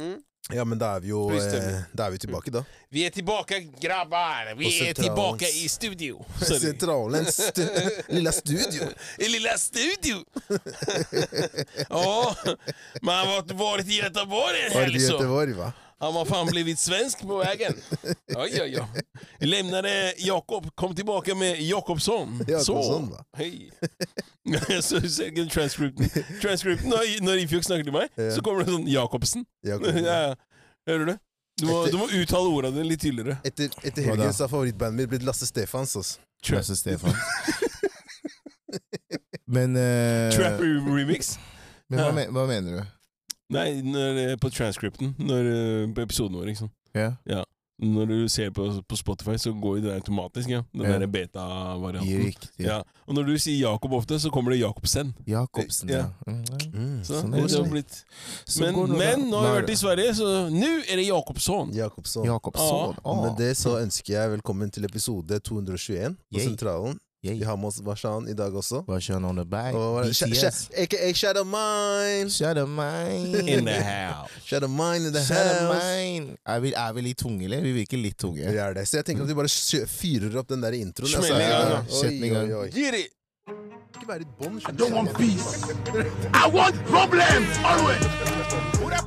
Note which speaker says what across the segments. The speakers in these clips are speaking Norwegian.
Speaker 1: Mm.
Speaker 2: Ja, men da er vi jo
Speaker 1: Spør i
Speaker 2: eh,
Speaker 1: stemmen.
Speaker 2: Da er vi tilbake, da.
Speaker 1: Vi er tilbake, grabbar! Vi
Speaker 2: Og så
Speaker 1: er
Speaker 2: tar
Speaker 1: tilbake
Speaker 2: oss-
Speaker 1: i studio!
Speaker 2: Sentralen st Lilla studio.
Speaker 1: I lilla studio! Ja, man har varit i Göteborg en
Speaker 2: Var det
Speaker 1: helg
Speaker 2: i
Speaker 1: så.
Speaker 2: Göteborg, va?
Speaker 1: Han har fan blivit svensk på vägen. Oj, oj, oj. Lämnade Jakob, kom tillbaka med Jakobsson.
Speaker 2: Jakobsson, va?
Speaker 1: Så, hej. så säkert transcripten. Transcripten når, når Ifjok snakket til meg,
Speaker 2: Ja.
Speaker 1: så kommer det sånn Jacobsen.
Speaker 2: Ja, kom igjen.
Speaker 1: Ja, hører du? Du må, du må uttale ordene litt tydeligere.
Speaker 2: Etter, etter
Speaker 3: Hva da?
Speaker 2: helgen så har favorittbandet mitt blitt Lasse Stefans. altså. ass.
Speaker 3: Lasse Stefan. Men, eh,
Speaker 1: Trap remix.
Speaker 3: men hva, me hva mener du?
Speaker 1: Nei, når, eh, på transcripten. Når, eh, på episoden vår, liksom.
Speaker 3: Ja.
Speaker 1: Når du ser på, på Spotify, så går jo det automatisk, ja. Den
Speaker 3: Ja.
Speaker 1: der beta-varianten.
Speaker 3: Riktig.
Speaker 1: Ja. Og når du sier Jakob ofte, så kommer det Jacobsen.
Speaker 3: Jacobsen, ja.
Speaker 1: Ja.
Speaker 3: Mm, ja.
Speaker 1: Så,
Speaker 3: Sånn
Speaker 1: det
Speaker 3: er det.
Speaker 1: har blitt.
Speaker 3: Så
Speaker 1: Men,
Speaker 3: går nå da-
Speaker 1: men nå har jeg vært i
Speaker 3: når-
Speaker 1: Sverige, så nå er det Jakobsson.
Speaker 2: Jakobsson.
Speaker 3: Jacobsson.
Speaker 2: Og
Speaker 3: Ah,
Speaker 2: Med det så ønsker jeg velkommen til episode 221 på
Speaker 3: Yay.
Speaker 2: Sentralen.
Speaker 3: Yay.
Speaker 2: Vi har med oss Vashan i dag også.
Speaker 3: Hva skjer nå med
Speaker 2: Og hva var det? Sha-
Speaker 3: BTS.
Speaker 2: Sha- AKA Shadow Mine!
Speaker 3: Shadow Mine.
Speaker 1: In the house.
Speaker 2: Shadow Mine in the
Speaker 3: Shadow
Speaker 2: house!
Speaker 3: Mine. Er vi, er vi litt tunge, eller? Vi virker litt tunge.
Speaker 2: Det er det. Så jeg tenker at vi bare kjø- fyrer opp den der introen.
Speaker 1: Smell i gang, da.
Speaker 2: altså.
Speaker 3: Sett den i
Speaker 2: Oi,
Speaker 3: gang.
Speaker 2: oi, oi.
Speaker 1: Get it!
Speaker 2: Ikke være litt bånd,
Speaker 4: don't
Speaker 2: skjønner
Speaker 4: want
Speaker 2: du.
Speaker 4: peace. I want problems always.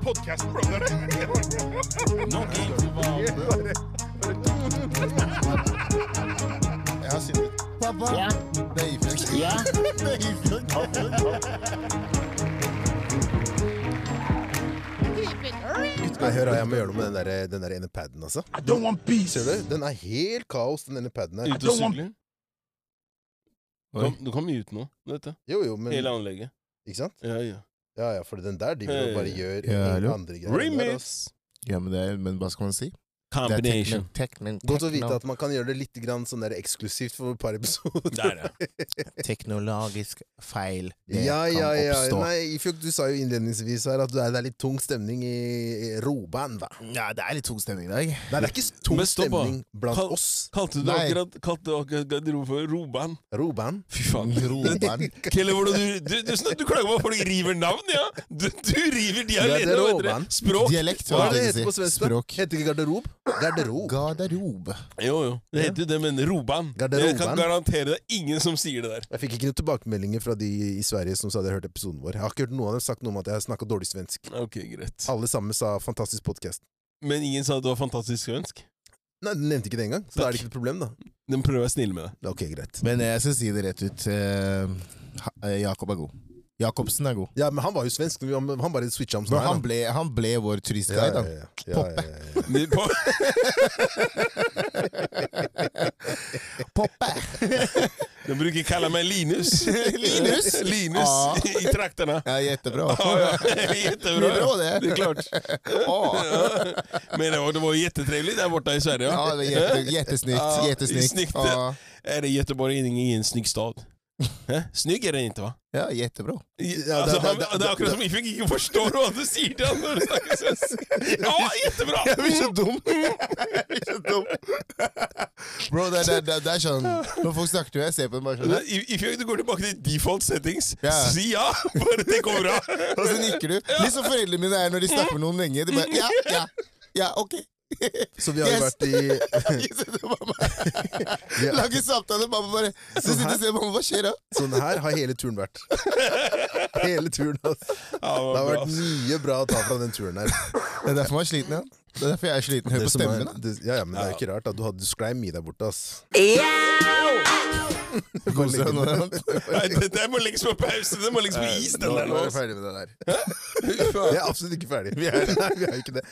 Speaker 3: Jeg har sittet. Pappa! Ja. Det er Ifjok. Det er
Speaker 2: Skal jeg høre hva jeg må gjøre noe med den der, den der ene paden, altså.
Speaker 4: I don't want peace.
Speaker 2: Ser dere? Den er helt kaos, den ene paden her.
Speaker 1: Ute og sykler. Du kan- Du kan mute nå, vet du.
Speaker 2: Jo, jo, men
Speaker 1: Hele anlegget.
Speaker 2: Ikke sant?
Speaker 1: Ja, ja.
Speaker 2: Ja ja, for den der driver og bare
Speaker 1: Hey.
Speaker 2: gjør
Speaker 3: Ja, hallo.
Speaker 2: andre greier. der, altså.
Speaker 1: Remix!
Speaker 3: Ja, men, det er, men hva skal man si? Det er
Speaker 1: Combination.
Speaker 3: techno- techno-
Speaker 2: Godt å vite
Speaker 3: techno-
Speaker 2: at man kan gjøre det litt grann sånn der eksklusivt for et par episoder.
Speaker 1: Der, ja.
Speaker 3: teknologisk feil det
Speaker 2: ja, ja,
Speaker 3: kan
Speaker 2: ja.
Speaker 3: oppstå.
Speaker 2: Nei, Ifjok, du sa jo innledningsvis her at du er, det er litt tung stemning i i Roban, hva?
Speaker 3: Ja, det er litt tung stemning i dag.
Speaker 2: Nei, det er ikke s- tung
Speaker 1: Men stopp, da.
Speaker 2: stemning blant
Speaker 1: Kall-
Speaker 2: oss.
Speaker 1: Kalte du
Speaker 3: Nei.
Speaker 1: akkurat, kalte du akkurat garderoben for Roban?
Speaker 2: Roban.
Speaker 1: Fy faen.
Speaker 3: Roman.
Speaker 1: Kelle, hvordan du, du, du, snak- du klager på at folk river navn, ja? Du, du river
Speaker 2: Ja, det
Speaker 1: dialekter
Speaker 2: er
Speaker 1: og heter
Speaker 2: Roban.
Speaker 1: det språk.
Speaker 3: Dialekt,
Speaker 2: Hva
Speaker 3: hva
Speaker 2: er det det heter på
Speaker 3: si.
Speaker 2: svensk? da?
Speaker 3: Språk.
Speaker 2: Heter ikke garderob? Garderob.
Speaker 3: Garderobe.
Speaker 1: Jo, jo. Det heter jo det, men Roban.
Speaker 2: Garderoban.
Speaker 1: Jeg kan garantere deg ingen som sier det der.
Speaker 2: Jeg fikk ikke noen tilbakemeldinger fra de i Sverige som sa de hadde hørt episoden vår. Jeg har ikke hørt noen av dem sagt noe om at jeg har snakka dårlig svensk.
Speaker 1: Ok, greit.
Speaker 2: Alle sammen sa 'fantastisk podkast'.
Speaker 1: Men ingen sa at du var fantastisk svensk?
Speaker 2: Nei, den nevnte ikke det engang, så da er det ikke et problem, da.
Speaker 1: Den prøver å være snill med deg.
Speaker 2: Ok, greit.
Speaker 3: Men jeg skal si det rett ut. eh, ha- eh, Jakob er god. Jakobsen er god.
Speaker 2: Ja, men han var jo svensk, men han- han bare switcha om sånn
Speaker 3: Men
Speaker 2: her, da.
Speaker 3: han ble, han ble vår turistguide.
Speaker 2: ja,
Speaker 3: han.
Speaker 2: ja, ja. Ja, ja, ja, ja.
Speaker 1: Det- på-
Speaker 3: Poppe!
Speaker 1: Den bruker kalle meg Linus.
Speaker 3: Linus?
Speaker 1: Linus
Speaker 3: Ah.
Speaker 1: i traktene.
Speaker 3: Ja, Jättebra.
Speaker 1: Ja, ja. Jättebra.
Speaker 3: Det är bra det.
Speaker 1: Det är klart.
Speaker 3: Ah.
Speaker 1: Men det var, det var jättetrevligt där borta i Sverige.
Speaker 3: Ja, det är jätte, jättesnyggt.
Speaker 1: Ja,
Speaker 3: jättesnyggt.
Speaker 1: Ah, snyggt.
Speaker 3: Ja.
Speaker 1: Är det Göteborg ingen, ingen snygg stad? Eh? Snygg är den inte va?
Speaker 3: ja, jättebra.
Speaker 1: I-
Speaker 2: Ja,
Speaker 1: alltså,
Speaker 2: det-
Speaker 1: han,
Speaker 2: det-
Speaker 1: det,
Speaker 2: det-
Speaker 1: är akkurat som Ifjok inte förstår vad du säger till honom när du snackar svenska. Ja, jättebra!
Speaker 3: dum. Bro, det, det, det, det er sånn Når folk snakker til meg, jeg ser på dem bare sånn
Speaker 1: I- Ifjok, du går tillbaka till default settings.
Speaker 3: Ja.
Speaker 1: Si ja, för det kommer bra.
Speaker 3: Og så nikker du. Litt som foreldrene mine er når de snakker med noen lenge. De bare Ja, ja, ja, ok.
Speaker 2: Så vi har jo
Speaker 3: Yes.
Speaker 2: vært i
Speaker 3: Så det var bare-
Speaker 2: vi har,
Speaker 3: Lager samtale, mamma bare Så sitter og ser mamma, hva skjer da?
Speaker 2: Sånn her har hele turen vært. Hele turen, altså.
Speaker 1: Ja,
Speaker 2: Det
Speaker 1: vad
Speaker 2: har
Speaker 1: bra.
Speaker 2: vært mye bra å ta fra den turen her.
Speaker 3: Det er derfor man er sliten, ja. Det er derfor jeg er sliten. Hør
Speaker 2: Det
Speaker 3: på
Speaker 2: som er-
Speaker 3: stemmen, da.
Speaker 2: det- ja, ja, men det er jo ikke rart. Da. Du, hadde, du sklei mye der borte, ass.
Speaker 3: Koser deg nå, ja.
Speaker 1: Nej, det där må läggas på paus, det må läggas på is den
Speaker 3: Nå
Speaker 1: där.
Speaker 3: er vi
Speaker 1: någonstans.
Speaker 3: ferdig med det der.
Speaker 2: Vi er absolutt ikke ferdige. Vi er, nei, vi er jo ikke det.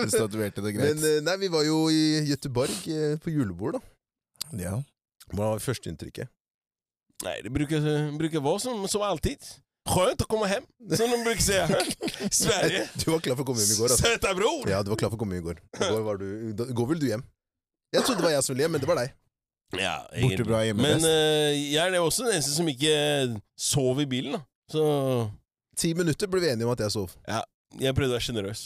Speaker 3: Du statuerte det
Speaker 2: Men
Speaker 3: greit.
Speaker 2: eh, nei, vi var jo i Göteborg eh, på julebord, da.
Speaker 3: Ja.
Speaker 2: Hvordan var førsteinntrykket?
Speaker 1: Nej, det brukar, brukar vara som, som alltid. Skönt att komma hem, som de brukar säga. Sverige.
Speaker 2: Eh, Du var klar for å komme hjem i går, ass.
Speaker 1: Söta bror!
Speaker 2: Ja, du var klar for å komme hjem i går. I går, var du, da- i går ville du hjem. Jeg trodde det var jeg som ville hjem, men det var deg.
Speaker 1: Ja,
Speaker 3: Borte bra, hjemme
Speaker 1: Men
Speaker 3: best.
Speaker 1: eh, jeg er det også den eneste som ikke sov i bilen. da Så
Speaker 2: Ti minutter ble vi enige om at jeg sov.
Speaker 1: jeg prøvde å være sjenerøs.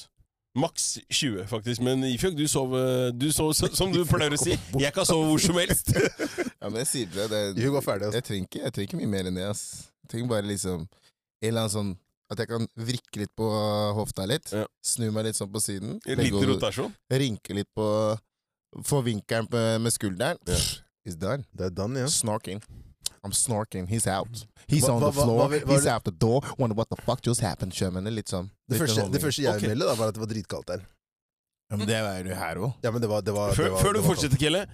Speaker 1: Maks 20, faktisk. Men Ifjøk, du sov, eh, du sov så- som du pleier å si. Jeg kan sove hvor som helst.
Speaker 3: Ja, men jeg sier det, det altså.
Speaker 2: Vi var ferdig, ass.
Speaker 3: jeg trenger ikke jeg trenger ikke mye mer enn det, ass. Jeg trenger bare liksom en eller annen sånn At jeg kan vrikke litt på hofta litt,
Speaker 1: Ja.
Speaker 3: snu meg litt sånn på siden,
Speaker 1: En
Speaker 3: legge
Speaker 1: liten
Speaker 3: over-
Speaker 1: rotasjon.
Speaker 3: rynke litt på Få vinkelen på, med skulderen.
Speaker 1: Ja.
Speaker 3: Pff, He's done.
Speaker 2: Det er done, ja.
Speaker 3: Snorking. I'm snorking. He's out. He's
Speaker 2: Mm. Hva-
Speaker 3: on
Speaker 2: hva-
Speaker 3: the
Speaker 2: hva-
Speaker 3: floor.
Speaker 2: hva vil- hva
Speaker 3: He's
Speaker 2: vil-
Speaker 3: out the door. Wonder what the fuck just happened. Sjømennene litt sånn.
Speaker 2: Det
Speaker 3: litt
Speaker 2: første,
Speaker 3: sånn
Speaker 2: det første jeg
Speaker 1: Ok.
Speaker 2: meldte, da, var at det var dritkaldt der.
Speaker 3: Ja, men det er jo her òg.
Speaker 2: Ja, men det var, det var, det
Speaker 1: Før,
Speaker 2: var,
Speaker 1: før du
Speaker 2: det var
Speaker 1: fortsetter, Kelle.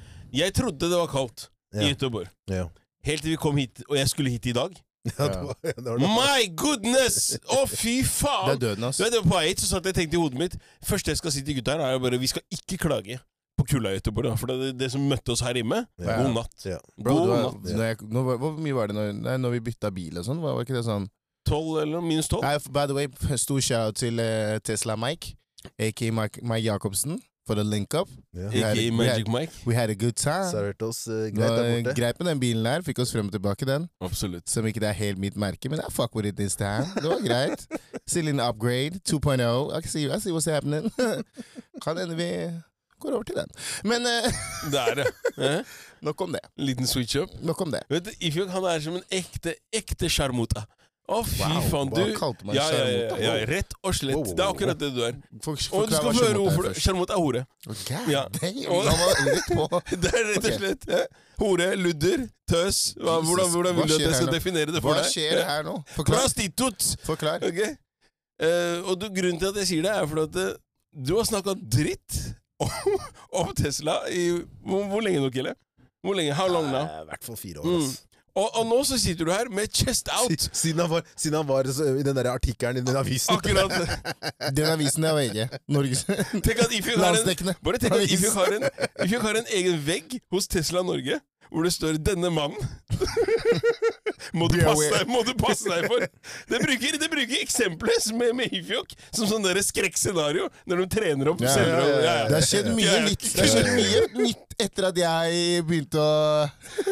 Speaker 1: Jeg trodde det var kaldt i
Speaker 2: Ja.
Speaker 1: Göteborg.
Speaker 2: Ja.
Speaker 1: Helt til vi kom hit, og jeg skulle hit i dag.
Speaker 2: kaldt. Ja, det var, ja, det var det.
Speaker 1: My goodness! Å, fy
Speaker 3: Det er
Speaker 1: faen!
Speaker 3: døden,
Speaker 1: Du
Speaker 3: altså.
Speaker 1: vet, det var på vei hit, så satt jeg og tenkte i hodet mitt Første jeg skal si til gutta her, er jo bare vi skal ikke klage på kulda i Göteborg. da, For det, det som møtte oss her inne
Speaker 2: Ja.
Speaker 1: God natt.
Speaker 2: Ja.
Speaker 3: Bro,
Speaker 1: God
Speaker 3: du er,
Speaker 1: natt.
Speaker 3: når jeg, nå, var- hvor mye var det når, nei, når vi bytta bil og sånn? Var, var ikke det sånn
Speaker 1: 12 eller minus 12?
Speaker 3: Nei, f- by the way, f- stor shout til eh, Tesla Mike, aka Mike, Mike Jacobsen, for the link up.
Speaker 2: Ja.
Speaker 3: vi er-
Speaker 1: Ikke
Speaker 3: vi
Speaker 1: i
Speaker 3: er-
Speaker 1: Magic Mike.
Speaker 3: We had a good time.
Speaker 2: Serverte oss eh, greit der
Speaker 3: Nå,
Speaker 2: borte.
Speaker 3: Greit med den bilen her. Fikk oss frem og tilbake, den.
Speaker 1: Absolutt.
Speaker 3: Som ikke det er helt mitt merke, men I fuck with it this time. Det var greit. Still in upgrade 2.0. I can see, I see what's happening. kan hende vi går over til den. Men eh,
Speaker 1: Der, ja. Eh?
Speaker 3: nok om det.
Speaker 1: Liten switch up.
Speaker 3: Nok om det.
Speaker 1: Vet du, Ifjok han er som en ekte, ekte sjarmota. Å, fy faen,
Speaker 3: hva
Speaker 1: du.
Speaker 3: kalte man
Speaker 1: Ja, ja, ja,
Speaker 3: sjarmota?
Speaker 1: ja, rett og slett.
Speaker 2: Wow, wow,
Speaker 1: Det er
Speaker 2: wow.
Speaker 1: akkurat det du er.
Speaker 3: Folk
Speaker 1: Og du
Speaker 3: forklarer
Speaker 1: skal
Speaker 3: hva
Speaker 1: få høre
Speaker 3: sjarmota er
Speaker 1: hvorfor
Speaker 3: først.
Speaker 1: sjarmota er hore.
Speaker 3: God
Speaker 1: Ja.
Speaker 3: damn, han var rett på.
Speaker 1: Det er rett og
Speaker 3: Ok.
Speaker 1: slett eh, hore, ludder, tøs. Hva,
Speaker 3: Jesus,
Speaker 1: hvordan, hvordan
Speaker 3: hva
Speaker 1: vil du at
Speaker 3: skjer
Speaker 1: jeg skal
Speaker 3: her nå?
Speaker 1: definere det for
Speaker 3: Hva
Speaker 1: deg?
Speaker 3: skjer her nå? Forklar.
Speaker 1: Prostitut!
Speaker 3: Forklar.
Speaker 1: Ok? Eh, og du, grunnen til at jeg sier det, er fordi at eh, du har snakka dritt om, om Tesla i hvor, hvor lenge nå, Kille? Hvor lenge? How long now?
Speaker 2: I hvert fall fire år,
Speaker 1: Mm.
Speaker 2: ass.
Speaker 1: Og, og nå så sitter du her med chest out.
Speaker 2: Si- Siden han var, siden han var så, i den der artikkelen i den avisen.
Speaker 1: Akkurat.
Speaker 3: Den avisen er VG. Norges
Speaker 1: Tenk at Ifjok har en,
Speaker 3: landsdekkende.
Speaker 1: bare tenk at Ifjok har, en, Ifjok har en egen vegg hos Tesla Norge hvor det står 'Denne mannen'. må, du
Speaker 3: Be
Speaker 1: passe
Speaker 3: aware.
Speaker 1: deg, må du passe deg for! Det bruker, det bruker eksempelet med, med Ifjok som sånn der skrekkscenario når de trener opp
Speaker 3: Ja,
Speaker 1: senere.
Speaker 2: ja, ja, ja.
Speaker 3: Det har skjedd mye,
Speaker 1: Ja, ja.
Speaker 3: nytt, det har skjedd mye nytt etter at jeg begynte å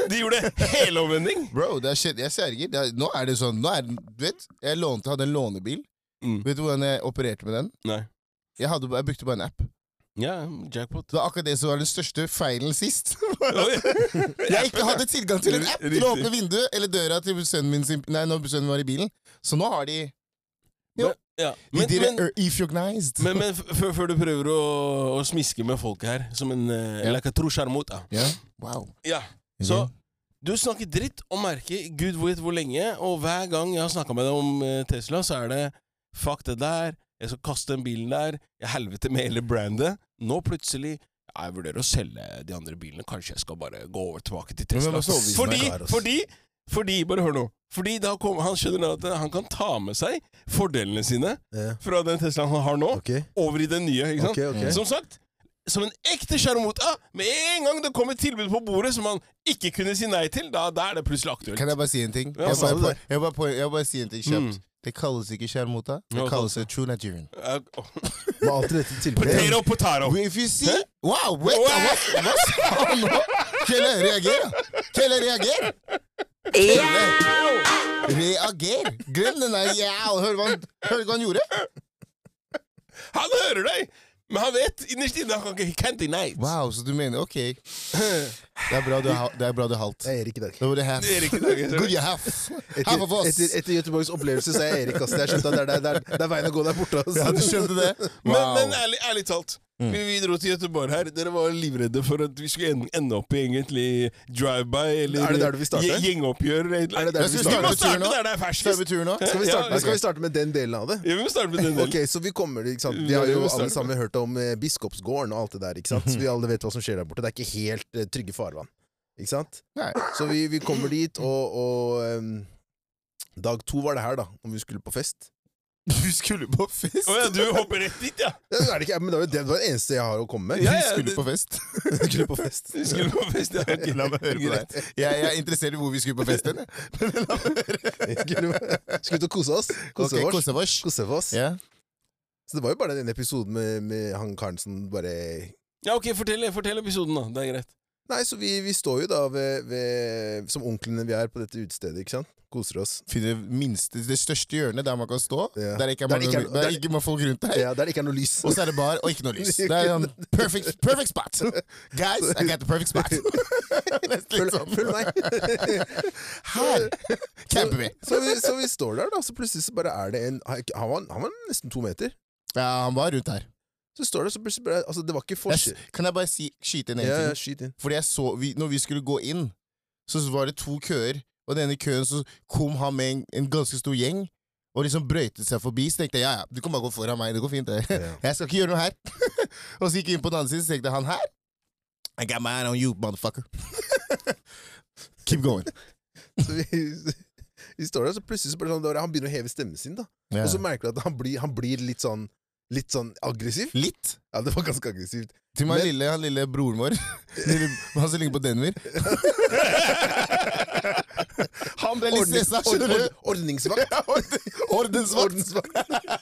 Speaker 1: De gjorde helomvending.
Speaker 3: Bro, det har skjedd, jeg sverger. det er- Nå er det sånn nå er, den- Du vet, jeg lånte, hadde en lånebil.
Speaker 1: Mm.
Speaker 3: Vet du hvordan jeg opererte med den?
Speaker 1: Nei.
Speaker 3: Jeg, hadde, jeg brukte bare en app.
Speaker 1: Ja, jackpot.
Speaker 3: Det var akkurat det som var den største feilen sist. Jeg
Speaker 1: Jeg
Speaker 3: ikke hadde tilgang til en app til å
Speaker 1: Riktig.
Speaker 3: åpne vinduet eller døra til sønnen min sin, Nei, når sønnen var i bilen. Så nå har de Jo.
Speaker 1: Ja.
Speaker 3: De
Speaker 1: Men,
Speaker 3: did it
Speaker 1: men,
Speaker 3: er- euthanized.
Speaker 1: men, men f- før før du prøver å, å smiske med folket her, som en
Speaker 3: Ja.
Speaker 1: uh, lakatro-sjarmota
Speaker 3: Ja, wow.
Speaker 1: Ja. Så du snakker dritt om merket, gud vet hvor lenge, og hver gang jeg har snakka med deg om eh, Tesla, så er det fuck det der, jeg skal kaste den bilen der, jeg helvete med hele brandet. Nå plutselig ja, jeg vurderer å selge de andre bilene, kanskje jeg skal bare gå over tilbake til
Speaker 3: Men hvem
Speaker 1: Tesla.
Speaker 3: er så overbevisende
Speaker 1: Fordi,
Speaker 2: kar, ass?
Speaker 1: fordi, fordi, bare hør nå. Fordi da kom, han skjønner nå at eh, han kan ta med seg fordelene sine
Speaker 2: Ja.
Speaker 1: fra den Teslaen han har nå,
Speaker 2: Ok,
Speaker 1: over i den nye. ikke sant?
Speaker 2: ok, ok.
Speaker 1: Som sagt, som en ekte sjarmota, med en gang det kom et tilbud på bordet som man ikke kunne si nei til, da, da er det plutselig aktuelt.
Speaker 3: Kan jeg bare si en ting?
Speaker 1: Ja,
Speaker 3: jeg,
Speaker 1: sa
Speaker 3: bare,
Speaker 1: du
Speaker 3: på- jeg, bare, på- jeg bare si en ting kjapt.
Speaker 1: Mm.
Speaker 3: Det kalles ikke sjarmota.
Speaker 1: Ja,
Speaker 3: Det
Speaker 1: det
Speaker 3: kalles
Speaker 1: kalles
Speaker 3: a true Nigerian.
Speaker 1: Eh, åh.
Speaker 2: Men alltid dette tilfellet
Speaker 1: Potato, potato.
Speaker 3: If you see Wow! Wait,
Speaker 1: Wow!
Speaker 3: hva, hva sa han nå? Kelle, reager! da. Kelle, reager! Kelle, reager! Glem den der yeah, Hør hva han, hør hva han gjorde.
Speaker 1: Han hører deg, men han vet innerst inne han kan ikke he can't deny it.
Speaker 3: Wow, så du mener OK. Det er bra du, ha- det er bra du halt.
Speaker 2: Jeg er Erik i dag.
Speaker 3: Det var det half.
Speaker 1: Det er ikke det, jeg ser
Speaker 3: Good
Speaker 1: det.
Speaker 3: you half.
Speaker 2: Etter,
Speaker 3: Half of us.
Speaker 2: etter, etter Göteborgs opplevelse så er jeg Erik, ass. Jeg skjønte at det er, der- det, er, det er veien å gå der borte. ass.
Speaker 3: Ja, du skjønte det?
Speaker 1: Men,
Speaker 3: Wow.
Speaker 1: men ærlig, ærlig talt, vi, vi dro til Göteborg her. Dere var livredde for at vi skulle ende, ende opp i egentlig drive-by eller
Speaker 2: Er det der du vil starte?
Speaker 1: gje- gjengoppgjør. eller-
Speaker 2: Er det der
Speaker 3: Jeg
Speaker 2: du vil
Speaker 1: Vi
Speaker 3: skal
Speaker 1: må
Speaker 2: starte?
Speaker 1: starte
Speaker 3: Turen nå?
Speaker 1: der det er
Speaker 3: Skal
Speaker 1: ferskest.
Speaker 3: vi tur nå?
Speaker 2: Skal vi starte,
Speaker 1: Ja,
Speaker 2: skal vi starte med den delen av det?
Speaker 1: Ja, vi må starte med den delen.
Speaker 2: Ok, så vi kommer ikke sant? Vi har jo alle sammen hørt om eh, Biskopsgården og alt det der. ikke sant? Så vi alle vet hva som skjer der borte. Det er ikke helt eh, trygge farvann. Ikke sant?
Speaker 3: Nei.
Speaker 2: Så vi, vi kommer dit, og, og em, Dag to var det her, da, om vi skulle på fest.
Speaker 3: Du skulle på fest?
Speaker 1: Å ja, du hopper rett dit, ja.
Speaker 2: Ja, det er det ikke, men det var jo det, det var det eneste jeg har å komme med.
Speaker 1: Ja,
Speaker 3: Vi
Speaker 1: ja,
Speaker 3: skulle
Speaker 1: det-
Speaker 3: på fest.
Speaker 2: Vi skulle på fest.
Speaker 1: Du skulle på fest, ja. ok.
Speaker 3: La meg høre på
Speaker 1: Greit.
Speaker 3: deg. Jeg, jeg er interessert i hvor vi skulle på fest hen. jeg.
Speaker 2: Vi skulle, skulle ut og kose oss. Kose
Speaker 3: Ok,
Speaker 2: oss.
Speaker 3: Kosevors.
Speaker 2: Kose oss.
Speaker 3: Ja.
Speaker 2: Så det var jo bare den ene episoden med, med han karen som bare
Speaker 1: Ja, ok, fortell, fortell episoden, da. Det er greit.
Speaker 2: Nei, så vi, vi står jo da ved, ved, som onklene vi er på dette utestedet, ikke sant? Koser oss.
Speaker 3: Finne det minste, det største hjørnet der man kan stå,
Speaker 2: Ja.
Speaker 3: der ikke er
Speaker 2: Der
Speaker 3: mange,
Speaker 2: ikke er-
Speaker 3: der
Speaker 2: der-
Speaker 3: ikke er folk rundt deg.
Speaker 2: Ja, der det ikke er noe lys.
Speaker 3: Og så er det bar og ikke noe lys. Det er sånn perfect, perfect spot! Guys, I got the perfect spot! Nesten litt
Speaker 2: Følg,
Speaker 3: sånn.
Speaker 2: følg meg!
Speaker 3: Her camper vi!
Speaker 2: Så vi, så vi står der, da, så plutselig så bare er det en Han var, han var nesten to meter.
Speaker 3: Ja, han var rundt her.
Speaker 2: Så står det, så plutselig bare Altså, det var ikke
Speaker 3: Jeg,
Speaker 2: forskjell.
Speaker 3: s- kan jeg bare si, skyte inn en
Speaker 2: Ja, ja,
Speaker 3: ting?
Speaker 2: skyt inn.
Speaker 3: Fordi jeg så, vi, når vi skulle gå inn, så var det to køer, og denne køen så kom han med en, en ganske stor gjeng, og liksom brøytet seg forbi, så tenkte jeg, ja, ja, du kan bare gå foran meg, det går fint, det.
Speaker 2: Ja.
Speaker 3: Jeg skal ikke gjøre noe her. og så gikk jeg inn på den andre siden, så tenkte jeg, han her? I got my eye on you, motherfucker. Keep going.
Speaker 2: Så vi, vi står der, så plutselig så bare sånn, da- han begynner å heve stemmen sin, da. Og så merker du at han blir, han blir litt sånn Litt sånn aggressiv.
Speaker 3: Litt.
Speaker 2: Ja, det var ganske aggressivt.
Speaker 3: Til meg
Speaker 2: Men-
Speaker 3: lille, han lille broren vår, lille, han som ligner på Denver. han ble litt
Speaker 2: Ordning-
Speaker 3: stressa,
Speaker 2: ord-
Speaker 3: skjønner du.
Speaker 2: ord- Ordningsvakt.
Speaker 3: Ordensvakt.
Speaker 2: Ordensvakt.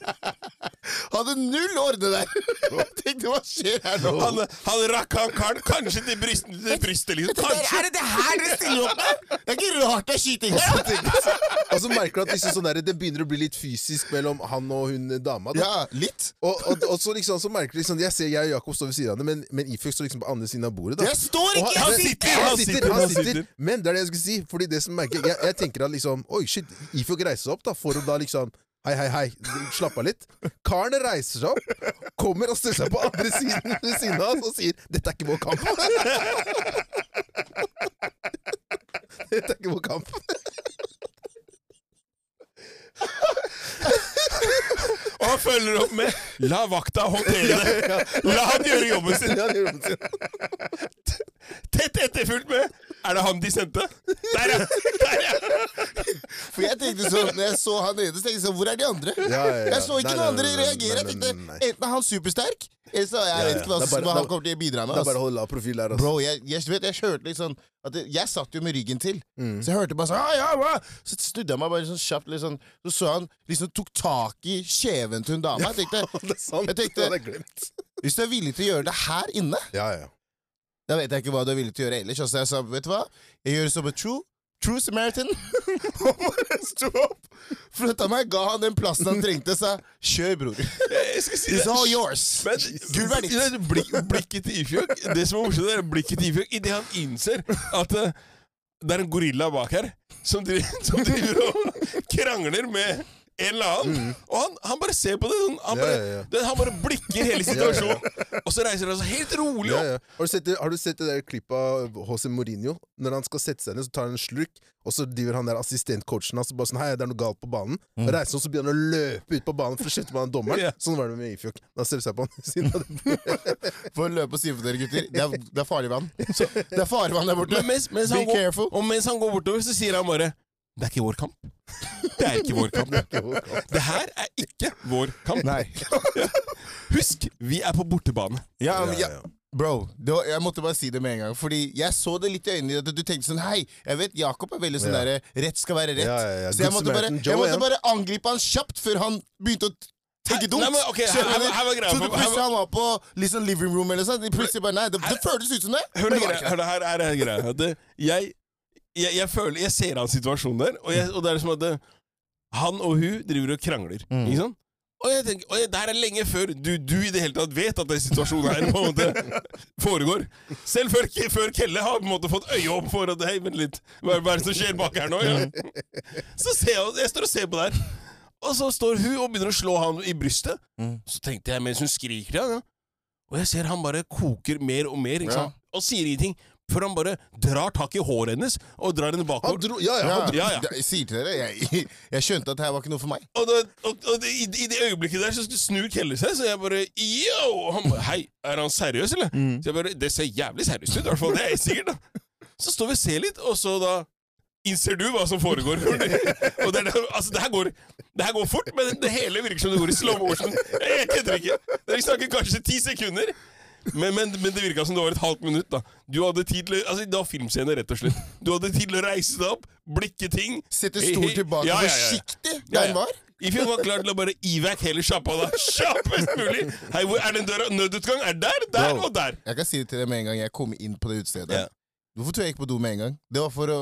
Speaker 3: Hadde null orden der! Jeg tenkte, hva skjer her nå?
Speaker 1: Han, han rakk han karen kanskje til brystet, til brystet liksom. Kanskje!
Speaker 3: det det her dere stiller opp med?! Det er ikke rart det er skyting! her.
Speaker 2: Og så merker du at liksom sånn der, det begynner å bli litt fysisk mellom han og hun eh, dama. Da.
Speaker 3: Ja, litt.
Speaker 2: Og, og, og så liksom, så merker du liksom Jeg ser jeg og Jakob står ved siden av det, men, men Ifjok står liksom på andre siden av bordet. da
Speaker 3: Jeg står
Speaker 2: Og
Speaker 3: ikke!
Speaker 1: han
Speaker 3: Jeg
Speaker 2: men-
Speaker 1: sitter,
Speaker 2: han
Speaker 1: han
Speaker 2: sitter,
Speaker 1: sitter,
Speaker 2: han
Speaker 1: han
Speaker 2: sitter.
Speaker 1: sitter.
Speaker 2: Men det er det jeg skulle si. Fordi det som merker Jeg, jeg tenker at liksom Oi, shit. Ifjok reiser seg opp, da. For å da liksom Hei, hei, hei. Slapp av litt. Karen reiser seg opp, kommer og stiller seg på andre siden ved siden av oss og sier 'Dette er ikke vår kamp'. Dette er ikke vår kamp.
Speaker 1: Og han følger opp med La vakta håndtere det! La han gjøre jobben sin!
Speaker 2: Ja, det gjør han sin.
Speaker 1: Tett etterfulgt med Er det han de sendte? Der, ja! Der, ja.
Speaker 3: For jeg tenkte sånn, når jeg så han ene, så tenkte jeg sånn, hvor er de andre?
Speaker 2: Ja, ja, ja.
Speaker 3: Jeg så
Speaker 2: Nei,
Speaker 3: ikke noen
Speaker 2: nei,
Speaker 3: andre
Speaker 2: nei, nei,
Speaker 3: reagere. Jeg
Speaker 2: nei,
Speaker 3: tenkte,
Speaker 2: nei, nei.
Speaker 3: enten er han supersterk, eller så jeg
Speaker 2: Ja,
Speaker 3: vet
Speaker 2: ja.
Speaker 3: ikke hva,
Speaker 2: Det er bare-
Speaker 3: hva
Speaker 2: det
Speaker 3: han
Speaker 2: er-
Speaker 3: kommer til å bidra
Speaker 2: Det
Speaker 3: med.
Speaker 2: er bare
Speaker 3: ass.
Speaker 2: å holde lav profil der, altså.
Speaker 3: Bro, jeg, jeg, du vet, jeg hørte litt sånn at det, Jeg satt jo med ryggen til,
Speaker 2: Mm.
Speaker 3: så jeg hørte bare sånn «Ah, ja, hva?» Så snudde jeg meg bare sånn kjapt, litt sånn, så så han liksom tok tak i kjeven til hun dama. Jeg tenkte,
Speaker 2: Det er sant.
Speaker 3: Jeg tenkte-
Speaker 2: det hadde jeg glemt.
Speaker 3: hvis du er villig til å gjøre det her inne,
Speaker 2: Ja, ja.
Speaker 3: da vet jeg ikke hva du er villig til å gjøre ellers. Altså, jeg sa, vet du hva, jeg gjør det som en true True Samaritan. Og bare sto opp, flytta meg, ga han den plassen han trengte, sa kjør, bror.
Speaker 1: Jeg skal si
Speaker 3: It's all
Speaker 1: det.
Speaker 3: yours.
Speaker 1: Men
Speaker 3: Gull er ditt.
Speaker 1: i det blikk, blikket til Ifjok Det som er morsomt, er blikket til Ifjok idet han innser at eh, det er en gorilla bak her som driver, som driver og krangler med en eller annen. Og han, han bare ser på det. sånn, Han
Speaker 2: Ja,
Speaker 1: bare,
Speaker 2: ja, ja.
Speaker 1: det- Han bare blikker hele situasjonen. Og så reiser han seg helt rolig
Speaker 2: Ja,
Speaker 1: opp.
Speaker 2: ja. Har, du sett det, har du sett det der klippet av José Mourinho? Når han skal sette seg ned, så tar han en slurk, og så driver han der assistentcoachen hans og bare sånn Hei, det er noe galt på banen. Reiser han, så begynner han å løpe ut på banen for å kjefte på han dommeren.
Speaker 1: Ja.
Speaker 2: Sånn var det med Ifjok. Da ser det seg på han ved siden av det.
Speaker 3: For å løpe og si for dere, gutter, det er, det er farligvann. Det er farligvann der borte.
Speaker 1: Men mens, mens
Speaker 3: Be
Speaker 1: han går,
Speaker 3: careful.
Speaker 1: og mens han går bortover, så sier han bare Det er ikke vår kamp. Det er ikke vår kamp. Det her er ikke vår kamp.
Speaker 3: Nei.
Speaker 1: Husk, vi er på bortebane.
Speaker 3: Ja, men,
Speaker 2: Ja,
Speaker 3: ja. Bro, det var, jeg måtte bare si det med en gang. Fordi jeg så det litt i øynene dine at du tenkte sånn Hei, jeg vet Jakob er veldig sånn
Speaker 2: Ja.
Speaker 3: derre Rett skal være rett.
Speaker 2: Ja, ja, ja.
Speaker 3: Så jeg
Speaker 2: Good
Speaker 3: måtte, bare,
Speaker 2: Samaritan Joe,
Speaker 3: jeg måtte
Speaker 2: ja.
Speaker 3: bare angripe han kjapt før han begynte å tenke dumt.
Speaker 1: Nei, men ok, her-
Speaker 3: Skjønner du?
Speaker 1: her- her var greia
Speaker 3: så du
Speaker 1: for- her
Speaker 3: plutselig
Speaker 1: var-
Speaker 3: han var på liksom living room eller sånn. Plutselig bare Nei, det, det føltes ut som det.
Speaker 1: Hør nå,
Speaker 3: men det var
Speaker 1: greia-
Speaker 3: ikke
Speaker 1: hør nå, her er det greia. At det- Jeg, jeg, jeg, føler, jeg ser hans situasjon der, og, jeg, og det er som at det, han og hun driver og krangler.
Speaker 3: Mm.
Speaker 1: Ikke sant? Og jeg tenker, og jeg, det her er lenge før du, du i det hele tatt vet at den situasjonen her på en måte foregår. Selv før, Ke- før Kelle har på en måte fått øye opp for at Hei, vent litt, hva hva er det som skjer bak her nå?
Speaker 3: Mm.
Speaker 1: Ja. Så ser jeg, jeg står og ser på det her. Og så står hun og begynner å slå han i brystet.
Speaker 3: Mm.
Speaker 1: Så tenkte jeg mens hun skriker ja, ja. Og jeg ser han bare koker mer og mer, ikke
Speaker 3: Ja.
Speaker 1: sant? og sier ingenting. Før han bare drar tak i håret hennes og drar henne
Speaker 2: Han
Speaker 1: bakover.
Speaker 2: dro, ja, ja, han
Speaker 3: Ja,
Speaker 2: dro.
Speaker 1: Ja, ja.
Speaker 3: Jeg sier til dere, jeg, jeg skjønte at det her var ikke noe for meg.
Speaker 1: Og, det, og, og det, i, i det øyeblikket der så snur Kelle seg, så jeg bare yo! Og han bare hei, er han seriøs, eller?
Speaker 3: Mm.
Speaker 1: Så jeg bare, Det ser jævlig seriøst ut, i hvert fall. Det er jeg sikkert, da. Så står vi og ser litt, og så da innser du hva som foregår. og det, er det, altså, det, her går, det her går fort, men det hele virker som det går i slow motion. Jeg, jeg kødder ikke. Dere snakker kanskje ti sekunder. Men, men, men det virka som det var et halvt minutt. da Du hadde tid til å, altså Det var filmscene, rett og slett. Du hadde tid til å reise deg opp, blikke ting.
Speaker 3: Sette
Speaker 1: Hei,
Speaker 3: stolen
Speaker 1: hei.
Speaker 3: tilbake
Speaker 1: Ja, ja, ja.
Speaker 3: forsiktig
Speaker 1: Ja,
Speaker 3: der
Speaker 1: ja.
Speaker 3: den var.
Speaker 1: If you var klar til å bare evac hele sjappa da, kjappest mulig! Hei, hvor er den døra? Nødutgang er der, der
Speaker 3: Bro.
Speaker 1: og der!
Speaker 3: Jeg kan si det til deg med en gang jeg kom inn på det utestedet.
Speaker 1: Ja.
Speaker 3: Hvorfor tror jeg jeg gikk på do med en gang? Det var for å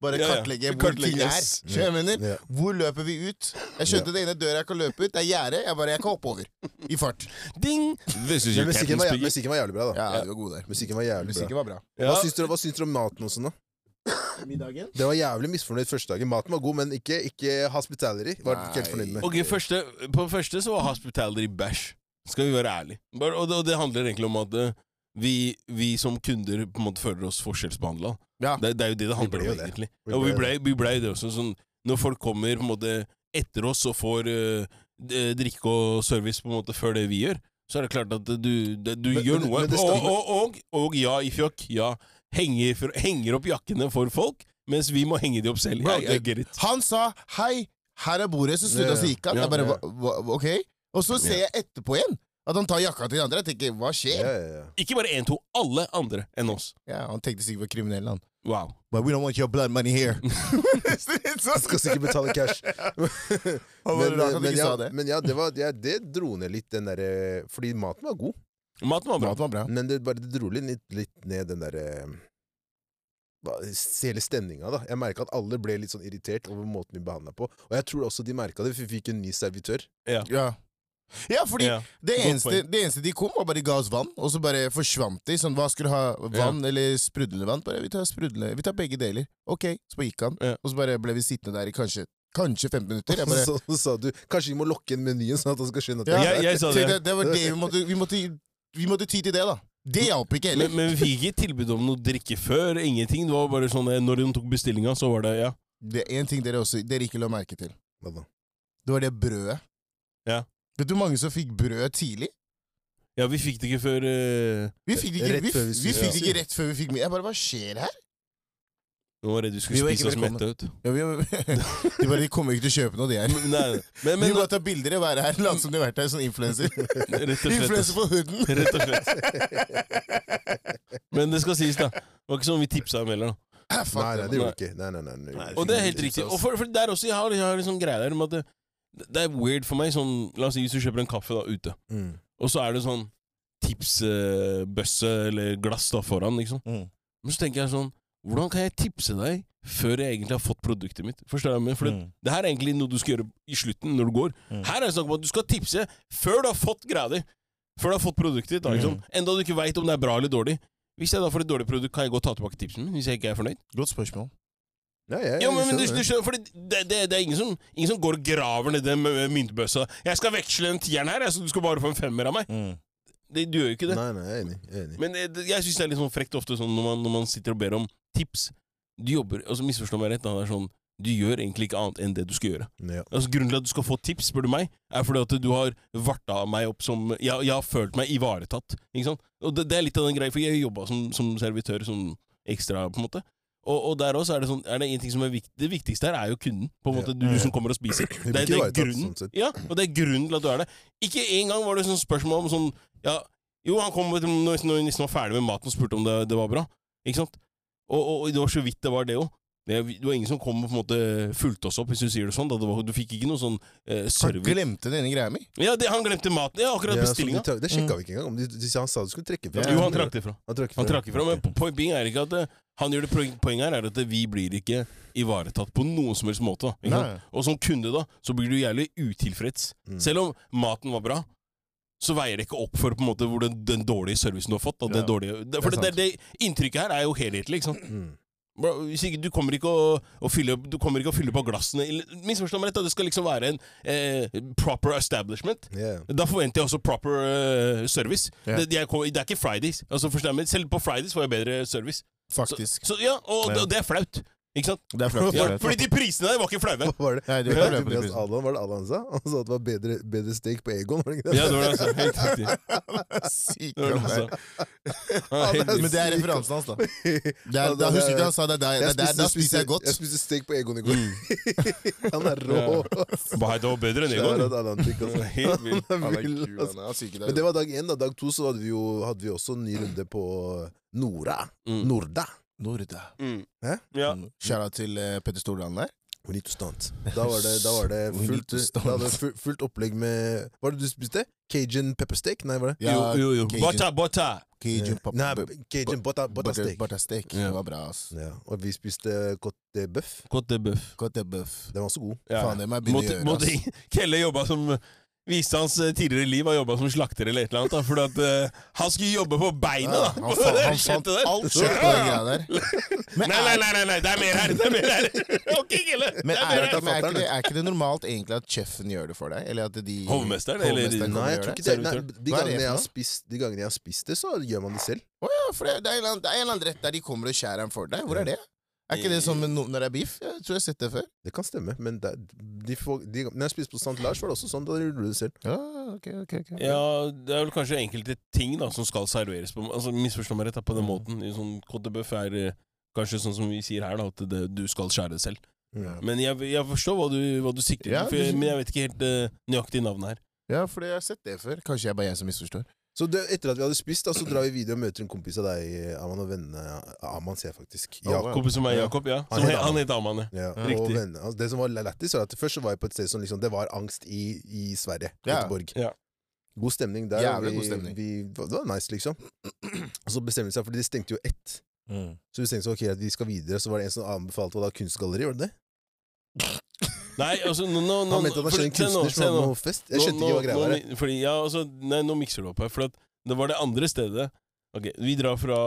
Speaker 3: bare
Speaker 1: Ja, ja.
Speaker 3: kartlegge hvor ting er.
Speaker 1: Kartlegges.
Speaker 3: Skjønner jeg mener?
Speaker 2: Ja.
Speaker 3: Hvor løper vi ut? Jeg skjønte det ene døra jeg kan løpe ut, det er gjerdet. Jeg bare, jeg kan hoppe over. I fart.
Speaker 1: Ding! This
Speaker 2: Men
Speaker 1: is
Speaker 2: musikken
Speaker 1: your
Speaker 2: var, jæv-
Speaker 1: captain's piggy.
Speaker 2: musikken var jævlig bra, da.
Speaker 3: Ja, du var god der.
Speaker 2: Musikken var jævlig bra.
Speaker 3: Musikken var bra.
Speaker 1: Ja.
Speaker 2: Hva syns dere, hva syns dere om maten og sånn, da?
Speaker 3: Middagen?
Speaker 2: Det var jævlig misfornøyd første dagen. Maten var god, men ikke, ikke hospitality. Var jeg ikke helt
Speaker 3: Nei.
Speaker 2: fornøyd med.
Speaker 1: Ok, første, På første så var hospitality bæsj. Skal vi være ærlige. Bare, og, det, og det handler egentlig om at eh, vi, vi som kunder på en måte føler oss forskjellsbehandla.
Speaker 3: Ja.
Speaker 1: Det, det er jo det det handler
Speaker 2: ble jo
Speaker 1: om,
Speaker 2: det.
Speaker 1: egentlig.
Speaker 2: Vi
Speaker 1: og vi
Speaker 2: ble
Speaker 1: blei ble, ble det også. Sånn, når folk kommer på en måte etter oss og får eh, d- drikke og service på en måte før det vi gjør, så er det klart at eh, du, det, du
Speaker 2: Men-
Speaker 1: gjør
Speaker 2: men-
Speaker 1: noe.
Speaker 2: men det
Speaker 1: og,
Speaker 2: skal-
Speaker 1: og, og, og ja, i fjokk, ja. Henger, for, henger opp jakkene for folk, mens vi må henge de opp selv.
Speaker 3: Bro,
Speaker 1: Jeg, jeg get it.
Speaker 3: Han sa 'hei, her er bordet', så snudde han seg og gikk han.
Speaker 1: Ja,
Speaker 3: Jeg bare,
Speaker 2: ja.
Speaker 3: hva- hva- ok. Og så ser jeg etterpå igjen at han tar jakka til de andre. Jeg tenker, hva
Speaker 2: Ja,
Speaker 3: skjer?
Speaker 2: ja, ja.
Speaker 1: Ikke bare én, to. Alle andre enn oss.
Speaker 3: Ja, Han tenkte sikkert på kriminell, han.
Speaker 1: Wow.
Speaker 3: But we don't want your blood money here.
Speaker 2: Skal sikkert betale cash.
Speaker 3: men,
Speaker 2: Men, men,
Speaker 3: ikke
Speaker 2: ja,
Speaker 3: sa det.
Speaker 2: men ja, det, var, ja, det dro ned litt den derre Fordi maten var god,
Speaker 1: Maten var bra.
Speaker 3: Maten var bra.
Speaker 2: men det, bare, det dro litt, litt ned den derre Hele stemninga, da. Jeg merka at alle ble litt sånn irritert over måten vi behandla på. Og jeg tror også de merka det, for vi fikk en ny servitør.
Speaker 3: Ja. Ja, fordi
Speaker 1: Ja.
Speaker 3: det
Speaker 1: Godt
Speaker 3: eneste, det eneste de kom, var bare de ga oss vann, og så bare forsvant de. Sånn, hva skulle du ha? Vann eller sprudlevann? Bare, vi tar sprudle, vi tar begge deler. Ok, så bare gikk han.
Speaker 1: Ja.
Speaker 3: Og så bare ble vi sittende der i kanskje, kanskje 15 minutter. Jeg bare,
Speaker 2: Så, så sa du kanskje vi må lokke inn menyen, sånn at han skal skjønne at
Speaker 3: Ja.
Speaker 2: det er
Speaker 1: Jeg, jeg sa
Speaker 3: det,
Speaker 1: det.
Speaker 3: det, det var det vi måtte, vi måtte, vi måtte ty til det, da. Det hjalp ikke
Speaker 1: Men,
Speaker 3: heller.
Speaker 1: men vi fikk ikke tilbud om noe drikke før. Ingenting. Det var bare sånn eh, Når hun tok bestillinga, så var det ja.
Speaker 3: Det er én ting dere også dere ikke la merke til.
Speaker 2: Hva da?
Speaker 3: Det var det brødet.
Speaker 1: Ja.
Speaker 3: Vet du hvor mange som fikk brød tidlig?
Speaker 1: Ja, vi fikk det ikke før eh,
Speaker 3: Vi fikk det
Speaker 2: Rett
Speaker 3: ikke, vi,
Speaker 2: før vi
Speaker 3: vi
Speaker 2: spiste.
Speaker 3: fikk det ikke rett før vi fikk middag. Jeg bare, hva skjer her?
Speaker 1: Nå var jeg redd vi
Speaker 3: Vi
Speaker 1: skulle
Speaker 3: var
Speaker 1: spise
Speaker 3: ikke
Speaker 1: oss mette ut.
Speaker 3: Ja, vi, de bare, de kommer ikke til å kjøpe noe, de her.
Speaker 1: Men, nei, men,
Speaker 3: Men, de
Speaker 1: men
Speaker 3: må bare ta bilder og være her, late som de har vært her som influenser.
Speaker 1: rett og slett.
Speaker 3: Influenser på hooden!
Speaker 1: Rett og slett. Men det skal sies, da. Det var ikke sånn vi tipsa imellom.
Speaker 3: Ah, fuck
Speaker 2: Nei, nei,
Speaker 3: det,
Speaker 2: det
Speaker 3: man.
Speaker 2: gjorde vi ikke. Nei, nei, nei, nei.
Speaker 1: Og det er helt riktig. Og for, for der også, jeg har, jeg har liksom greia der med at det, det er weird for meg. Sånn, la oss si hvis du kjøper en kaffe da ute,
Speaker 2: Mm.
Speaker 1: og så er det sånn tipsbøsse eller glass da foran, liksom.
Speaker 3: Mm.
Speaker 1: Men så tenker jeg sånn Hvordan kan jeg tipse deg før jeg egentlig har fått produktet mitt? Forstår du? hva jeg mener? For det-
Speaker 2: Mm.
Speaker 1: Det her er egentlig noe du skal gjøre i slutten når du går.
Speaker 3: Mm.
Speaker 1: Her er det snakk om at du skal tipse før du har fått greia di. Før du har fått produktet ditt. da,
Speaker 2: Mm.
Speaker 1: ikke sant? Enda du ikke veit om det er bra eller dårlig. Hvis jeg da får et dårlig produkt, kan jeg godt ta tilbake tipsen min. Hvis jeg ikke er fornøyd.
Speaker 3: Godt spørsmål.
Speaker 2: Ja, ja, ja,
Speaker 1: Jo, men, men du,
Speaker 2: jeg skjønner.
Speaker 1: du skjønner, fordi det, det, det er ingen som, ingen som går og graver ned den eh, myntbøssa. 'Jeg skal veksle den tieren her, jeg, så du skal bare få en femmer av meg.' Det, du gjør jo ikke det.
Speaker 2: Nei, nei, jeg er enig. Jeg er enig.
Speaker 1: Men eh, det- jeg syns det er litt sånn frekt ofte sånn når man, når man sitter og ber om tips. Du jobber, altså Misforstå meg rett, da, det er sånn du gjør egentlig ikke annet enn det du skal gjøre.
Speaker 2: Ja.
Speaker 1: Altså, grunnen til at du skal få tips, spør du meg, er fordi at du har varta meg opp som Jeg, jeg har følt meg ivaretatt. Ikke sant? Og det, det er litt av den greia, for jeg jobba som, som servitør som ekstra, på en måte. Og, og der også er det sånn er det en ting som er viktig, Det viktigste her er jo kunden. På en måte Du, som kommer og spiser. Det, er- det er
Speaker 2: ivaretatt,
Speaker 1: grunnen
Speaker 2: sånn sett.
Speaker 1: Ja, og det er grunnen til at du er der. Ikke engang var det sånn spørsmål om sånn ja, Jo, han kom når når han nesten var ferdig med maten og spurte om det, det var bra. Ikke sant? Og, og, og det var så vidt det var det òg. Det, det var ingen som kom og på en måte fulgte oss opp, hvis du sier det sånn. Da. Det var, du fikk ikke noe sånn eh,
Speaker 3: Han
Speaker 1: service.
Speaker 3: glemte denne greia mi.
Speaker 1: Ja, det, han glemte maten. Ja, akkurat
Speaker 2: Ja, så
Speaker 1: bestillinga.
Speaker 2: de tar- det sjekka vi ikke engang. om. De, de, sa- han sa du skulle trekke fra.
Speaker 1: Mm. Jo, han trakk det ifra.
Speaker 2: Han trakk
Speaker 1: Han trakk ifra, men po- poenget er ikke at eh, han gjør det poeng- poenget her er at vi blir ikke ivaretatt på noen som helst måte. da, Ikke sant?
Speaker 3: Nei.
Speaker 1: Og som kunde, da, så blir du jævlig utilfreds.
Speaker 2: Mm.
Speaker 1: Selv om maten var bra, så veier det ikke opp for på en måte hvor den, den dårlige servicen du har fått. Da, det
Speaker 3: Ja.
Speaker 1: dårlige, det, for
Speaker 3: Det
Speaker 1: det,
Speaker 3: er
Speaker 1: det, det inntrykket her er jo helhetlig, ikke sant.
Speaker 2: Mm.
Speaker 1: Bro, hvis ikke, du, kommer ikke å, å fylle, du kommer ikke å fylle på glassene eller- Misforstå meg rett, da, det skal liksom være en eh, proper establishment.
Speaker 2: Yeah.
Speaker 1: Da forventer jeg også proper eh, service.
Speaker 3: Ja.
Speaker 1: Det, jeg kommer- det er ikke Fridays. Altså, forstår jeg, men selv på Fridays får jeg bedre service.
Speaker 3: Faktisk.
Speaker 1: Så ja, Og,
Speaker 3: Ja.
Speaker 1: og det er flaut. Ikke sant?
Speaker 3: Det er flott.
Speaker 1: Ja, fordi de prisene der var ikke flaue.
Speaker 2: Hva var det?
Speaker 3: Nei, det
Speaker 2: Hva
Speaker 3: var
Speaker 2: var det
Speaker 3: ikke det
Speaker 2: Tobias
Speaker 3: på prisen.
Speaker 2: Allan, var det Allan sa? Han sa at det var bedre, bedre steak på Egon. Var det ikke det?
Speaker 1: Ja, det var det, altså. Helt riktig.
Speaker 3: Sykt.
Speaker 1: Det var det, altså. Ja, helt
Speaker 2: Ja,
Speaker 1: riktig.
Speaker 3: Men det er referansen hans, da. Det er,
Speaker 2: Ja,
Speaker 3: da
Speaker 2: det-
Speaker 3: husker ikke han sa det er der. Det
Speaker 2: Jeg
Speaker 3: er der da
Speaker 2: spiste-
Speaker 3: spiser jeg godt.
Speaker 2: Jeg spiste steak på Egon i går. han er rå!
Speaker 1: Nei, det var bedre enn
Speaker 2: Shout out
Speaker 1: Egon.
Speaker 2: Allan Tykk, altså.
Speaker 1: Helt vilt.
Speaker 2: Han
Speaker 3: Han
Speaker 2: er
Speaker 3: er
Speaker 2: vill,
Speaker 3: kul,
Speaker 2: altså.
Speaker 3: han er. Han syker
Speaker 2: Men
Speaker 3: der.
Speaker 2: det var dag én. Da. Dag to så hadde vi jo hadde vi også en ny runde på Nora.
Speaker 1: Mm.
Speaker 2: Norda.
Speaker 3: Norda. Mm.
Speaker 1: Mm.
Speaker 2: Hæ?
Speaker 1: Ja.
Speaker 3: Shout-out til eh, Petter Stordalen der.
Speaker 2: We need to stunt. Da var det, da var det
Speaker 3: We need
Speaker 2: fullt,
Speaker 3: to stunt.
Speaker 2: da var det fu- fullt opplegg med Hva var det du spiste? Cajun pepper steak? Nei, var det?
Speaker 3: Ja,
Speaker 1: jo, jo, jo.
Speaker 3: Cajun-
Speaker 1: Botta, botta!
Speaker 3: Cajun pop-
Speaker 2: Nei,
Speaker 3: bu-
Speaker 2: cajun butter, butter
Speaker 3: butter-
Speaker 2: steak.
Speaker 3: butter steak.
Speaker 1: Ja.
Speaker 3: Det var bra, ass.
Speaker 2: Ja, og vi spiste cote bøff.
Speaker 1: Godt det bøff.
Speaker 3: Godt det bøff.
Speaker 2: Den var så god.
Speaker 1: Ja.
Speaker 3: Faen, det må jeg begynne
Speaker 1: Måtte,
Speaker 3: å
Speaker 1: måtte,
Speaker 3: gjøre, ass.
Speaker 1: Kelle jobba som Viste hans eh, tidligere liv har jobba som slakter eller et eller annet. Da, fordi at eh, han skulle jobbe på beinet,
Speaker 3: Ja,
Speaker 1: da!
Speaker 3: han, fant, han fant
Speaker 1: Skjønte det?
Speaker 3: alt skjøtt på den greia der. Men
Speaker 1: Nei, nei, nei, nei, nei, det er mer her! Det er mer her! ok, Kelle! det
Speaker 3: Men,
Speaker 1: er mer
Speaker 3: er,
Speaker 1: her.
Speaker 3: men er, ikke det, er ikke det normalt egentlig at chefen gjør det for deg? Eller at de
Speaker 1: Hovmesteren, eller-
Speaker 3: Hovmesteren
Speaker 2: Nei,
Speaker 3: kommer
Speaker 2: jeg
Speaker 3: og
Speaker 2: tror
Speaker 3: gjør
Speaker 2: ikke det.
Speaker 3: det?
Speaker 1: Ser det
Speaker 2: Nei,
Speaker 1: ut
Speaker 2: de,
Speaker 3: Hva er det
Speaker 2: gangene
Speaker 3: for
Speaker 2: jeg har
Speaker 3: noe?
Speaker 2: spist, de gangene jeg har spist det, så gjør man det selv.
Speaker 3: Å ja, for det, det, er en eller annen, det er en eller annen rett der de kommer og skjærer den for deg. Hvor er det? Er ikke det som no, når det er beef? Jeg tror jeg har sett det før.
Speaker 2: Det kan stemme, men det, de få, de, når jeg spiste på St. Lars, var det også sånn. Da gjorde du det selv.
Speaker 3: Ja, ok, ok, ok.
Speaker 1: Ja, det er vel kanskje enkelte ting da som skal serveres på Altså Misforstå meg rett, da, på
Speaker 2: Mm.
Speaker 1: den måten. I Sånn Côte de Bœuf er eh, kanskje sånn som vi sier her, da, at det, du skal skjære det selv.
Speaker 2: Ja.
Speaker 1: Men jeg, jeg forstår hva du, hva du sikter til,
Speaker 3: Ja,
Speaker 1: for
Speaker 3: du-
Speaker 1: jeg- men jeg vet ikke helt eh, nøyaktig navnet her.
Speaker 3: ja for jeg har sett det før. Kanskje jeg bare er jeg som misforstår.
Speaker 2: Så det, etter at vi hadde spist, da, så drar vi videre og møter en kompis av deg, Aman, og vennene Aman, sier jeg faktisk.
Speaker 3: Oh, wow.
Speaker 2: Jakob.
Speaker 1: Kompis som er
Speaker 2: Ja.
Speaker 1: Jakob, ja.
Speaker 2: Han
Speaker 1: Som,
Speaker 2: heter
Speaker 1: he- han
Speaker 2: Aman.
Speaker 1: heter Aman, ja.
Speaker 2: Ja, og
Speaker 1: Riktig.
Speaker 2: venner. Altså, det som var lættis, var at først så var jeg på et sted som liksom, det var angst i, i Sverige.
Speaker 3: Ja.
Speaker 2: Göteborg.
Speaker 1: Ja.
Speaker 2: God stemning der. og
Speaker 3: Jævlig
Speaker 2: vi,
Speaker 3: god stemning.
Speaker 2: Vi, det var nice, liksom. Og så bestemte de seg, fordi de stengte jo ett. Så vi tenkte sånn, ok, at vi skal videre, så var det en som anbefalte hva da kunstgalleri, var det det?
Speaker 1: Nei, altså nå, nå, nå
Speaker 2: Han mente at han
Speaker 1: for-
Speaker 2: kjente en
Speaker 1: se nå,
Speaker 2: kunstner
Speaker 1: se
Speaker 2: som hadde
Speaker 1: nå.
Speaker 2: noe fest. Jeg skjønte
Speaker 1: Nå-
Speaker 2: ikke hva greia
Speaker 1: nå-
Speaker 2: var.
Speaker 1: nå mi- Fordi, ja, altså, nei, nå mikser du opp her. For at det var det andre stedet. Ok, Vi drar fra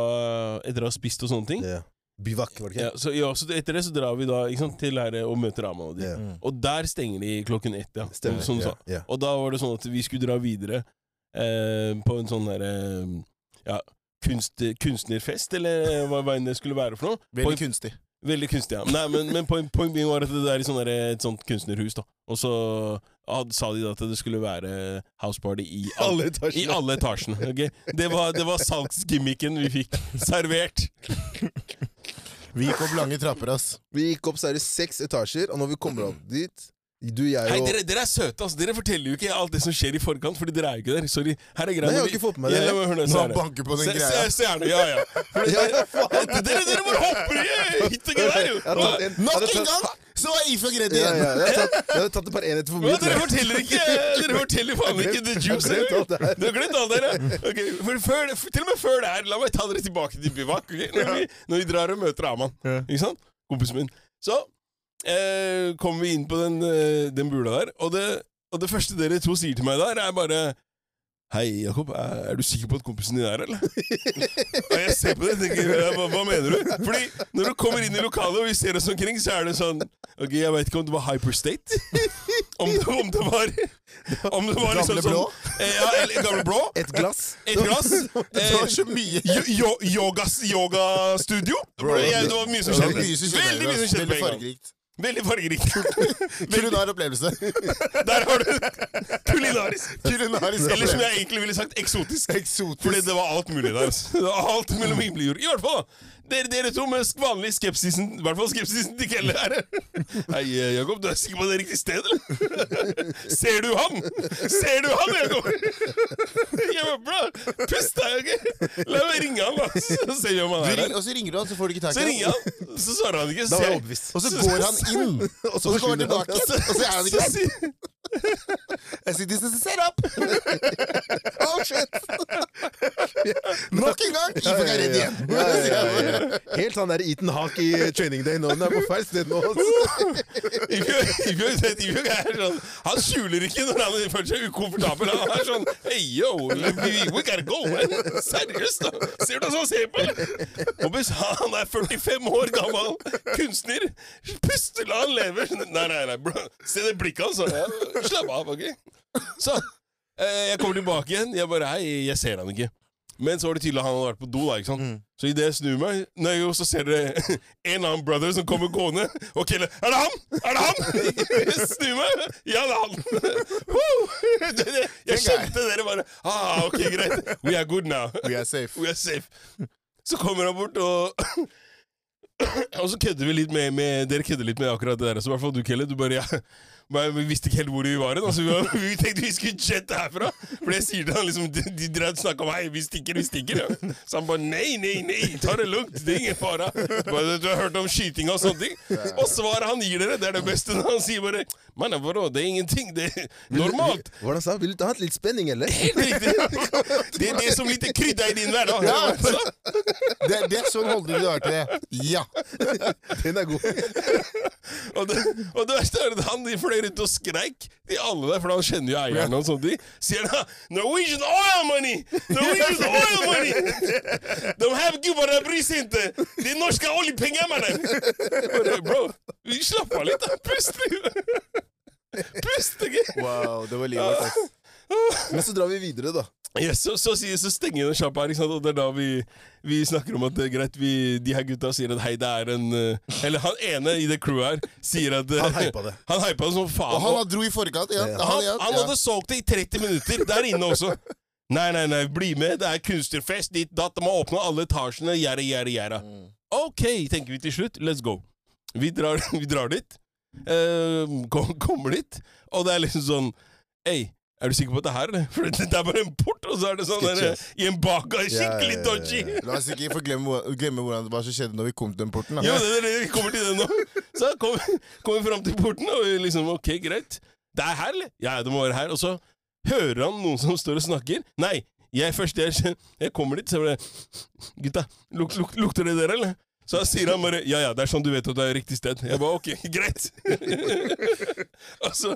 Speaker 1: Etter å ha spist og sånne ting.
Speaker 2: jeg. Ja. Bivak, var det ikke?
Speaker 1: Ja, så, ja, så etter det så drar vi da ikke sant, til her eh, og møter Aman og de.
Speaker 2: Ja.
Speaker 1: Og der stenger de klokken ett, ja.
Speaker 2: Stemmer.
Speaker 1: som du
Speaker 2: ja,
Speaker 1: sa.
Speaker 2: ja.
Speaker 1: Og da var det sånn at vi skulle dra videre eh, på en sånn derre Ja, kunst, kunstnerfest, eller eh, hva veien det skulle være for noe.
Speaker 3: Veldig
Speaker 1: På-
Speaker 3: kunstig.
Speaker 1: Veldig kunstig, ja. Nei, men, men poen- poenget var at det er i sånn derre- et sånt kunstnerhus, da. Og så had, sa de da at det skulle være houseparty i alle,
Speaker 2: Alle etasjene.
Speaker 1: i alle etasjene. ok? Det var, det var salgsgimmicken vi fikk servert.
Speaker 3: Vi gikk opp lange trapper, ass.
Speaker 2: Vi gikk opp seriøst seks etasjer, og når vi kommer opp dit Du, jeg
Speaker 1: Hei,
Speaker 2: og
Speaker 1: dere, dere er søte, altså. Dere forteller jo ikke alt det som skjer i forkant, fordi dere er jo ikke der. Sorry. Her er greia.
Speaker 2: Nei, jeg
Speaker 1: når
Speaker 2: har
Speaker 1: vi-
Speaker 2: ikke fått med meg det.
Speaker 1: Ja, ja, men hør nå,
Speaker 3: Nå
Speaker 1: så er det.
Speaker 3: banker på den
Speaker 1: Se-
Speaker 3: greia.
Speaker 1: se- se her nå, Ja, ja. For
Speaker 2: Ja, ja, faen!
Speaker 1: dere, dere, dere bare hopper i hit og greier, jo.
Speaker 2: Jeg hadde tatt en-
Speaker 3: Nok
Speaker 2: jeg hadde
Speaker 3: en
Speaker 2: tatt-
Speaker 3: gang så var If og Grete
Speaker 2: Ja,
Speaker 3: igjen!
Speaker 2: ja, jeg hadde tatt- jeg hadde tatt et par enheter for mye.
Speaker 1: Ja, dere forteller ikke Dere forteller faen ikke the juice.
Speaker 2: Jeg har glemt alt det her.
Speaker 1: Du har glemt alt det her. ja. Ok, for før, det- for, til og med før det her, la meg ta dere tilbake til Bivak. ok? Når, vi, når vi drar og møter Aman, ikke sant? kompisen min. Så eh, kommer vi inn på den, eh, den bula der, og det, og det første dere to sier til meg der, er bare Hei, Jakob, er, er du sikker på at kompisen din er her, eller? Og jeg ser på det og tenker «Ja, hva, hva mener du? Fordi når du kommer inn i lokalet og vi ser oss omkring, så er det sånn Ok, jeg veit ikke om det var Hyperstate. Om det, om det var Om det var liksom
Speaker 3: Gamle
Speaker 1: sånn
Speaker 3: blå.
Speaker 1: eh, Ja, eller Gamle blå.
Speaker 2: Et glass.
Speaker 1: Et glass.
Speaker 3: Det var så mye
Speaker 1: Yogastudio. Yo, yogas- yogastudio. Jeg- det var mye som skjedde.
Speaker 3: Veldig mye som skjedde.
Speaker 1: Veldig mye som
Speaker 3: ass.
Speaker 1: skjedde på en
Speaker 3: Veldig
Speaker 1: gang.
Speaker 3: fargerikt.
Speaker 1: Veldig fargerikt. Veldig,
Speaker 3: Kulinar opplevelse.
Speaker 1: der har du kulinarisk.
Speaker 3: Kulinarisk
Speaker 1: Eller som
Speaker 3: opplevelse.
Speaker 1: jeg egentlig ville sagt, eksotisk.
Speaker 3: Eksotisk.
Speaker 1: Fordi det var alt mulig der. altså. Det var alt mellom himmel og jord. I hvert fall, da. Dere, dere to med sk- vanlig skepsisen I hvert fall skepsisen til Kelle her. Hei, eh, Jakob, du er sikker på at det er riktig sted, eller? Ser du han? Ser du han, Jakob? Jeg var bra. Pust deg, OK? La meg ringe han, da. Så ser vi om han
Speaker 3: Du
Speaker 1: er
Speaker 3: ringer,
Speaker 1: her.
Speaker 3: og så ringer du han, så får du ikke tak
Speaker 1: Så
Speaker 3: i
Speaker 1: ringer
Speaker 3: han.
Speaker 1: han, så svarer han ikke.
Speaker 2: Da var
Speaker 1: Ser-
Speaker 2: jeg overbevist.
Speaker 3: Og så går han inn,
Speaker 2: Og
Speaker 3: og så kommer han
Speaker 2: forsvinner han.
Speaker 3: tilbake, og så er han ikke
Speaker 1: Så sier-
Speaker 3: Jeg sier, this is a setup!
Speaker 2: Oh, shit!
Speaker 3: Nok en gang! Ifor er redd igjen.
Speaker 2: Ja, ja, ja, ja. Helt han der Eaton Hawk i Training Day nå. Den er på feil sted nå. ass.
Speaker 1: Ibjørg Ibjørg- Ibjørg er sånn Han skjuler ikke når han føler seg ukomfortabel. Han er sånn Hey, yo, we- we gotta go, man. Seriøst, da. Ser du hva han ser på, eller? Og hvis han er 45 år gammel kunstner. Puste, la han leve. Nei, nei, nei, bro. Se det blikket hans. altså. Slapp av, OK? Så eh, jeg kommer tilbake igjen. Jeg bare Hei, jeg ser han ikke. Men så var det tydelig at han hadde vært på do. da, ikke sant? Så idet jeg snur meg, nei, jo, så ser dere en annen brother som kommer gående. Og Kelle Er det han?! Er det han?! Jeg snur meg. Ja, det er han! Woo! Det- det- Jeg skjønte dere bare ah, Ok, greit. We are good now.
Speaker 3: We are safe.
Speaker 1: We are safe. Så kommer han bort og Og så kødder vi litt med, med Dere kødder litt med akkurat det der. Så i hvert fall du, Kelle. Du bare ja. Men vi visste ikke helt hvor vi var hen. Altså, vi, var- vi tenkte vi skulle jette herfra. For jeg sier til han liksom De, de drev og snakka om hei, vi stikker, vi stikker. Ja. Så han bare nei, nei, nei, ta det lugnt. Det er ingen fare. Bare, Du har hørt om skyting og sånne ting. Og svaret han gir dere, det er det beste. når Han sier bare Men bro, det er ingenting. Det er normalt.
Speaker 2: Hvordan sa han? Vil du ha litt spenning, eller?
Speaker 1: Helt riktig. Det er det som litt krydder i din hverdag.
Speaker 3: Ja. Det, det er sånn holdning du har til det. Ja.
Speaker 2: Den er god.
Speaker 1: Og det, og det verste er at han de fløy rundt og skreik til alle der, for han kjenner jo eierne og sånne ting. Sier da 'Norwegian oil money! Norwegian oil money! De her gubbene bryr seg ikke! Det er norske oljepenger, mannen! Bare, Bro, vi slapp av litt, da. Pust! Pust, ikke?
Speaker 3: Wow, det var livet vårt. ass.
Speaker 2: Men så drar vi videre, da.
Speaker 1: Ja, så, så, sier- så stenger den sjappa her, ikke sant? og det er da vi, vi snakker om at det er greit, vi, de her gutta sier at hei, det er en eh, Eller han ene i det crewet her sier at eh,
Speaker 2: Han hypa det.
Speaker 1: Han hypa det som faen.
Speaker 3: Og han dro i forkant. Ja.
Speaker 2: Ja.
Speaker 1: Han,
Speaker 3: Han, ja,
Speaker 1: han
Speaker 3: ja.
Speaker 1: hadde solgt det i 30 minutter der inne også. Nei, nei, nei, bli med. Det er kunstnerfest. Ditt datt. De har åpna alle etasjene. Gjerda, gjerda, gjerda.
Speaker 2: Mm.
Speaker 1: Ok, tenker vi til slutt. Let's go. Vi drar, vi drar dit. Eh, kom, kommer dit, og det er liksom sånn Ei, er du sikker på at det er her, eller? For det, det er bare en port, og så er det sånn der, i en bakgård.
Speaker 2: Ja, ja,
Speaker 1: Skikkelig
Speaker 2: ja,
Speaker 1: dodgy.
Speaker 2: ja, ja.
Speaker 3: La oss ikke få glemme, hvor- glemme hvordan det var som skjedde når vi kom til den porten.
Speaker 1: Jo,
Speaker 3: Da.
Speaker 1: det, det, vi kommer til det nå. Så kom, kom vi fram til porten, og vi liksom Ok, greit. Det er her, eller? Ja, det må være her. Og så hører han noen som står og snakker. Nei, jeg først jeg, jeg kommer dit, så jeg bare Gutta, luk, luk, lukter det dere, eller? Så sier han bare Ja ja, det er sånn du vet at det er riktig sted. Jeg bare ok, greit. og så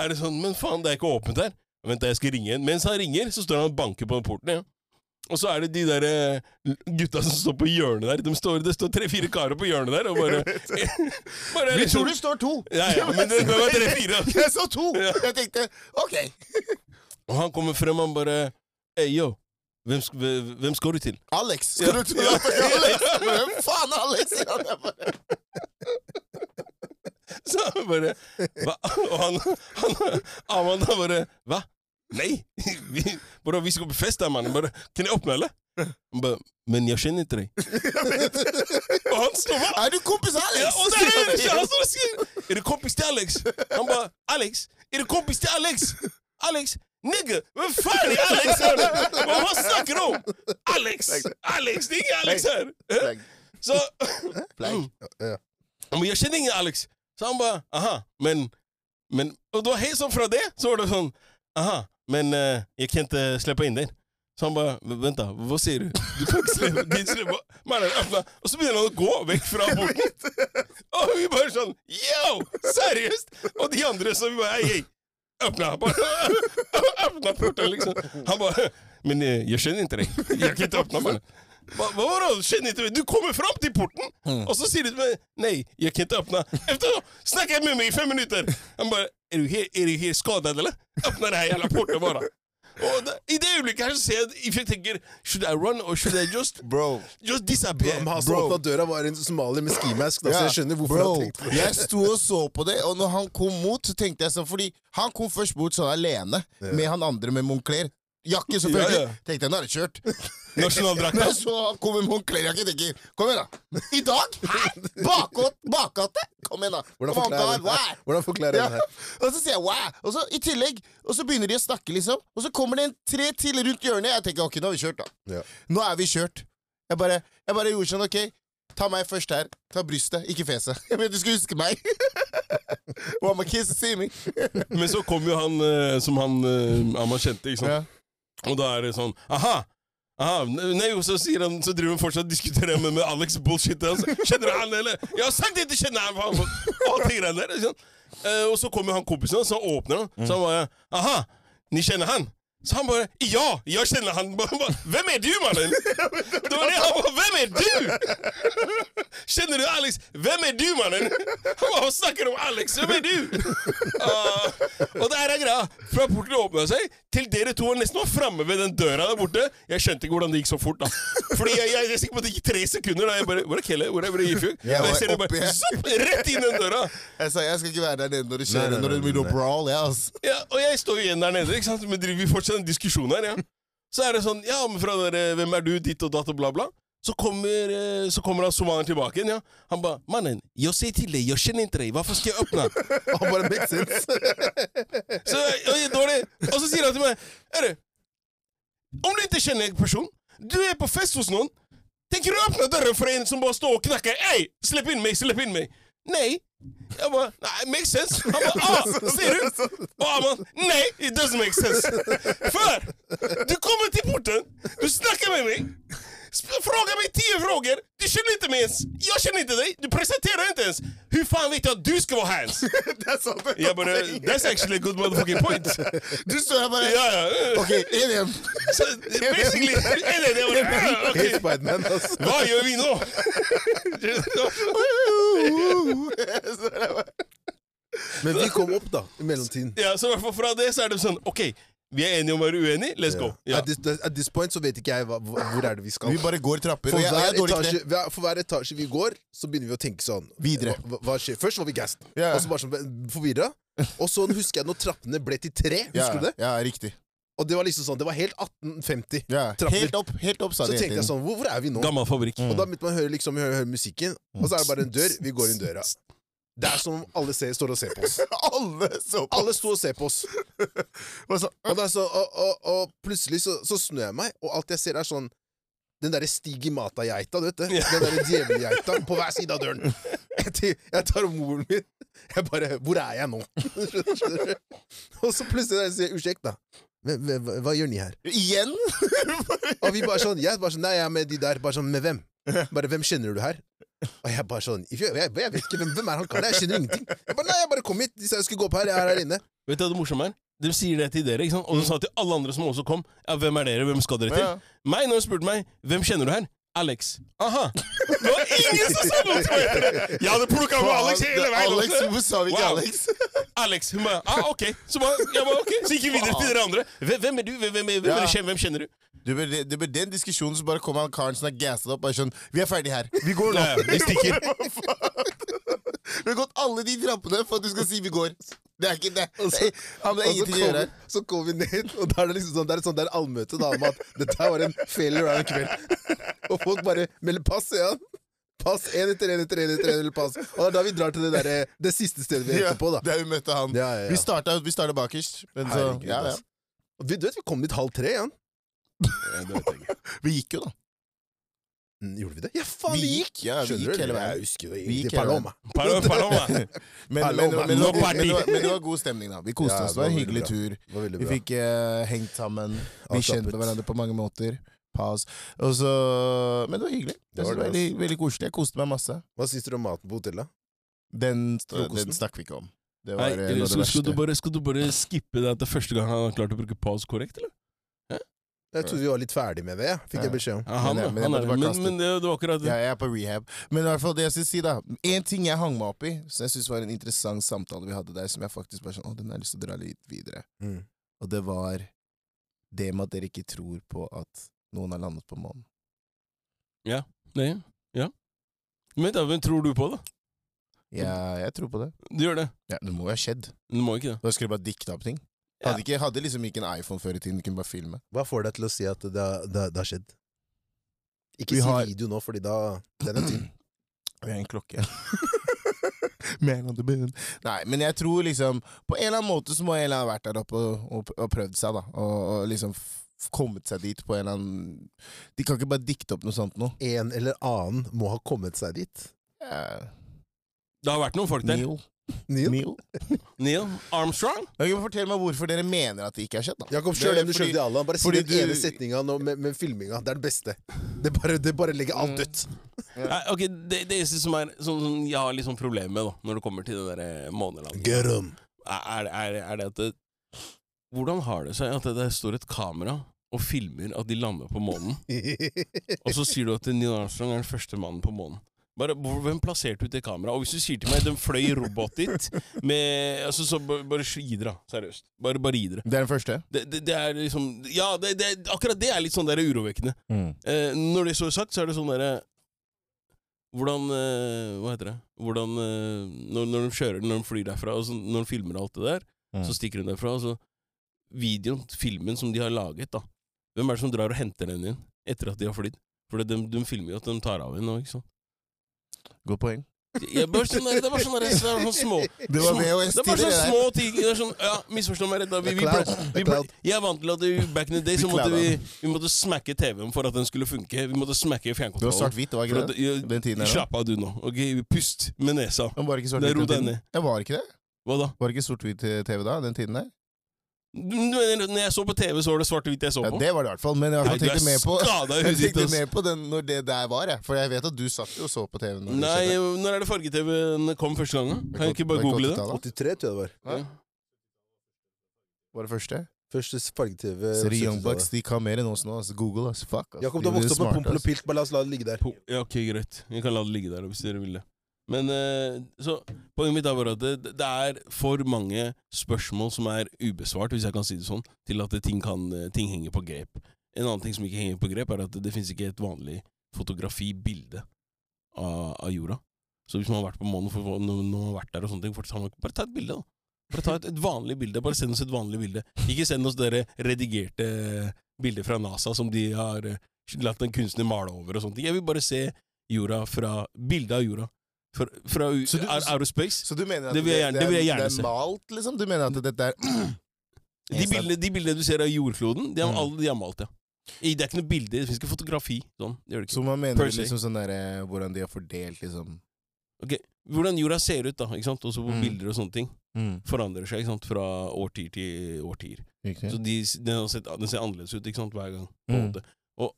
Speaker 1: er det sånn Men faen, det er ikke åpent her. Vent, da, jeg skal ringe en. Mens han ringer, så står han og banker på porten. Ja. Og så er det de der eh, gutta som står på hjørnet der. De står, det står tre-fire karer på hjørnet der og bare, bare liksom-
Speaker 3: Vi tror det står to.
Speaker 1: Ja, ja, men det, det var tre-fire.
Speaker 3: Jeg så to! Jeg tenkte OK.
Speaker 1: Og han kommer frem, han bare Hey, yo. Hvem, sk- hvem- hvem skal du til?
Speaker 3: Alex. Skal du tro at det er Alex? Men Hvem faen er Alex? Ja, det er bare-
Speaker 1: Så han bare Hva? Og han, han Amanda bare Hva? Nei! Vi, bare, vi skal på fest der, mann. Bare, Kan jeg åpne, eller? Han bare Men jeg kjenner ikke deg. og han står bare
Speaker 3: Er du kompis med Alex?
Speaker 1: Ja, og det er det ikke! Han står og sier Er du kompis til Alex? Han bare Alex? Er du kompis til Alex? Alex? Nigga! Hvem faen er Alex her? Hva hva snakker du om? Alex! Alex! Det er ikke Alex her!
Speaker 3: Flagg.
Speaker 1: Så
Speaker 3: Flagg.
Speaker 2: Ja.
Speaker 1: Men jeg kjenner ingen Alex. Så han bare Aha, men, men Og det var helt sånn fra det, så var det sånn Aha, men eh, jeg kan ikke slippe inn der. Så han bare "V- Vent, da. Hva sier du? Du kan ikke slippe, kan ikke slippe. Mannen åpna, og så begynner han å gå vekk fra porten. Og vi bare sånn Yo! Seriøst? Og de andre som bare Ei, ei. Åpna bare, åpna porten, liksom. Han bare Men eh, jeg kjenner ikke deg. Jeg kan ikke åpne mannen. Hva, hva var det? Kjenner ikke meg. Du kommer fram til porten, og så sier du til meg Nei, jeg kan ikke åpne. Etter det snakker jeg med meg i fem minutter. Han bare Er du helt, er du helt skadet, eller? Åpne den her jævla porten, bare. Og da, I det øyeblikket her så ser jeg If jeg tenker Should I run, or should I just
Speaker 3: Bro.
Speaker 1: Just disappear?
Speaker 2: Men han som
Speaker 3: Bro.
Speaker 2: åpna døra, var en somalier med skimask, da, så Altså, jeg skjønner hvorfor
Speaker 3: Bro,
Speaker 2: han tenkte på det.
Speaker 3: jeg sto og så på det, og når han kom mot, så tenkte jeg sånn Fordi han kom først bort sånn alene, med han andre med Moncler. Jakke, selvfølgelig.
Speaker 1: Ja, ja.
Speaker 3: Tenkte jeg, nå er det kjørt.
Speaker 1: Nasjonaldrakta.
Speaker 3: Når jeg så han kom med Moncler-jakke, tenker jeg, kom igjen, da. I dag? Hæ? Bakgått? Bakgate? Kom igjen, da.
Speaker 2: Hvordan
Speaker 3: Kom an,
Speaker 2: forklarer jeg
Speaker 3: kar,
Speaker 2: det her?
Speaker 3: wow.
Speaker 2: Hvordan forklarer jeg
Speaker 3: Ja.
Speaker 2: det her?
Speaker 3: Og så sier jeg wow! Og så i tillegg, og så begynner de å snakke, liksom. Og så kommer det en tre til rundt hjørnet. Jeg tenker ok, nå har vi kjørt, da.
Speaker 2: Ja.
Speaker 3: Nå er vi kjørt. Jeg bare, jeg bare gjorde sånn, ok, ta meg først her. Ta brystet, ikke fjeset. Jeg vet du skal huske meg. Well, my kids see me.
Speaker 1: Men så kom jo han eh, som han eh, Amman kjente, ikke sant.
Speaker 3: Ja.
Speaker 1: Og da er det sånn Aha! Aha, nei, og så, sier han, så driver han fortsatt og diskuterer med, med Alex bullshit. Altså. Kjenner du han, eller? Jeg har sagt det, ikke kjenner han! faen, faen. Alt de greiene der. ikke sant? Eh, og så kommer han kompisen hans, så han åpner han. Så han bare Aha! Ni kjenner han? Så han bare Ja! Jeg kjenner han! Bare, bare, Hvem er du, mannen? Det var det han var. Hvem er du? Kjenner du Alex? Hvem er du, mannen? Han bare snakker om Alex. Hvem er du? Ah, og det her er greia. Fra porten åpna seg, til dere to var nesten var framme ved den døra der borte. Jeg skjønte ikke hvordan det gikk så fort, da. Fordi jeg, jeg, jeg er sikker på at det gikk tre sekunder. da Jeg bare Hvor er Kelle? Hvor er hvor er Ifjøk? Og
Speaker 3: var
Speaker 1: jeg ser det
Speaker 3: oppi,
Speaker 1: bare
Speaker 3: jeg.
Speaker 1: zopp, rett inn den døra.
Speaker 3: Jeg sa jeg skal ikke være der nede når det skjer,
Speaker 2: Nei, nei,
Speaker 3: når det
Speaker 2: nei,
Speaker 3: blir noe
Speaker 2: nei.
Speaker 3: brawl. Ja, altså.
Speaker 1: Ja, og jeg står jo igjen der nede, ikke sant? men driver vi fortsatt en diskusjon her, ja. Så er det sånn, ja, men fra dere, hvem er du, ditt og datt og bla bla. Så kommer, eh, så kommer han somalieren tilbake igjen. ja. Han ba 'Mannen, jeg sier til deg, jeg kjenner ikke deg. Hvorfor skal jeg åpne?'
Speaker 2: Han bare makes sense.
Speaker 1: Så jeg er dårlig. Og så sier han til meg Høre, om du ikke kjenner en person Du er på fest hos noen Tenker du å åpne døren for en som bare står og knakker Ei, slipp inn meg, slipp inn meg Nei Jeg bare, nei, makes sense Han bare, ah, ser du Og han bare, nei, it doesn't make sense Før, du kommer til porten Du snakker med meg sp- Frågar mig tio frågor, du känner inte mig ens. Jag känner inte dig, du presenterar inte ens. Hur fan vet jag att du ska vara här ens?
Speaker 3: Det er sant.
Speaker 1: Jag bara, that's actually a good motherfucking point.
Speaker 3: Du står her bare
Speaker 1: Ja, ja.
Speaker 3: OK, 1-1.
Speaker 1: Så basically Eller det var ja, ok.
Speaker 2: Helt Spiderman, altså.
Speaker 1: Hva gjør vi nå?
Speaker 2: Men vi kom opp, da, i mellomtiden.
Speaker 1: ja, så i hvert fall fra det så er det sånn OK, vi er enige om å være uenige, let's go. Ja.
Speaker 2: At, this, at this point så vet ikke jeg hva, hvor hvor er det vi skal.
Speaker 3: Vi bare går trapper.
Speaker 2: For
Speaker 3: Og jeg
Speaker 2: hver,
Speaker 3: er dårlig til
Speaker 2: etasje,
Speaker 3: det.
Speaker 2: hver- for hver etasje vi går, så begynner vi å tenke sånn
Speaker 3: Videre.
Speaker 2: Hva, hva skjer? Først var vi gassed,
Speaker 3: Ja.
Speaker 2: og så bare sånn forvirra. Og så husker jeg når trappene ble til tre. Husker
Speaker 3: Ja,
Speaker 2: du det?
Speaker 3: Ja, riktig.
Speaker 2: Og det var liksom sånn, det var helt 1850.
Speaker 3: Ja.
Speaker 2: Trapper.
Speaker 3: Helt opp, helt opp, sa
Speaker 2: Så
Speaker 3: de. hele
Speaker 2: tenkte jeg
Speaker 3: tiden.
Speaker 2: sånn, hvor, hvor er vi nå?
Speaker 1: Gammel fabrikk.
Speaker 2: Og da
Speaker 3: Mm.
Speaker 2: begynte man å høre, liksom, høre, høre musikken, og så er det bare en dør. Vi går inn døra. Det er som om alle ser, står og ser på oss.
Speaker 3: Alle så på.
Speaker 2: Alle sto og ser på oss.
Speaker 3: Og så-
Speaker 2: Og, da så, og, og, og plutselig så, så snur jeg meg, og alt jeg ser, er sånn den derre Stigimata-geita, du vet det? Den derre djevelgeita på hver side av døren. Jeg t- jeg tar om moren min. Jeg bare 'Hvor er jeg nå?' Skjønner du? og så plutselig der sier jeg 'Unnskyld, da. Hvem- hvem- Hva, hva gjør ni her?'
Speaker 3: Igjen?
Speaker 2: Og vi bare sånn, jeg bare sånn 'Nei, jeg er med de der.' Bare sånn 'Med hvem?' Bare 'Hvem kjenner du her?' Og jeg bare sånn Jeg, jeg, jeg vet ikke hvem, hvem er han karen? Jeg kjenner ingenting. Jeg bare 'Nei, jeg bare kom hit. De sa jeg skulle gå opp her. Jeg er her inne.'
Speaker 1: Vet du hva det morsomme er? De sier det til dere, ikke sant? og de sa til alle andre som også kom, ja, hvem er dere, hvem skal dere til?
Speaker 3: Ja.
Speaker 1: Meg, når de spurte meg, hvem kjenner du her? Alex. Aha! Det var ingen som sa noe til meg! Jeg hadde
Speaker 2: sånn,
Speaker 1: plukka med Alex hele veien!
Speaker 3: Alex,
Speaker 1: også.
Speaker 3: Hvorfor sa vi ikke
Speaker 1: Wow.
Speaker 3: Alex?
Speaker 1: Alex. Hun bare ah, ok. Så, bare, jeg bare, ok. så gikk vi videre til dere andre. Hvem, hvem er du? Hvem, hvem, er, hvem,
Speaker 3: Ja.
Speaker 1: er du? Kjenn- hvem kjenner du?
Speaker 3: Det ble, det ble den diskusjonen som bare kom av karen som er gasset opp. Bare sånn, Vi er ferdig her. Vi går nå.
Speaker 1: Ja, ja, vi stikker.
Speaker 3: Hva faen? Vi har gått alle de trappene for at du skal si vi går. Det er ikke det. det, han har
Speaker 2: Og så
Speaker 3: ingenting å gjøre
Speaker 2: kommer- Så kommer vi ned, og da er det liksom sånn, det er et sånt der allmøte da, om at dette her var en failure av en kveld. Og folk bare melder pass, ja. Pass én etter én etter én etter én, eller pass. Og det er da vi drar til det, derre- det siste stedet vi
Speaker 3: Ja,
Speaker 2: endte på, da.
Speaker 3: Der vi møtte han.
Speaker 2: Ja, ja, ja.
Speaker 3: Vi starta vi startet bakerst, men så
Speaker 2: Herregud,
Speaker 3: ja, ja.
Speaker 2: ass. Og vi, du vet, vi kom dit halv tre, ja.
Speaker 3: Vi gikk jo, da.
Speaker 2: Mm, Gjorde vi det? Ja, faen,
Speaker 3: Vi
Speaker 2: vi gikk!
Speaker 3: gikk, ja, vi
Speaker 2: Skjønner
Speaker 3: gikk
Speaker 2: du?
Speaker 3: hele veien.
Speaker 2: Jeg husker det.
Speaker 3: Vi gikk
Speaker 2: Til
Speaker 3: hele veien.
Speaker 2: Paloma.
Speaker 1: Paloma, Paloma.
Speaker 3: Men,
Speaker 2: Hallo,
Speaker 3: men, men,
Speaker 2: mann.
Speaker 3: men, det var-
Speaker 1: No party.
Speaker 3: men, det var- men det var god stemning, da. Vi koste
Speaker 2: Ja,
Speaker 3: oss. Det var en
Speaker 2: det var
Speaker 3: hyggelig tur.
Speaker 2: Det var veldig
Speaker 3: Vi
Speaker 2: bra.
Speaker 3: fikk eh, hengt sammen. Vi
Speaker 2: Avslappet.
Speaker 3: kjente hverandre på mange måter. Pause. Og så, men det var hyggelig.
Speaker 2: Det
Speaker 3: Det
Speaker 2: var
Speaker 3: var
Speaker 2: det,
Speaker 3: veldig, veldig koselig. Jeg koste meg masse.
Speaker 2: Hva syns dere om maten på hotellet?
Speaker 3: Den,
Speaker 2: Frokosten?
Speaker 3: den snakker vi ikke om. Det
Speaker 1: Nei,
Speaker 3: var eh, noe av det
Speaker 1: så skal, du
Speaker 3: verste.
Speaker 1: bare, skal du bare skippe det til første gang han har klart å bruke pause korrekt, eller?
Speaker 2: Jeg trodde vi var litt ferdig med det, jeg. fikk jeg beskjed om.
Speaker 1: Ja, han,
Speaker 3: Men
Speaker 1: ja,
Speaker 3: det- men det
Speaker 1: han
Speaker 3: måtte
Speaker 1: er,
Speaker 3: bare
Speaker 1: men,
Speaker 3: kaste.
Speaker 1: men det, det var akkurat det.
Speaker 3: Ja, jeg er på rehab. Men i hvert fall det jeg skal si, da. En ting jeg hang meg opp i, som jeg synes var en interessant samtale vi hadde der, som jeg faktisk bare sånn Å, den har jeg lyst til å dra litt videre.
Speaker 2: Mm.
Speaker 3: Og det var det med at dere ikke tror på at noen har landet på månen.
Speaker 1: Nei, ja. Men vent da, hvem tror du på, da?
Speaker 3: Ja, jeg tror på det.
Speaker 1: Du gjør det.
Speaker 3: Ja, det må jo ha skjedd.
Speaker 1: Du må ikke det.
Speaker 3: Da skulle jeg bare dikta opp ting.
Speaker 1: Ja.
Speaker 3: Hadde, ikke, hadde liksom ikke en iPhone før i tiden, kunne bare filme.
Speaker 2: Hva får deg til å si at det, har- det, har- det har skjedd? Ikke si
Speaker 3: Vi har-
Speaker 2: video nå, fordi da Den er tynn.
Speaker 3: Vi har en klokke. Man on the moon. Nei, men jeg tror liksom På en eller annen måte så må en eller annen ha vært der oppe og, og, og prøvd seg, da. Og, og liksom f- kommet seg dit på en eller annen De kan ikke bare dikte opp noe sånt nå.
Speaker 2: en eller annen må ha kommet seg dit.
Speaker 3: Eh,
Speaker 1: Det har vært noen folk der.
Speaker 3: Neil.
Speaker 2: Neil?
Speaker 3: Neil.
Speaker 1: Neil Armstrong.
Speaker 3: Ok, men Fortell meg hvorfor dere mener at det ikke har skjedd, da.
Speaker 2: Jakob,
Speaker 3: Det
Speaker 2: kjør
Speaker 3: er
Speaker 2: den du
Speaker 3: fordi-
Speaker 2: skjønte i Allah. Bare si
Speaker 3: fordi
Speaker 2: den
Speaker 3: du-
Speaker 2: ene setninga nå med, med filminga. Det er den beste. Det bare, det bare legger alt
Speaker 3: Mm.
Speaker 2: dødt.
Speaker 1: Nei, ok, Det, det eneste som, er, som, som jeg har litt sånn problemer med da, når det kommer til det der eh, månelandet,
Speaker 2: Get him.
Speaker 1: er, er, er det at det, Hvordan har det seg at det der står et kamera og filmer at de lander på månen? Og så sier du at Neil Armstrong er den første mannen på månen. Bare, hvor- hvem plasserte ut det kameraet? Og hvis du sier til meg de fløy robot dit med, altså, så bare, bare gi dere, da. seriøst. Bare, bare gi dere.
Speaker 3: Det er den første.
Speaker 1: Det, det, det er liksom Ja, det, det, akkurat det er litt sånn der urovekkende. Eh, når det så er sagt, så er det sånn derre Hvordan eh, Hva heter det? Hvordan eh, når, når de kjører, når de flyr derfra, og så, når de filmer alt det der,
Speaker 3: Mm.
Speaker 1: så stikker hun derfra. Og så videoen, filmen som de har laget, da Hvem er det som drar og henter den inn etter at de har flydd? For de, de filmer jo at de tar av henne nå, ikke sant.
Speaker 3: Godt poeng.
Speaker 1: Jeg bare sånn der, det er bare sånn, der, det er sånn små
Speaker 3: Det var
Speaker 1: Små- Det er bare
Speaker 3: VHS-tider, det
Speaker 1: sånne
Speaker 3: der.
Speaker 1: små ting. Det er sånn, ja, Misforstå meg rett. da. Vi, vi,
Speaker 2: Cloud,
Speaker 1: ble,
Speaker 2: det
Speaker 1: vi
Speaker 2: er
Speaker 1: ble,
Speaker 2: cloud.
Speaker 1: jeg er vant til at vi, back in the day så
Speaker 3: Vi
Speaker 1: måtte
Speaker 3: clouda.
Speaker 1: vi, vi måtte smakke TV-en for at den skulle funke. Vi måtte smakke
Speaker 3: Det var
Speaker 1: fjernkontrollen.
Speaker 3: svart-hvitt, det var
Speaker 1: For
Speaker 3: ikke
Speaker 1: at-
Speaker 3: det?
Speaker 1: ja,
Speaker 3: Den tiden her. da.
Speaker 1: Slapp av, du nå. ok? Pust med nesa.
Speaker 3: Den var ikke
Speaker 1: Det
Speaker 3: svart-hvitt.
Speaker 1: ro
Speaker 3: den
Speaker 1: deg
Speaker 3: tiden.
Speaker 1: ned.
Speaker 3: Ja, var ikke det?
Speaker 1: Hva da?
Speaker 3: Var ikke sort-hvitt-TV da, den tiden der?
Speaker 1: Du mener, Når jeg så på TV, så var det svart-hvitt jeg så
Speaker 3: Ja,
Speaker 1: på.
Speaker 3: det var det i hvert fall, men jeg har
Speaker 1: Nei, du er
Speaker 3: tenkt mer på
Speaker 1: skada i
Speaker 3: Jeg
Speaker 1: huet ditt.
Speaker 3: tenkte
Speaker 1: ass.
Speaker 3: mer på den når det der var, jeg. For jeg vet at du satt jo og så på TV. Når det
Speaker 1: Nei,
Speaker 3: skjedde.
Speaker 1: når er det farge-TV-en kom første gang? da? Kan jeg ikke
Speaker 3: Det
Speaker 1: bare
Speaker 3: er
Speaker 1: google det?
Speaker 3: 80-tallet,
Speaker 2: 83 tror jeg det var.
Speaker 3: da.
Speaker 1: Ja.
Speaker 3: Var det første?
Speaker 2: Første farge-TV.
Speaker 3: Ser de Young
Speaker 2: 70-tallet.
Speaker 3: Bucks, de kan mer enn oss nå. ass. Google, ass. Fuck, ass.
Speaker 2: Jakob, du har
Speaker 3: De er
Speaker 2: vokst opp med
Speaker 3: smarte,
Speaker 2: pompel og
Speaker 3: ass.
Speaker 2: pilt, bare la oss la det ligge der.
Speaker 1: Po- Ja, ok, greit. Vi kan la det ligge der hvis dere vil det. Men eh, så, poenget mitt er bare at det, det er for mange spørsmål som er ubesvart, hvis jeg kan si det sånn, til at det- ting, kan, eh, ting henger på grep. En annen ting som ikke henger på grep, er at det, det finnes ikke et vanlig fotografi-bilde av, av jorda. Så hvis man har vært på månen for, når når man har vært der og sånne ting, for, bare ta et bilde, da. Bare ta et, et vanlig bilde. Bare send oss et vanlig bilde. Ikke send oss dere redigerte bilder fra NASA som de har eh, latt en kunstner male over og sånne ting. Jeg vil bare se jorda fra Bildet av jorda. Fra, fra u-
Speaker 3: Så du-
Speaker 1: out- outer space.
Speaker 3: Så du mener at
Speaker 1: Det vil jeg gjerne- det vil jeg
Speaker 3: er-
Speaker 1: gjerne se.
Speaker 3: er malt, liksom? Du mener at dette er
Speaker 1: De bildene, de bildene du ser av jordkloden, de har,
Speaker 3: Mm.
Speaker 1: alle, de har malt, ja. I- Det er ikke noe bilde, det finnes ikke fotografi. Sånn, det gjør det ikke.
Speaker 3: Så man mener
Speaker 1: Per se.
Speaker 3: liksom sånn derre Hvordan de har fordelt, liksom
Speaker 1: Hvordan jorda ser ut, da, ikke sant? også på
Speaker 3: Mm.
Speaker 1: bilder og sånne ting, forandrer seg ikke sant? fra årtier til årtier.
Speaker 3: Riktig.
Speaker 1: Så de, den, har sett, den ser annerledes ut ikke sant, hver gang. På en
Speaker 3: Mm.
Speaker 1: måte. Og,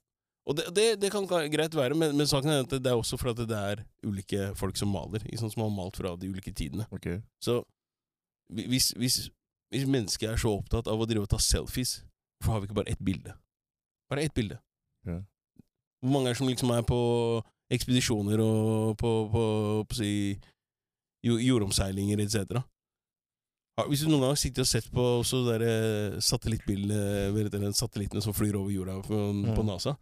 Speaker 1: og det, det, det kan ka- greit være, men, men saken er at det er også fordi det er ulike folk som maler, ikke sant, som har malt fra de ulike tidene.
Speaker 3: Ok.
Speaker 1: Så hvi- hvis, hvis, hvis mennesket er så opptatt av å drive og ta selfies, hvorfor har vi ikke bare ett bilde? Bare ett bilde.
Speaker 3: Ja.
Speaker 1: Hvor mange er det som liksom er på ekspedisjoner og på, på, på si, jo- jordomseilinger etc.? Ja, Hvis du noen gang har sittet og sett på også de der, eh, satellittbilene vet du, eller satellittene som flyr over jorda på, på
Speaker 3: Mm.
Speaker 1: NASA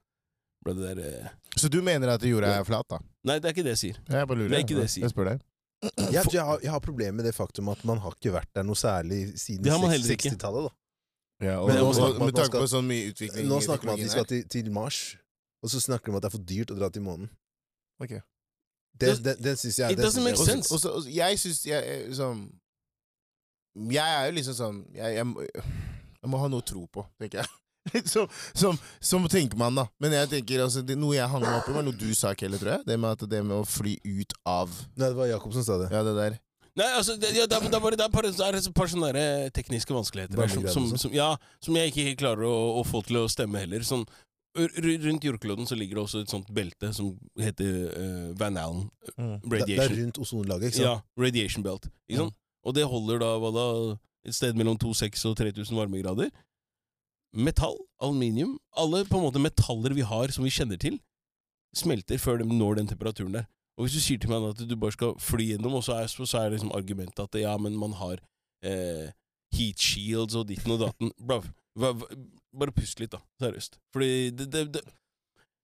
Speaker 1: ble det der, eh,
Speaker 3: Så du mener at jorda er flat, da?
Speaker 1: Nei, det er ikke det jeg sier.
Speaker 3: Jeg bare lurer.
Speaker 1: Det er ikke det jeg sier.
Speaker 3: Jeg spør deg.
Speaker 2: Jeg, jeg, har, jeg har problemer med det faktum at man har ikke vært der noe særlig siden
Speaker 1: Det har man
Speaker 2: seks-
Speaker 1: heller ikke.
Speaker 2: 60-tallet. da.
Speaker 3: Ja, og,
Speaker 2: Men
Speaker 1: nå
Speaker 3: og,
Speaker 2: snakker man
Speaker 3: med
Speaker 2: at man
Speaker 3: tanke på sånn mye utvikling
Speaker 2: Nå
Speaker 3: i
Speaker 2: snakker man om at de skal
Speaker 3: teknologien
Speaker 2: til, til Mars, og så snakker de om at det er for dyrt å dra til månen.
Speaker 3: Ok.
Speaker 2: Det,
Speaker 1: Det-
Speaker 2: det, den syns jeg
Speaker 1: it
Speaker 2: den
Speaker 1: doesn't
Speaker 2: synes
Speaker 1: make
Speaker 2: jeg-
Speaker 3: her.
Speaker 1: sense.
Speaker 3: Og så- og så- jeg syns jeg, jeg, sånn, jeg er jo liksom sånn jeg, jeg, må- jeg må ha noe å tro på, tenker jeg. Litt Som, som, som tenker man, da. Men jeg tenker altså, det, noe jeg hang meg opp i, var noe du sa, Kelle, tror jeg. Det med, at det med å fly ut av
Speaker 2: Nei, det var Jakob som sa det.
Speaker 3: Ja, det der.
Speaker 1: Nei, altså, det, ja, det, er, det, er bare, det, er bare, det er et par sånne der, eh, tekniske vanskeligheter der, som,
Speaker 2: Barnegreier
Speaker 1: som,
Speaker 2: også.
Speaker 1: som, ja, som jeg ikke helt klarer å, å få til å stemme heller. Sånn, r- r- rundt jordkloden så ligger det også et sånt belte som heter eh, Van Allen
Speaker 2: Det, det er
Speaker 1: Radiation.
Speaker 2: rundt ozonlaget, ikke sant?
Speaker 1: Ja, radiation belt. Ikke sant? Og det holder da, hva da et sted mellom 2600 og 3000 varmegrader. Metall, aluminium, alle på en måte metaller vi har som vi kjenner til, smelter før de når den temperaturen der. Og hvis du sier til meg da at du bare skal fly gjennom, og så er, så er det liksom argumentet at ja, men man har eh, heat shields og ditten og datten Brav, hva, hva, Bare pust litt, da. Seriøst. Fordi det, det, det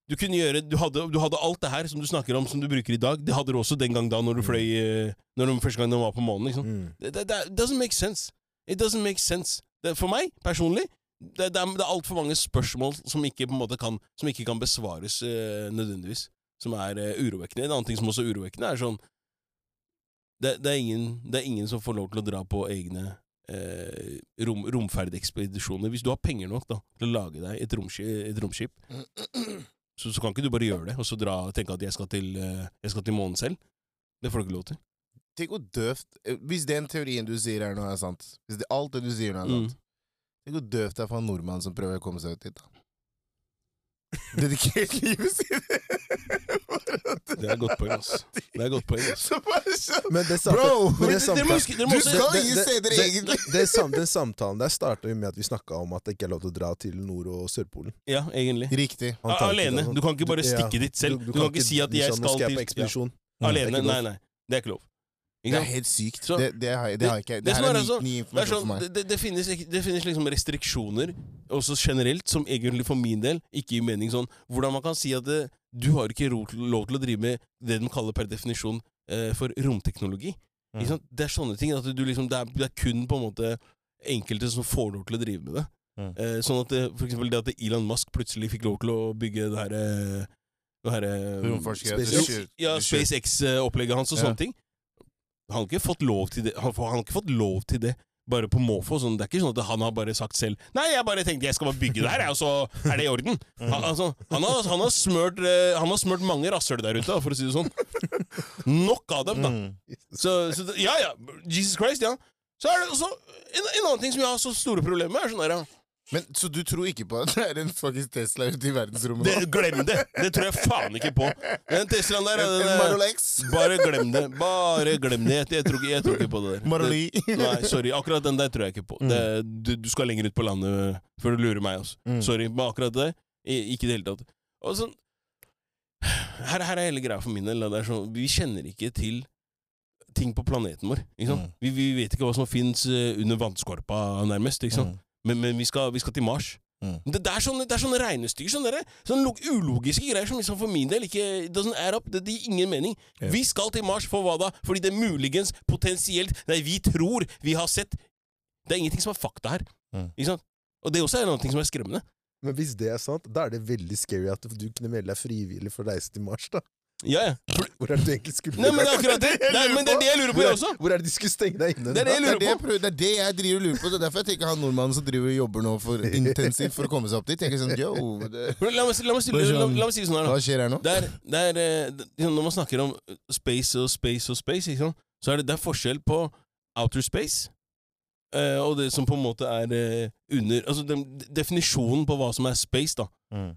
Speaker 1: du kunne gjøre, du hadde, du hadde alt det her som du snakker om, som du bruker i dag. Det hadde du også den gang da, når du fløy eh, når de, første gang de var på månen. Liksom.
Speaker 2: Mm.
Speaker 1: Det, det, det doesn't make sense. It doesn't make sense. Det, for meg, personlig, det, det er, det er altfor mange spørsmål som ikke, på en måte kan, som ikke kan besvares eh, nødvendigvis, som er eh, urovekkende. En annen ting som også er urovekkende, er sånn det, det, er ingen, det er ingen som får lov til å dra på egne eh, rom, romferdekspedisjoner. Hvis du har penger nok da, til å lage deg et, romskip, et romskip, så, så kan ikke du bare gjøre det, og så dra, tenke at jeg skal til, eh, jeg skal til månen selv. Det får du ikke lov til.
Speaker 3: Tenk hvor døvt Eh, Hvis den teorien du sier her nå, er sant Hvis det, alt det du sier nå, er sant
Speaker 1: Mm.
Speaker 3: Tenk hvor døvt det er for en nordmann som prøver å komme seg ut dit, da. Dedikert livet sitt! Bare at
Speaker 1: Det er et godt poeng, altså. ass. Det er et godt poeng, ass.
Speaker 3: Så bare sånn
Speaker 2: Men det startet-
Speaker 3: Bro!
Speaker 2: men det
Speaker 1: Dere- dere
Speaker 2: samtalen-
Speaker 1: må huske- dere må
Speaker 3: Du
Speaker 1: også-
Speaker 3: skal
Speaker 2: det-
Speaker 3: ingen
Speaker 2: det-
Speaker 3: steder,
Speaker 2: det-
Speaker 3: egentlig!
Speaker 2: det er sam, den samtalen der starta jo med at vi snakka om at det ikke er lov til å dra til Nord- og Sørpolen.
Speaker 1: Ja, egentlig.
Speaker 3: Riktig.
Speaker 1: Ja,
Speaker 2: Antarktis
Speaker 1: alene.
Speaker 2: og sånn.
Speaker 1: Du kan ikke bare
Speaker 2: Du- ja.
Speaker 1: stikke dit selv. Du, kan ikke si at jeg
Speaker 2: liksom, nå
Speaker 1: skal
Speaker 2: jeg på
Speaker 1: til ja.
Speaker 2: ekspedisjon. Det er
Speaker 1: Alene.
Speaker 2: ikke
Speaker 1: Nei,
Speaker 2: lov.
Speaker 1: nei. Det er ikke lov. Ikke
Speaker 3: Det er
Speaker 1: sant?
Speaker 3: helt sykt.
Speaker 1: Så-
Speaker 3: det, det, har, jeg- det har jeg ikke
Speaker 1: det
Speaker 3: Det her
Speaker 1: som er
Speaker 3: er ny,
Speaker 1: altså-
Speaker 3: ny
Speaker 1: Det, er
Speaker 3: informasjon
Speaker 1: sånn,
Speaker 3: for meg.
Speaker 1: det, det, finnes, ikke- det finnes liksom restriksjoner, også generelt, som egentlig for min del ikke gir mening sånn Hvordan man kan si at det, du har ikke ro, lov til å drive med det de kaller per definisjon eh, for romteknologi.
Speaker 3: Mm.
Speaker 1: Ikke sant? Det er sånne ting. At du liksom, det, er, det er kun på en måte enkelte som får lov til å drive med det.
Speaker 3: Mm.
Speaker 1: Eh, sånn at det, for eksempel det at Elon Musk plutselig fikk lov til å bygge det her eh, det her, eh,
Speaker 3: Romforskere.
Speaker 2: SpaceX.
Speaker 3: Skyr-
Speaker 1: Ja,
Speaker 3: skyr-
Speaker 1: SpaceX-opplegget hans og
Speaker 3: Ja.
Speaker 1: sånne ting. Han har ikke fått lov til det. Han, får- han har ikke fått lov til det. Bare på måfå. Sånn. Det er ikke sånn at han har bare sagt selv 'Nei, jeg bare tenkte jeg skal bare bygge det her, jeg, og så er det i orden'.
Speaker 3: Mm.
Speaker 1: Han, altså, han, har, han, har, smørt, eh, han har smørt mange rasshøl der ute, da, for å si det sånn. Nok av dem, da.
Speaker 3: Mm.
Speaker 1: Så, så det- Ja ja, Jesus Christ, ja. Så er det også en, en annen ting som jeg har så store problemer med, er sånn der ja.
Speaker 3: Men, så du tror ikke på at det er en fucking Tesla ute i verdensrommet?
Speaker 1: det,
Speaker 3: nå?
Speaker 1: Glem det! Det tror jeg faen ikke på. Den Teslaen der
Speaker 3: En-
Speaker 1: den
Speaker 3: en
Speaker 1: er-
Speaker 3: Model X?
Speaker 1: Bare glem det. Bare glem det. Jeg, jeg, tror, ikke, jeg tror ikke på det der.
Speaker 3: Model
Speaker 1: Det,
Speaker 3: Y?
Speaker 1: nei, sorry. Akkurat den der tror jeg ikke på.
Speaker 3: Mm.
Speaker 1: Det, du, du skal lenger ut på landet øh, før du lurer meg. Altså.
Speaker 3: Mm.
Speaker 1: Sorry. Men akkurat det i- ikke i det hele tatt. Og sånn her, her er hele greia for min del. da. Det er sånn, vi kjenner ikke til ting på planeten vår. Ikke sant?
Speaker 3: Mm.
Speaker 1: Vi, vi vet ikke hva som fins under vannskorpa, nærmest. Ikke sant?
Speaker 3: Mm.
Speaker 1: Men, men vi, skal, vi skal til Mars.
Speaker 3: Mm.
Speaker 1: Det, det, er sånne, det er sånne regnestykker, sånne, der, sånne lo- ulogiske greier som liksom for min del ikke it doesn't add up. Det, det gir ingen mening.
Speaker 3: Ja.
Speaker 1: Vi skal til Mars for hva da? Fordi det muligens, potensielt Nei, vi tror vi har sett Det er ingenting som er fakta her.
Speaker 3: Mm.
Speaker 1: Ikke sant? Og det også er noe som er skremmende.
Speaker 2: Men hvis det er sant, da er det veldig scary at du kunne melde deg frivillig for å reise til Mars, da.
Speaker 1: Ja, ja.
Speaker 2: Hvor er det du egentlig skulle
Speaker 1: Nei, men det er akkurat det!
Speaker 3: Det er det jeg
Speaker 1: Nei,
Speaker 3: lurer
Speaker 1: men det er det jeg lurer på, jeg også.
Speaker 2: Hvor er det de skulle stenge deg inne?
Speaker 1: Det er det jeg
Speaker 3: Det er
Speaker 1: lurer
Speaker 3: det
Speaker 1: på.
Speaker 3: jeg, prøver, det er det jeg driver og lurer på. Det er derfor jeg tenker han nordmannen som driver og jobber nå for intensivt for å komme seg opp dit. Tenker sånn, yo, det,
Speaker 1: La meg, si- la meg, si- la, la, la meg si det sånn her, da.
Speaker 3: Hva skjer her nå?
Speaker 1: Det er, det er, eh, det- liksom, når man snakker om eh, space og space og space, ikke sant? så er det, det er forskjell på outer space eh, og det som på en måte er eh, under Altså den, definisjonen på hva som er space, da,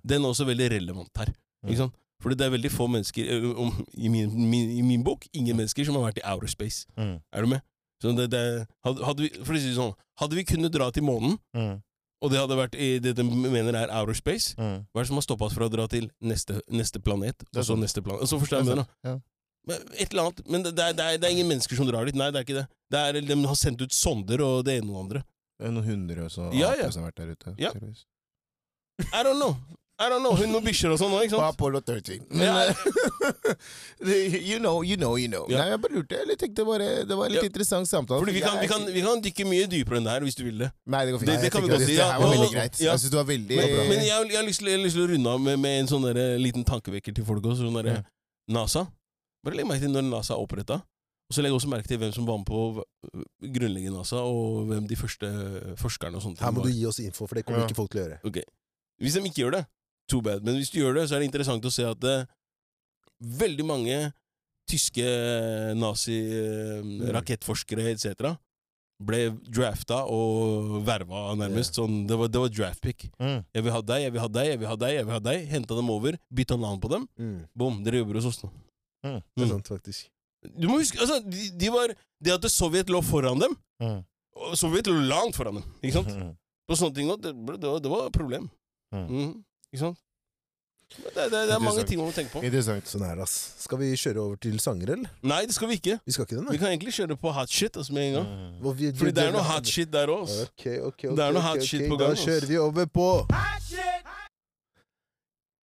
Speaker 1: den er også veldig relevant her.
Speaker 3: Mm.
Speaker 1: Ikke sant? Fordi det er veldig få mennesker eh, om, i, min, min, I min bok ingen mennesker som har vært i outer space.
Speaker 3: Mm.
Speaker 1: Er du med? Så det, det, er- hadde, hadde, vi, for å si det sånn, hadde vi kunnet dra til månen, og det hadde vært i det de mener er outer space, hva er det som har stoppa oss fra å dra til neste, neste planet? Og
Speaker 3: er
Speaker 1: så
Speaker 3: sant.
Speaker 1: neste planet. Og så forstår jeg det, da.
Speaker 3: Ja.
Speaker 1: Men Et eller annet. Men det, det, er, det, er, det er ingen mennesker som drar dit. Nei, det er ikke det. det er, de har sendt ut sonder og det ene og det andre.
Speaker 3: Det er noen hundre og så
Speaker 1: Ja,
Speaker 3: aper
Speaker 1: ja.
Speaker 3: som har vært der ute.
Speaker 1: Ja.
Speaker 3: tydeligvis.
Speaker 1: I don't know. I don't know. Hun og bikkjer og sånn òg, ikke
Speaker 3: Og
Speaker 1: sant?
Speaker 3: Apollo 13. Men,
Speaker 1: Ja.
Speaker 3: eh, you know, you know, you know.
Speaker 1: Ja.
Speaker 3: Nei, jeg bare lurte. Jeg tenkte bare, det var en litt
Speaker 1: Ja.
Speaker 3: interessant samtale.
Speaker 1: Fordi vi kan, vi, kan, vi kan dykke mye dypere enn det her, hvis du vil det.
Speaker 3: Nei, det går fint.
Speaker 1: Det- det kan
Speaker 3: Nei,
Speaker 1: vi
Speaker 3: jeg
Speaker 1: godt
Speaker 3: tenker at
Speaker 1: si,
Speaker 3: Det
Speaker 1: ja.
Speaker 3: her var veldig
Speaker 1: Ja.
Speaker 3: greit. Jeg synes du var veldig
Speaker 1: Men,
Speaker 2: bra.
Speaker 1: men jeg, har- jeg, har lyst, til- jeg har lyst til å runde av med, med en sånn der, liten tankevekker til folk også. Sånn derre
Speaker 3: Ja.
Speaker 1: NASA. Bare legg merke til når NASA er oppretta. Og så legg også merke til hvem som var med på å grunnlegge NASA, og hvem de første eh, forskerne og sånne
Speaker 2: Her må
Speaker 1: var.
Speaker 2: du gi oss info, for det kommer
Speaker 3: Ja.
Speaker 2: ikke folk til å gjøre.
Speaker 1: Hvis de ikke gjør det, too bad. Men hvis du gjør det, så er det interessant å se at eh, veldig mange tyske eh, nazi-rakettforskere etc. ble drafta og verva, nærmest. Sånn, det var, det var draftpick.
Speaker 3: Mm.
Speaker 1: Jeg vil ha deg, jeg vil ha deg, jeg vil ha deg. jeg vil ha deg Henta dem over, bytta navn på dem.
Speaker 2: Mm.
Speaker 1: Bom, dere jobber hos oss nå.
Speaker 2: Det
Speaker 1: Mm.
Speaker 2: er sant, faktisk.
Speaker 1: Du må huske, altså, de, de var, Det at Sovjet lå foran dem
Speaker 3: Mm.
Speaker 1: og Sovjet lå langt foran dem, ikke sant?
Speaker 3: Mm.
Speaker 1: Og sånne ting, og det, ble- det, var- det var et problem.
Speaker 3: Mm.
Speaker 1: Mhm. Ikke sant? Men Det, det, det er mange
Speaker 3: Interessant.
Speaker 1: ting man må tenke på.
Speaker 3: Interessant.
Speaker 2: Sånn er det, ass. Skal vi kjøre over til sanger, eller?
Speaker 1: Nei, det skal vi ikke.
Speaker 2: Vi skal ikke det,
Speaker 1: Vi
Speaker 2: nei?
Speaker 1: kan egentlig kjøre på hot shit altså, med en gang.
Speaker 3: Mm.
Speaker 2: Hvor vi-
Speaker 1: Fordi det er noe hot shit der òg.
Speaker 2: Ok, ok, ok.
Speaker 1: Det er noe
Speaker 2: ok,
Speaker 1: hot
Speaker 2: ok.
Speaker 1: shit på gang,
Speaker 2: Da
Speaker 1: ass.
Speaker 2: kjører vi over på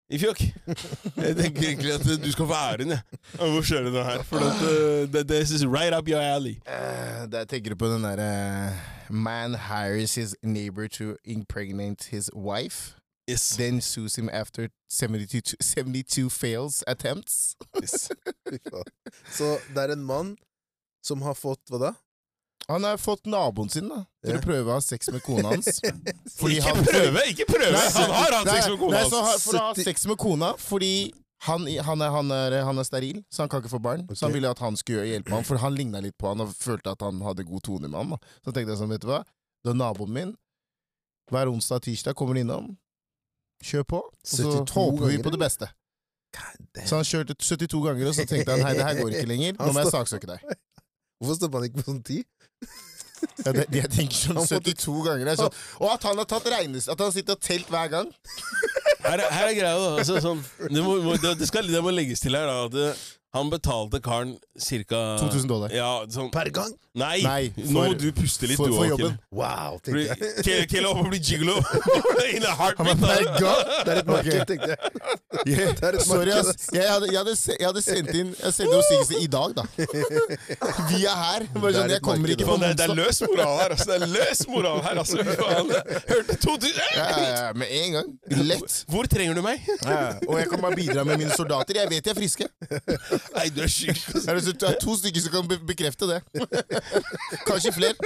Speaker 1: I fjokk. Jeg tenker egentlig at du skal få æren, jeg. Jeg må kjøre den her. For at, uh, det, det is right up your alley.
Speaker 3: Eh, der tenker du på den derre Man hires his neighbor to impregnate his wife,
Speaker 1: Yes.
Speaker 3: then sues him after 72, 72 fails attempts.
Speaker 1: yes.
Speaker 2: Fy faen. Så det er en mann som har fått Hva da?
Speaker 3: Han har fått naboen sin da til
Speaker 2: Ja.
Speaker 3: å prøve å ha sex med kona hans. Fordi
Speaker 1: Ikke
Speaker 3: han-
Speaker 1: prøve! Ikke prøve!
Speaker 3: Nei,
Speaker 1: han har hatt sex med kona
Speaker 3: Nei, så har,
Speaker 1: hans.
Speaker 3: for å ha sex med kona fordi han, han, er, han, er, han er steril, så han kan ikke få barn. Så han
Speaker 2: Ok.
Speaker 3: ville at han skulle gjøre- hjelpe ham, for han ligna litt på han og følte at han hadde god tone med ham. Da. Så tenkte jeg sånn, vet du hva, det er naboen min. Hver onsdag og tirsdag kommer han innom. Kjør på, og så
Speaker 2: 72
Speaker 3: håper vi
Speaker 2: ganger,
Speaker 3: på det beste. Så han kjørte 72 ganger, og så tenkte han hei, det her går ikke lenger, nå
Speaker 2: Han
Speaker 3: må jeg
Speaker 2: står-
Speaker 3: saksøke deg.
Speaker 2: Hvorfor stopper han ikke på sånn tid?
Speaker 3: Ja, det, jeg tenker sånn
Speaker 2: Han fått-
Speaker 3: 72 ganger. er sånn. Og at han har tatt regnes, at han sitter og telt hver gang.
Speaker 1: Her, er- her er greia, da. Altså, sånn, det, må, må, det, det, skal, det må legges til her, da. At uh, Han betalte karen ca.
Speaker 3: 2000 dollar.
Speaker 1: Ja, sånn
Speaker 2: Per gang?
Speaker 1: Nei!
Speaker 3: Nei,
Speaker 1: nå
Speaker 3: for-
Speaker 1: må du puste litt,
Speaker 3: for-
Speaker 1: du
Speaker 3: for
Speaker 1: òg, Kelle.
Speaker 3: jobben.
Speaker 2: Wow, tenkte jeg.
Speaker 1: Fordi Kelle opp og blir gigolo in a
Speaker 3: Han var
Speaker 1: heartbeat.
Speaker 3: per
Speaker 1: da.
Speaker 3: gang!
Speaker 2: Det er et marked, tenkte jeg.
Speaker 3: Yeah.
Speaker 2: Det er et
Speaker 3: Sorry,
Speaker 2: marked,
Speaker 3: ass. Jeg hadde, jeg hadde, se- jeg hadde sendt inn Jeg sendte oppsigelse i dag, da. Vi er her.
Speaker 2: Det
Speaker 3: Bare
Speaker 2: er
Speaker 3: sånn,
Speaker 2: et
Speaker 3: jeg kommer
Speaker 2: marked,
Speaker 3: ikke
Speaker 2: da.
Speaker 3: på
Speaker 1: Faen, det, er- det er
Speaker 3: onsdag.
Speaker 1: løs moral her, altså. Det er løs moral her, altså. Fy faen. Hørte 2000
Speaker 3: Ja, ja, ja, Med en gang. Lett.
Speaker 1: Hvor trenger du meg?
Speaker 3: Ja, ja. og jeg kan bare bidra med mine soldater. Jeg vet de er friske.
Speaker 1: Nei, du er syk. altså.
Speaker 3: Er det, så, det er to stykker som kan be bekrefte det. Kanskje flere.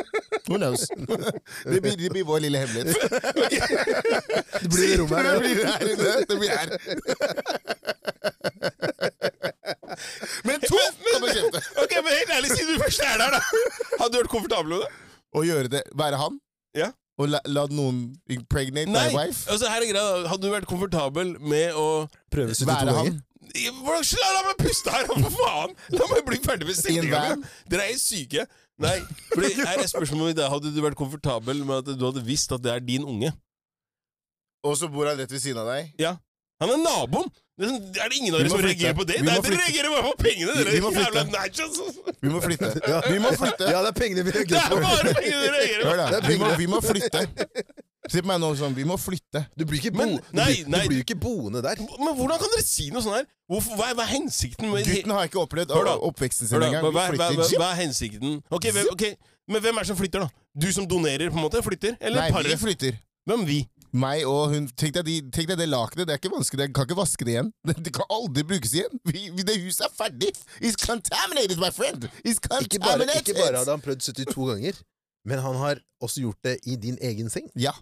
Speaker 3: Who knows? Det blir, det blir vår lille hemmelighet.
Speaker 2: Det blir i rommet
Speaker 3: Det
Speaker 2: her.
Speaker 3: blir her inne. Det blir her. Men to kan bekrefte.
Speaker 1: Ok, men helt ærlig, siden du først er der, da. Hadde du vært komfortabel med det?
Speaker 3: Å gjøre det. Være han.
Speaker 1: Ja.
Speaker 3: Og la, la noen impregnate my
Speaker 1: Nei.
Speaker 3: wife.
Speaker 1: Altså, her er greia, da. Hadde du vært komfortabel med å
Speaker 2: Prøve 72
Speaker 3: Være
Speaker 2: ganger.
Speaker 3: han.
Speaker 1: Hvordan- La, la meg puste her, da, for faen! La meg bli ferdig med
Speaker 3: I
Speaker 1: sendinga!
Speaker 3: en van?
Speaker 1: Dere er helt syke. Nei, for her er spørsmålet mitt. da. Hadde du vært komfortabel med at du hadde visst at det er din unge?
Speaker 3: Og så bor han rett ved siden av deg.
Speaker 1: Han er naboen! Det er sånn- er det ingen av
Speaker 3: Vi
Speaker 1: dere
Speaker 3: må
Speaker 1: som
Speaker 3: flytte.
Speaker 1: reagerer på det?
Speaker 3: Vi
Speaker 1: Nei,
Speaker 3: må
Speaker 1: dere
Speaker 3: flytte.
Speaker 1: reagerer bare på pengene, dere!
Speaker 3: Vi- vi må flytte.
Speaker 1: Jævla nachos! altså.
Speaker 3: Vi må flytte.
Speaker 2: Ja.
Speaker 3: Vi må flytte.
Speaker 2: Ja, det er pengene vi
Speaker 1: Det
Speaker 2: tenker
Speaker 1: er
Speaker 2: på.
Speaker 1: bare pengene dere reagerer på!
Speaker 3: Hør da,
Speaker 2: Det er
Speaker 3: vi må,
Speaker 2: penger.
Speaker 3: vi må flytte. Se på meg nå sånn, vi må flytte.
Speaker 2: Du blir ikke, bo
Speaker 1: Men-
Speaker 2: du,
Speaker 1: nei,
Speaker 2: blir-
Speaker 1: nei.
Speaker 2: du blir ikke boende der.
Speaker 1: Men hvordan kan dere si noe sånt her? Hvorfor, hva, er, hva er hensikten med
Speaker 3: Gutten har ikke opplevd
Speaker 1: Hør da.
Speaker 3: opp- oppveksten
Speaker 1: Hør
Speaker 3: sin
Speaker 1: da,
Speaker 3: engang.
Speaker 1: hva,
Speaker 3: Vi
Speaker 1: hva, hva,
Speaker 3: flytter.
Speaker 1: hva er hensikten? Ok, hvem, ok, Men hvem er det som flytter, da? Du som donerer, på en måte? Flytter? Eller
Speaker 3: Nei, vi
Speaker 1: paret?
Speaker 3: flytter.
Speaker 1: Hvem vi?
Speaker 3: Meg og hun Tenk deg, de, tenk deg det lakenet, det er ikke vanskelig, jeg kan ikke vaske det igjen. Det, det kan aldri brukes igjen. Vi, vi, det huset er ferdig! It's contaminated, my friend! It's
Speaker 2: Ikke bare,
Speaker 3: contaminated!
Speaker 2: ikke bare hadde han prøvd 72 ganger, men han har også gjort det i din egen seng.
Speaker 3: Ja.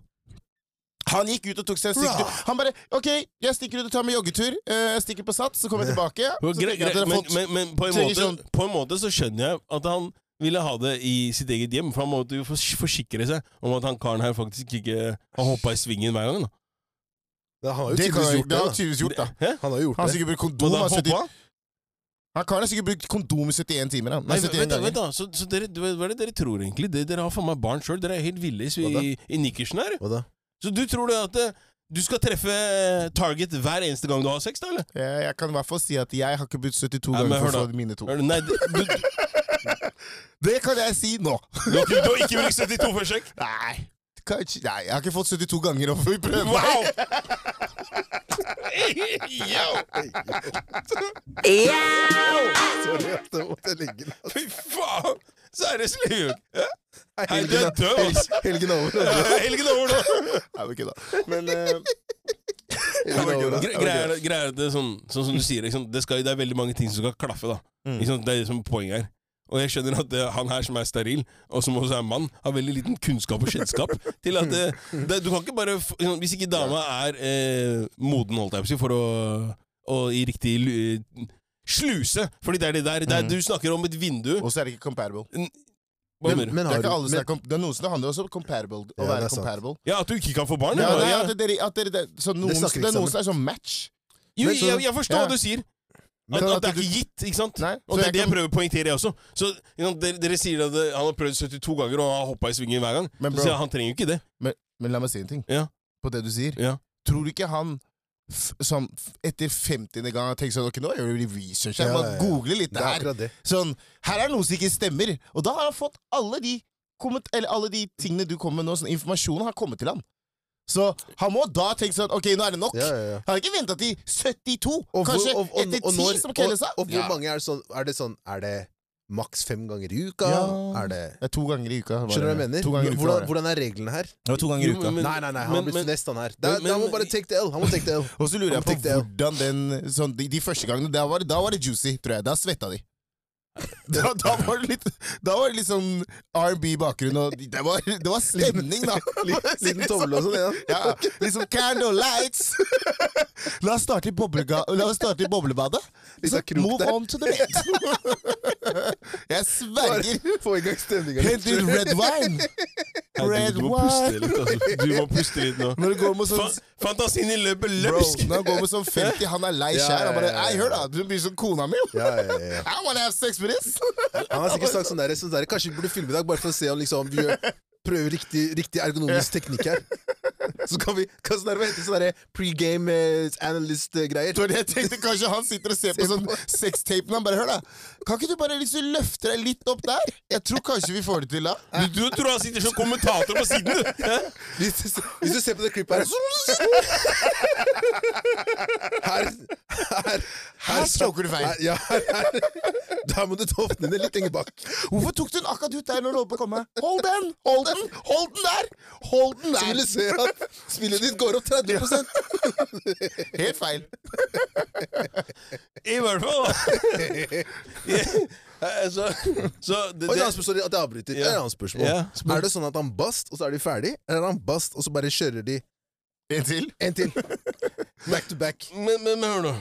Speaker 3: Han gikk ut og tok seg en stikketur. Han bare OK, jeg stikker ut og tar meg joggetur. Eh, Jeg stikker på Sats, så kommer jeg tilbake. Så
Speaker 1: Jo,
Speaker 3: tenker
Speaker 1: gre-
Speaker 3: jeg at
Speaker 1: gre-
Speaker 3: dere har
Speaker 1: men,
Speaker 3: fått
Speaker 1: men, men på, en
Speaker 3: trenger
Speaker 1: måte,
Speaker 3: sånn-
Speaker 1: på en måte så skjønner jeg at han ville ha det i sitt eget hjem, for han måtte jo fors- forsikre seg om at han karen her faktisk ikke har hoppa i svingen hver gang. da.
Speaker 2: Ja, han har jo
Speaker 3: Det kan
Speaker 2: tydeligvis
Speaker 3: jeg-
Speaker 2: gjort
Speaker 3: det
Speaker 2: det.
Speaker 3: har han tydeligvis gjort, da.
Speaker 1: Hæ?
Speaker 2: da. Han har jo
Speaker 3: Han
Speaker 2: gjort
Speaker 3: har
Speaker 2: det.
Speaker 3: sikkert brukt
Speaker 1: Men
Speaker 3: kondom.
Speaker 1: da
Speaker 3: Han, har 70
Speaker 1: hoppa?
Speaker 3: han karen har sikkert brukt kondom i 71 timer. Han. Nei,
Speaker 1: Nei,
Speaker 3: 71
Speaker 1: vent, da, vent
Speaker 3: ganger.
Speaker 1: da. Så, så dere, du vet- hva er det dere tror, egentlig? Dere, dere har faen meg barn sjøl. Dere er helt ville i,
Speaker 2: Hva da?
Speaker 1: i, i nikkersen her.
Speaker 2: Hva da?
Speaker 1: Så du tror det at eh, du skal treffe eh, target hver eneste gang du har sex, da? eller?
Speaker 3: Jeg, jeg kan i hvert fall si at jeg har ikke brukt 72
Speaker 1: Nei, men
Speaker 3: ganger
Speaker 1: hør
Speaker 3: for å
Speaker 1: da.
Speaker 3: få mine to.
Speaker 1: Er du- Nei, du, du, du,
Speaker 3: Det kan jeg si nå!
Speaker 1: du, har ikke- du har ikke brukt 72 forsøk?
Speaker 3: Nei, kanskje Nei, jeg har ikke fått 72 ganger opp. Vi prøver.
Speaker 1: Wow! Yo!
Speaker 2: Sorry at jeg måtte legge den.
Speaker 1: Fy faen! Seriøst, Liv? Hei, du
Speaker 2: Helgen,
Speaker 1: er død, ass!
Speaker 2: er- helgen er over. altså.
Speaker 1: Helgen er over nå!
Speaker 3: Nei, men kødda. Men eh,
Speaker 2: Helgen er over.
Speaker 1: Gre- Greier greier det sånn, sånn som du sier, ikke sant? det, skal, det er veldig mange ting som skal klaffe, da.
Speaker 3: Mm.
Speaker 1: Ikke sant? Det er det som er poenget her. Og jeg skjønner at eh, han her som er steril, og som også er mann, har veldig liten kunnskap og kjennskap til at eh, det, Du kan ikke bare f- ikke sant, Hvis ikke dama er eh, moden, holdt jeg på å si, for å, å i riktig lu- sluse Fordi det er det der. Det er, du snakker om et vindu.
Speaker 3: Og så er det ikke comparable.
Speaker 1: Hva mener du?
Speaker 2: Men
Speaker 3: Det er
Speaker 2: har
Speaker 3: ikke
Speaker 2: du
Speaker 3: alle som er comp det er noen som det handler også om comparable. Å
Speaker 2: Ja, det
Speaker 3: være
Speaker 2: er sant.
Speaker 3: comparable.
Speaker 1: Ja, at du ikke kan få barn?
Speaker 3: Ja,
Speaker 1: eller?
Speaker 3: det er,
Speaker 1: Ja.
Speaker 3: at dere, at dere, det, så noen,
Speaker 2: snakker ikke
Speaker 3: det er
Speaker 2: sammen.
Speaker 3: noen som er sånn match.
Speaker 1: Jo,
Speaker 2: Men så-
Speaker 1: jeg, jeg forstår
Speaker 3: ja.
Speaker 1: hva du sier.
Speaker 3: Men
Speaker 1: At,
Speaker 3: at
Speaker 1: at det er
Speaker 3: du-
Speaker 1: ikke gitt, ikke sant?
Speaker 3: Nei,
Speaker 1: Og
Speaker 3: så
Speaker 1: det er
Speaker 3: jeg
Speaker 1: det jeg
Speaker 3: kan-
Speaker 1: prøver å poengtere, jeg også. Så you know, dere, dere sier at eh, han har prøvd 72 ganger og har hoppa i svingen hver gang.
Speaker 3: Men
Speaker 1: så
Speaker 3: bro-
Speaker 1: sier jeg, han trenger jo ikke det.
Speaker 3: Men la meg si en ting
Speaker 1: Ja.
Speaker 3: på det du sier.
Speaker 1: Ja.
Speaker 3: Tror du ikke han f som f etter 50. gang har tenkt sånn Ok, nå gjør vi research. Jeg
Speaker 2: Ja,
Speaker 3: må
Speaker 2: ja, ja.
Speaker 3: google litt
Speaker 2: Det er
Speaker 3: der.
Speaker 2: akkurat det.
Speaker 3: Sånn, her er noe som ikke stemmer. Og da har han fått alle de, komment eller alle de tingene du kommer med nå, sånn informasjonen har kommet til han. Så han må da tenke sånn Ok, nå er det nok.
Speaker 2: Ja, ja, ja.
Speaker 3: Han har ikke venta til 72,
Speaker 2: Og hvor-
Speaker 3: kanskje
Speaker 2: og- og-
Speaker 3: etter 10,
Speaker 2: og når-
Speaker 3: som Kelle sa.
Speaker 2: Og, og hvor
Speaker 3: Ja.
Speaker 2: mange er det sånn Er det sånn Er det maks fem ganger i uka?
Speaker 3: Ja.
Speaker 2: Er det
Speaker 3: Det er to ganger i uka.
Speaker 2: Skjønner
Speaker 3: var
Speaker 2: du hva jeg
Speaker 3: det.
Speaker 2: mener?
Speaker 3: To ganger i uka. var
Speaker 2: Hvordan,
Speaker 3: det.
Speaker 2: hvordan er reglene her?
Speaker 3: Det var to ganger i
Speaker 1: Jo,
Speaker 3: uka.
Speaker 1: men-
Speaker 2: nei, nei, nei, han
Speaker 1: men-
Speaker 2: har blitt
Speaker 1: men-
Speaker 2: finest, han her. Der,
Speaker 1: men-
Speaker 2: der må
Speaker 1: men-
Speaker 2: bare take the L. Han må take the L.
Speaker 3: Og så lurer
Speaker 2: Han
Speaker 3: jeg på
Speaker 2: tenkte jeg-
Speaker 3: hvordan den sånn, de, de første gangene, da var, det- da var det juicy, tror jeg. Da svetta de. Da, da var det litt Da var det litt sånn R&B-bakgrunn, og de- det var, det var stemning, da.
Speaker 2: Liten tommel og sånn, ja.
Speaker 3: Ja, liksom candle lights. La oss starte i, boblega, la oss starte i boblebadet.
Speaker 2: Litt av
Speaker 3: Så
Speaker 2: krok
Speaker 3: move
Speaker 2: der.
Speaker 3: on to the bed. Jeg sverger.
Speaker 2: Bare Få i gang stemninga
Speaker 3: Hent ut red wine.
Speaker 1: Nei,
Speaker 3: Red
Speaker 1: du, du må
Speaker 3: wine.
Speaker 1: puste litt, altså. Du må puste litt nå.
Speaker 3: Når det går mot sånn
Speaker 1: Fan, fantasien din løper
Speaker 3: Bro,
Speaker 1: løpsk!
Speaker 3: når han går med sånn 50, han er lei
Speaker 2: Ja,
Speaker 3: skjær. Han bare
Speaker 2: ja, ja,
Speaker 3: Ei,
Speaker 2: ja.
Speaker 3: hør da, du blir som kona mi. jo.
Speaker 2: Ja, ja, ja.
Speaker 3: I wanna have sex with this.
Speaker 2: Han har sikkert sagt sånn der, sånn der Kanskje vi burde filme i dag, bare for å se om liksom, vi gjør, prøver riktig, riktig ergonomisk teknikk her. Så kan vi kan Snarve hente sånne sånn pregame eh, analyst-greier.
Speaker 3: Det var det jeg tenkte, Kanskje han sitter og ser på sånn sextapen. Han bare, hør da, Kan ikke du bare liksom løfte deg litt opp der? Jeg tror kanskje vi får det til da.
Speaker 1: Du, du tror han sitter som kommentator på siden, du! Hæ?
Speaker 2: Hvis, du- hvis du ser på det klippet her Her Her,
Speaker 3: Her stroker du feil.
Speaker 2: Her, ja, her, her. Da må du tofte ned litt lenger bak.
Speaker 3: Hvorfor tok du den akkurat ut der når du holdt på å komme? Hold den! Hold den! Hold den der! Hold den
Speaker 2: Så vil du
Speaker 3: der!
Speaker 2: se at spillet ditt går opp 30
Speaker 3: Helt feil.
Speaker 1: I hvert fall, da. Ja, så, så det,
Speaker 2: Oi, et
Speaker 1: det,
Speaker 2: annet spørsmål, sorry at jeg avbryter.
Speaker 1: Ja.
Speaker 2: Et annet spørsmål.
Speaker 1: Ja, spør.
Speaker 2: Er det sånn at han bast, og så er de ferdig? Eller er han bast, og så bare kjører de
Speaker 3: En til.
Speaker 2: en til? Back to back.
Speaker 1: men, men, men hør nå.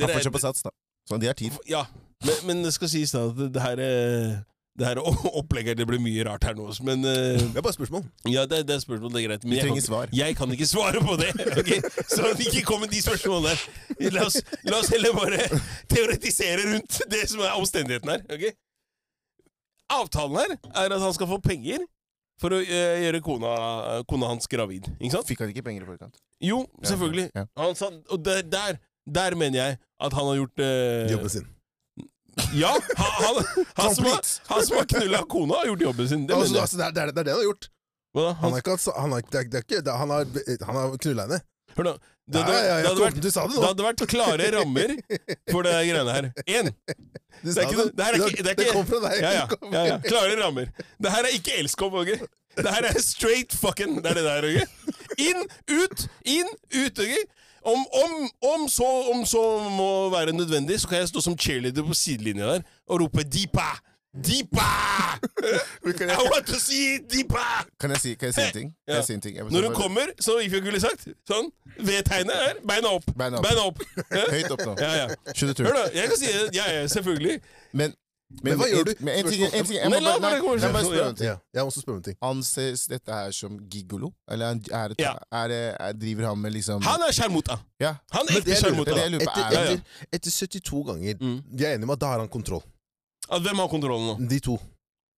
Speaker 1: Dere er-
Speaker 3: sats, da. Så de har tid.
Speaker 1: Ja, men, men det skal sies da at det- det her, eh, det her o- opplegget Det blir mye rart her nå, også, men eh,
Speaker 2: Det er bare spørsmål.
Speaker 1: Ja, det, det er spørsmål, det er greit. Men jeg kan,
Speaker 3: trenger svar.
Speaker 1: ikke- jeg kan ikke svare på det! ok? Så ikke kom med de spørsmålene der. La oss, la oss heller bare teoretisere rundt det som er omstendigheten her. ok? Avtalen her er at han skal få penger for å eh, gjøre kona, kona hans gravid. Ikke sant?
Speaker 3: Fikk han ikke penger i forkant?
Speaker 1: Jo, selvfølgelig.
Speaker 3: Ja.
Speaker 1: Han sa, og der, der, der mener jeg at han har gjort eh,
Speaker 2: Jobben sin.
Speaker 1: ja, han, han, han, som har,
Speaker 2: Komplett.
Speaker 1: han som har knulla kona, har gjort jobben sin. Det
Speaker 2: Altså,
Speaker 1: mener jeg.
Speaker 2: altså, det, er, det, er, det er det han har gjort.
Speaker 1: Hva da?
Speaker 2: Han
Speaker 1: Han,
Speaker 2: har ikke hatt sa- han har, ikke- det er, det er ikke, det er, han har, han har knulla henne.
Speaker 1: hør nå. Det
Speaker 2: Ja,
Speaker 1: hadde,
Speaker 2: ja, ja,
Speaker 1: det, hadde
Speaker 2: Tom,
Speaker 1: vært,
Speaker 2: du sa det
Speaker 1: det
Speaker 2: nå.
Speaker 1: hadde vært klare rammer for det greiene her. Én,
Speaker 2: Du
Speaker 1: det er
Speaker 2: sa
Speaker 1: ikke noe- det her er
Speaker 2: Du har-
Speaker 1: ikke- det er
Speaker 2: det
Speaker 1: ikke-
Speaker 2: kom fra deg.
Speaker 1: ja, ja,
Speaker 2: Det kom-
Speaker 1: ja, ja. Klare rammer. Det her er ikke elskov, Åge. Det her er straight fucking Det er det der, Åge. Inn, ut, inn, ut, Åge. Om, om, om, så, om så må være nødvendig, så kan jeg stå som cheerleader på sidelinja der og rope 'Deepa! Deepa! I want to see it, Deepa!'
Speaker 3: Kan jeg si, kan jeg si en ting? Kan
Speaker 1: Ja.
Speaker 3: jeg si en ting? Jeg må
Speaker 1: Når
Speaker 3: bare-
Speaker 1: hun kommer, som Ifjok ville sagt, sånn, ved tegnet her, beina opp.
Speaker 3: Beina opp.
Speaker 1: Hæ?
Speaker 3: Høyt opp nå.
Speaker 1: Ja, ja.
Speaker 3: Skjønner du?
Speaker 1: Hør da, jeg kan si det. Ja, ja, selvfølgelig.
Speaker 3: Men,
Speaker 2: Men hva
Speaker 3: en-
Speaker 2: gjør du?
Speaker 3: Men en ting, en ting jeg
Speaker 1: Nei,
Speaker 3: må
Speaker 1: la
Speaker 3: bare-
Speaker 1: meg
Speaker 3: nei,
Speaker 1: gå
Speaker 3: jeg må bare
Speaker 1: videre.
Speaker 3: spørre en ting.
Speaker 2: Ja, jeg må også spørre om en ting.
Speaker 3: Anses dette her som gigolo? Eller er, er, det-
Speaker 1: Ja.
Speaker 3: er, det- er, driver han med liksom
Speaker 1: Han er sjarmota.
Speaker 3: Ja.
Speaker 1: Han er
Speaker 2: Men det
Speaker 1: ekte
Speaker 2: lurer
Speaker 3: Det
Speaker 1: sjarmota.
Speaker 3: er det jeg lurer på. Mm.
Speaker 2: Etter,
Speaker 3: Er,
Speaker 1: Ja, ja.
Speaker 2: etter, etter 72 ganger Vi er enige om at da har han kontroll.
Speaker 1: Ja, Mm. Altså, Hvem har kontrollen nå?
Speaker 2: De to.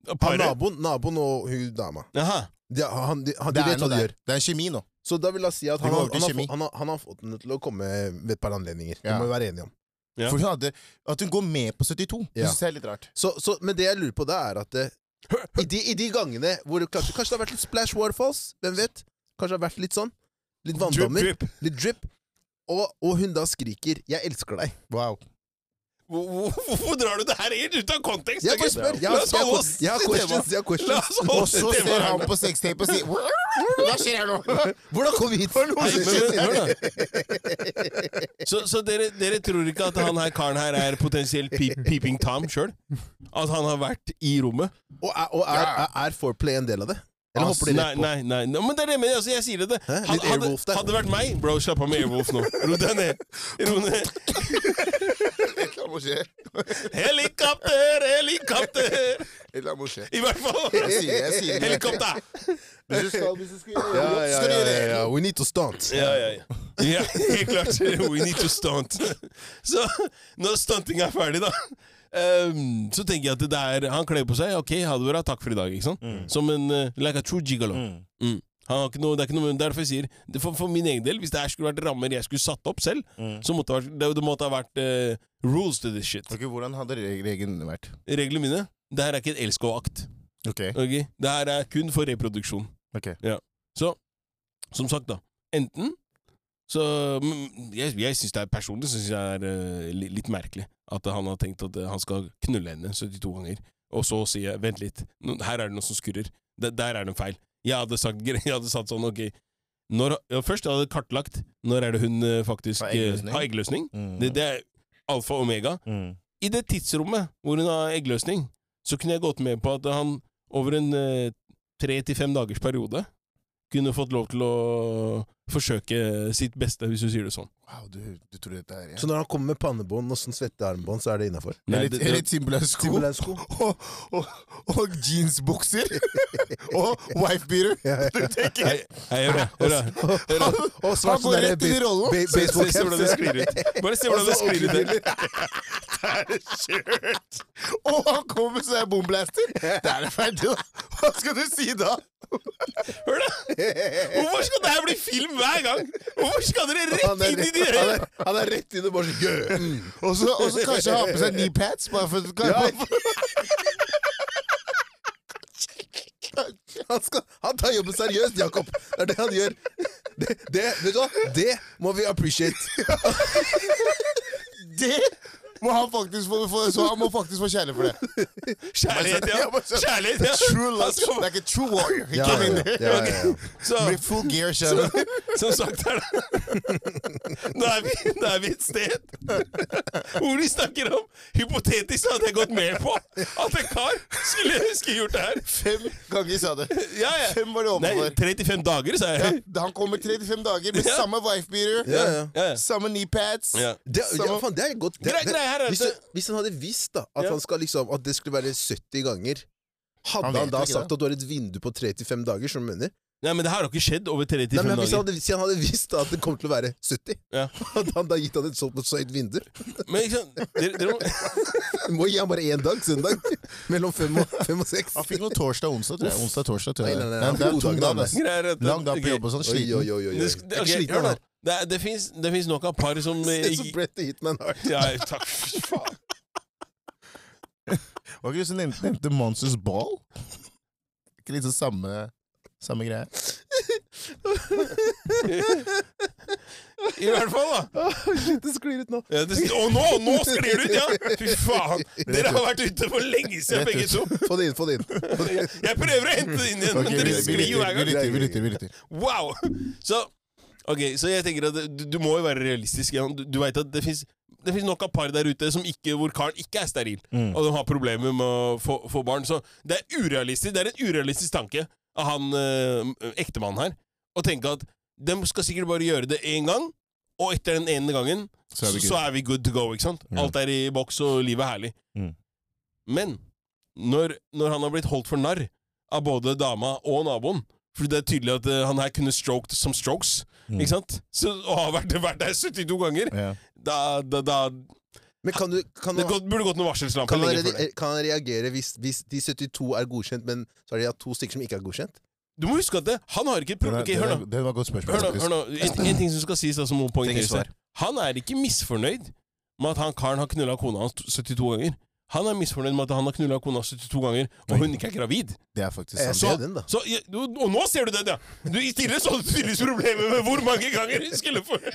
Speaker 2: Han,
Speaker 1: Paret?
Speaker 2: naboen, naboen og hun dama.
Speaker 1: Jaha.
Speaker 2: De, han, de, han,
Speaker 3: det
Speaker 2: de
Speaker 3: er
Speaker 2: vet hva de
Speaker 3: noe der.
Speaker 2: gjør.
Speaker 3: Det er kjemi nå.
Speaker 2: Så da vil jeg si at
Speaker 3: Det
Speaker 2: han,
Speaker 3: går
Speaker 2: har-
Speaker 3: over
Speaker 2: han,
Speaker 3: til
Speaker 2: har,
Speaker 3: kjemi.
Speaker 2: fått- han, har, han har fått henne til å komme ved et par anledninger. Det
Speaker 3: Ja.
Speaker 2: må vi være enige om.
Speaker 1: Ja.
Speaker 3: For hun hadde, At hun går med på 72, det
Speaker 2: Ja.
Speaker 3: synes jeg er litt rart.
Speaker 2: Så, så, men det jeg lurer på, da er at eh, i de, i de gangene hvor kanskje, kanskje det har vært litt splash waterfalls, hvem vet? Kanskje det har vært litt sånn? Litt vanndammer,
Speaker 1: Drip, drip.
Speaker 2: litt drip. Og, og hun da skriker 'jeg elsker deg'.
Speaker 3: Wow.
Speaker 1: Hvor- hvor- Hvorfor drar du det her helt ut av kontekst?
Speaker 2: Jeg
Speaker 1: Jørgen?
Speaker 2: bare spør. Jeg
Speaker 1: La
Speaker 2: har,
Speaker 1: oss
Speaker 2: jeg
Speaker 1: holde
Speaker 2: har,
Speaker 1: oss
Speaker 2: jeg har
Speaker 1: til
Speaker 2: questions.
Speaker 1: temaet.
Speaker 2: Jeg har
Speaker 1: La oss
Speaker 2: questions.
Speaker 1: holde
Speaker 3: Og
Speaker 1: oss
Speaker 3: så
Speaker 1: til
Speaker 3: ser han
Speaker 1: temaet.
Speaker 3: på sextape og sier Hva skjer her nå?
Speaker 2: Hvordan kom vi hit?
Speaker 1: Nei, men- men hør da. Så, så dere, dere tror ikke at han her karen her er potensielt peep, Peeping Tom sjøl? At han har vært i rommet?
Speaker 2: Og, er, og er, er, er foreplay en del av det? Eller
Speaker 1: Ass,
Speaker 2: hopper de rett på?
Speaker 1: Nei, nei, nei, nei. Men det er det jeg mener. Altså, jeg sier det.
Speaker 2: Hæ? Litt
Speaker 1: hadde,
Speaker 2: Airwolf der.
Speaker 1: hadde det vært meg Bro, slapp av med Airwolf nå. Ro deg ned. Ro ned.
Speaker 3: La meg se.
Speaker 1: Helikopter, helikopter!
Speaker 3: La meg se.
Speaker 1: I hvert fall.
Speaker 3: Jeg sier jeg sier det.
Speaker 1: Helikopter!
Speaker 3: Hvis du skal, hvis du skal gjøre
Speaker 2: Ja,
Speaker 3: jobb, så
Speaker 2: ja,
Speaker 3: skal du
Speaker 2: ja,
Speaker 3: gjøre
Speaker 2: ja,
Speaker 3: det.
Speaker 2: ja. We need to stunt.
Speaker 1: Ja, ja, ja. ja helt klart. We need to stunt. Så når stuntinga er ferdig, da ehm, så tenker jeg at det er Han kler på seg. Ok, ha det bra. Takk for i dag. ikke sant? Som en eh, like a true gigolo. Mm. Han har ikke noe, det er ikke noe Derfor jeg sier det for, for min egen del, hvis det her skulle vært rammer jeg skulle satt opp selv, så måtte det, vært, det, det måtte ha vært eh, rules to this shit.
Speaker 3: Ok, Hvordan hadde reglene vært?
Speaker 1: Reglene mine Det her er ikke et elskov-akt.
Speaker 3: Ok,
Speaker 1: ok? Det her er kun for reproduksjon.
Speaker 3: ok
Speaker 1: Så, som sagt, da. Enten så men Jeg, jeg synes det er personlig så synes jeg det er eh, li- litt merkelig at han har tenkt at eh, han skal knulle henne 72 ganger, og så sier jeg 'vent litt, nå- her er det noe som skurrer'. Der, der er det en feil. Jeg hadde sagt, gre- jeg hadde sagt sånn, ok når, ja, Først jeg hadde kartlagt når er det hun eh, faktisk
Speaker 3: Har
Speaker 1: eh,
Speaker 3: eggløsning? Mm.
Speaker 1: har eggløsning. Det, det er alfa og omega. I det tidsrommet hvor hun har eggløsning, så kunne jeg gått med på at han over en eh, tre til fem dagers periode kunne fått lov til å forsøke sitt beste, hvis du sier det sånn.
Speaker 3: Wow, du, du tror dette er
Speaker 2: Så når han kommer med pannebånd og sånn svettearmbånd, så er det innafor?
Speaker 1: Nei,
Speaker 3: Litt,
Speaker 1: det, det,
Speaker 3: litt simple sko
Speaker 2: Timberland-sko?
Speaker 3: og, og, og jeansbukser og wifebeater.
Speaker 2: Ja, ja.
Speaker 3: Du tenker
Speaker 1: nei, nei, hør da, hør da.
Speaker 2: Og svart
Speaker 3: Han går
Speaker 2: sånn derre
Speaker 3: rett inn i
Speaker 2: base-
Speaker 3: rollen.
Speaker 2: ba-
Speaker 1: Se se- se
Speaker 2: baseballcap.
Speaker 1: hvordan det sklir ut. Bare se hvordan det sklir ut. der.
Speaker 3: Kjørt! Og han kommer som en bomblaster! Da er det ferdig, da! Hva skal du si da?
Speaker 1: Hør da! Hvorfor skal det her bli film hver gang? Hvorfor skal dere
Speaker 2: Han er,
Speaker 1: rett inn i de
Speaker 2: han, er, han er rett inn og bare sånn yeah. mm.
Speaker 3: Og så og så kanskje ha på seg knee pads? Bare for,
Speaker 2: han, skal, han tar jobben seriøst, Jakob. Det er det han gjør. Det, det, vet du hva? det må vi appreciate.
Speaker 3: Det må han faktisk få, få, så han må faktisk få kjærlighet for det.
Speaker 1: Kjærlighet, ja! Kjærlighet, ja!
Speaker 3: True
Speaker 1: Han
Speaker 3: love.
Speaker 1: skal-
Speaker 3: Like a true warrior. He
Speaker 2: Ja,
Speaker 3: came in
Speaker 2: ja,
Speaker 3: there.
Speaker 2: ja, ja, ja.
Speaker 1: Så,
Speaker 3: Med full gear, skjønner du.
Speaker 1: som sagt er det Nå er vi, nå er vi et sted hvor de snakker om Hypotetisk hadde jeg gått med på at en kar skulle, skulle gjort det her.
Speaker 3: Fem ganger sa det.
Speaker 1: Ja, ja.
Speaker 3: Fem var det
Speaker 1: Nei,
Speaker 3: overfor.
Speaker 1: 35 dager, sa jeg.
Speaker 3: Ja, Han kommer 35 dager med
Speaker 1: Ja.
Speaker 3: samme wifebeater,
Speaker 2: Ja, ja.
Speaker 1: Ja, ja.
Speaker 3: samme knee pads.
Speaker 1: Ja.
Speaker 2: Det, ja, faen, det er godt. Det,
Speaker 1: Grei-
Speaker 2: det,
Speaker 1: grei her er at
Speaker 2: hvis,
Speaker 1: det-
Speaker 2: han- hvis han hadde visst da at,
Speaker 1: Ja.
Speaker 2: han skal, liksom, at det skulle være 70 ganger hadde
Speaker 3: Han
Speaker 2: han,
Speaker 3: vet
Speaker 2: da
Speaker 3: ikke det.
Speaker 2: sagt at du har et vindu på 3-5 dager? som du mener?
Speaker 1: Nei, men det her har ikke skjedd over 35
Speaker 2: Nei, men hvis han,
Speaker 1: dager.
Speaker 2: hadde, hvis han hadde visst da at det kom til å være 70,
Speaker 1: Ja.
Speaker 2: hadde han da gitt han et sånt så høyt vindu?
Speaker 1: Men ikke sant, dere, dere må
Speaker 2: Du må gi han bare én dag, søndag. Mellom fem og, fem og seks.
Speaker 3: Han fikk noe torsdag og onsdag, tror jeg. Onsdag, torsdag, tror
Speaker 2: Nei,
Speaker 3: jeg.
Speaker 2: nei, nei,
Speaker 3: Nei,
Speaker 2: han
Speaker 3: det
Speaker 2: fikk
Speaker 3: er
Speaker 2: to
Speaker 3: tung
Speaker 2: dager,
Speaker 3: dag, ass.
Speaker 1: Greier at-
Speaker 3: Lang dag på
Speaker 1: Ok.
Speaker 3: jobb og sånn,
Speaker 2: Oi, oi,
Speaker 3: sliten.
Speaker 2: oi, oi.
Speaker 1: Det,
Speaker 2: oi.
Speaker 1: sk- det,
Speaker 2: Jeg er
Speaker 1: ok,
Speaker 2: sliten
Speaker 1: hør nå.
Speaker 2: av det.
Speaker 1: det, er- det fins det finnes nok av par som eh,
Speaker 2: Se så
Speaker 1: ikke-
Speaker 2: bredt det hit, men hardt.
Speaker 1: ja, Takk. Faen.
Speaker 3: Var ikke det som nevnte, nevnte Monsters Ball? Ikke litt sånn samme, samme greie?
Speaker 1: I hvert fall, da.
Speaker 2: Det sklir ut nå.
Speaker 1: Ja, det, sk- og nå, nå sklir det ut, ja! Fy faen. Dere har vært ute for lenge siden, begge to.
Speaker 2: Få det inn, få det inn.
Speaker 1: Jeg prøver å hente det inn igjen,
Speaker 3: Ok,
Speaker 1: men
Speaker 3: vi,
Speaker 1: dere
Speaker 3: vi,
Speaker 1: sklir jo hver
Speaker 3: lytter, vi
Speaker 1: gang.
Speaker 3: lytter, vi lytter. Vi lytter.
Speaker 1: Wow! Så ok, så jeg tenker at du, du må jo være realistisk. Jan. Du, du vet at det fins det finnes nok av par der ute som ikke, hvor karen ikke er steril,
Speaker 3: Mm,
Speaker 1: og de har problemer med å få, få barn. Så det er urealistisk, det er en urealistisk tanke av han eh, ektemannen her å tenke at de skal sikkert bare gjøre det én gang, og etter den ene gangen så er vi good, to go. ikke sant?
Speaker 3: Ja.
Speaker 1: Alt er i boks, og livet er herlig.
Speaker 3: Mm.
Speaker 1: Men når, når han har blitt holdt for narr av både dama og naboen For det er tydelig at eh, han her kunne stroked som strokes,
Speaker 3: Mm.
Speaker 1: ikke sant? Så, og har vært, vært der 72 ganger.
Speaker 3: Ja.
Speaker 1: Da, da, da
Speaker 2: Men kan du kan
Speaker 1: Det
Speaker 2: han-
Speaker 1: gått- burde gått noen varsellamper
Speaker 2: Kan han,
Speaker 1: lenge før det.
Speaker 2: reagere, kan han reagere hvis, hvis de 72 er godkjent, men så har de hatt to stykker som ikke er godkjent?
Speaker 1: Du må huske at det, han har ikke et
Speaker 3: Det,
Speaker 1: problem. Ok,
Speaker 3: det,
Speaker 1: hør nå.
Speaker 3: det, det var et godt spørsmål.
Speaker 1: Hør nå,
Speaker 3: faktisk.
Speaker 1: hør nå. En, en ting som skal sies, da, som må poengteres
Speaker 2: svar.
Speaker 1: her. Han er ikke misfornøyd med at han karen har knulla kona hans 72 ganger. Han er misfornøyd med at han har knulla kona 72 ganger, og hun ikke er gravid.
Speaker 3: Det er faktisk
Speaker 2: Jeg
Speaker 3: sant.
Speaker 2: ser den, da.
Speaker 1: Så, ja, du- og nå ser du den, ja! Du, I tidligere så hadde du tydeligvis problemer med hvor mange ganger hun skulle få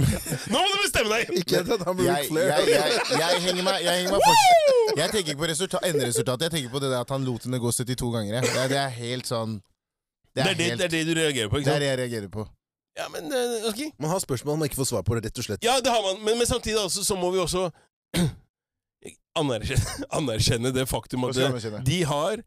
Speaker 1: Nå må du bestemme deg!
Speaker 2: Ikke at han blir Ric
Speaker 3: jeg, jeg,
Speaker 2: Flair.
Speaker 3: jeg, jeg henger meg, jeg henger meg fortsatt. Jeg tenker ikke på resulta enderesultatet, jeg tenker på det der at han lot henne gå 72 ganger. jeg. Det, er- det er helt sånn Det
Speaker 1: Det
Speaker 3: er,
Speaker 1: er det,
Speaker 3: helt,
Speaker 1: det er det du reagerer på,
Speaker 3: det
Speaker 1: ikke
Speaker 3: er
Speaker 1: sant?
Speaker 3: det jeg reagerer på.
Speaker 1: Ja, men eh, ok.
Speaker 2: Man har spørsmål man ikke får svar på, rett og slett.
Speaker 1: Ja, det har man, men, men samtidig altså, så må vi også anerkjenne, anerkjenne det faktum
Speaker 3: Hva
Speaker 1: at
Speaker 3: skal
Speaker 1: det,
Speaker 3: man kjenne?
Speaker 1: de har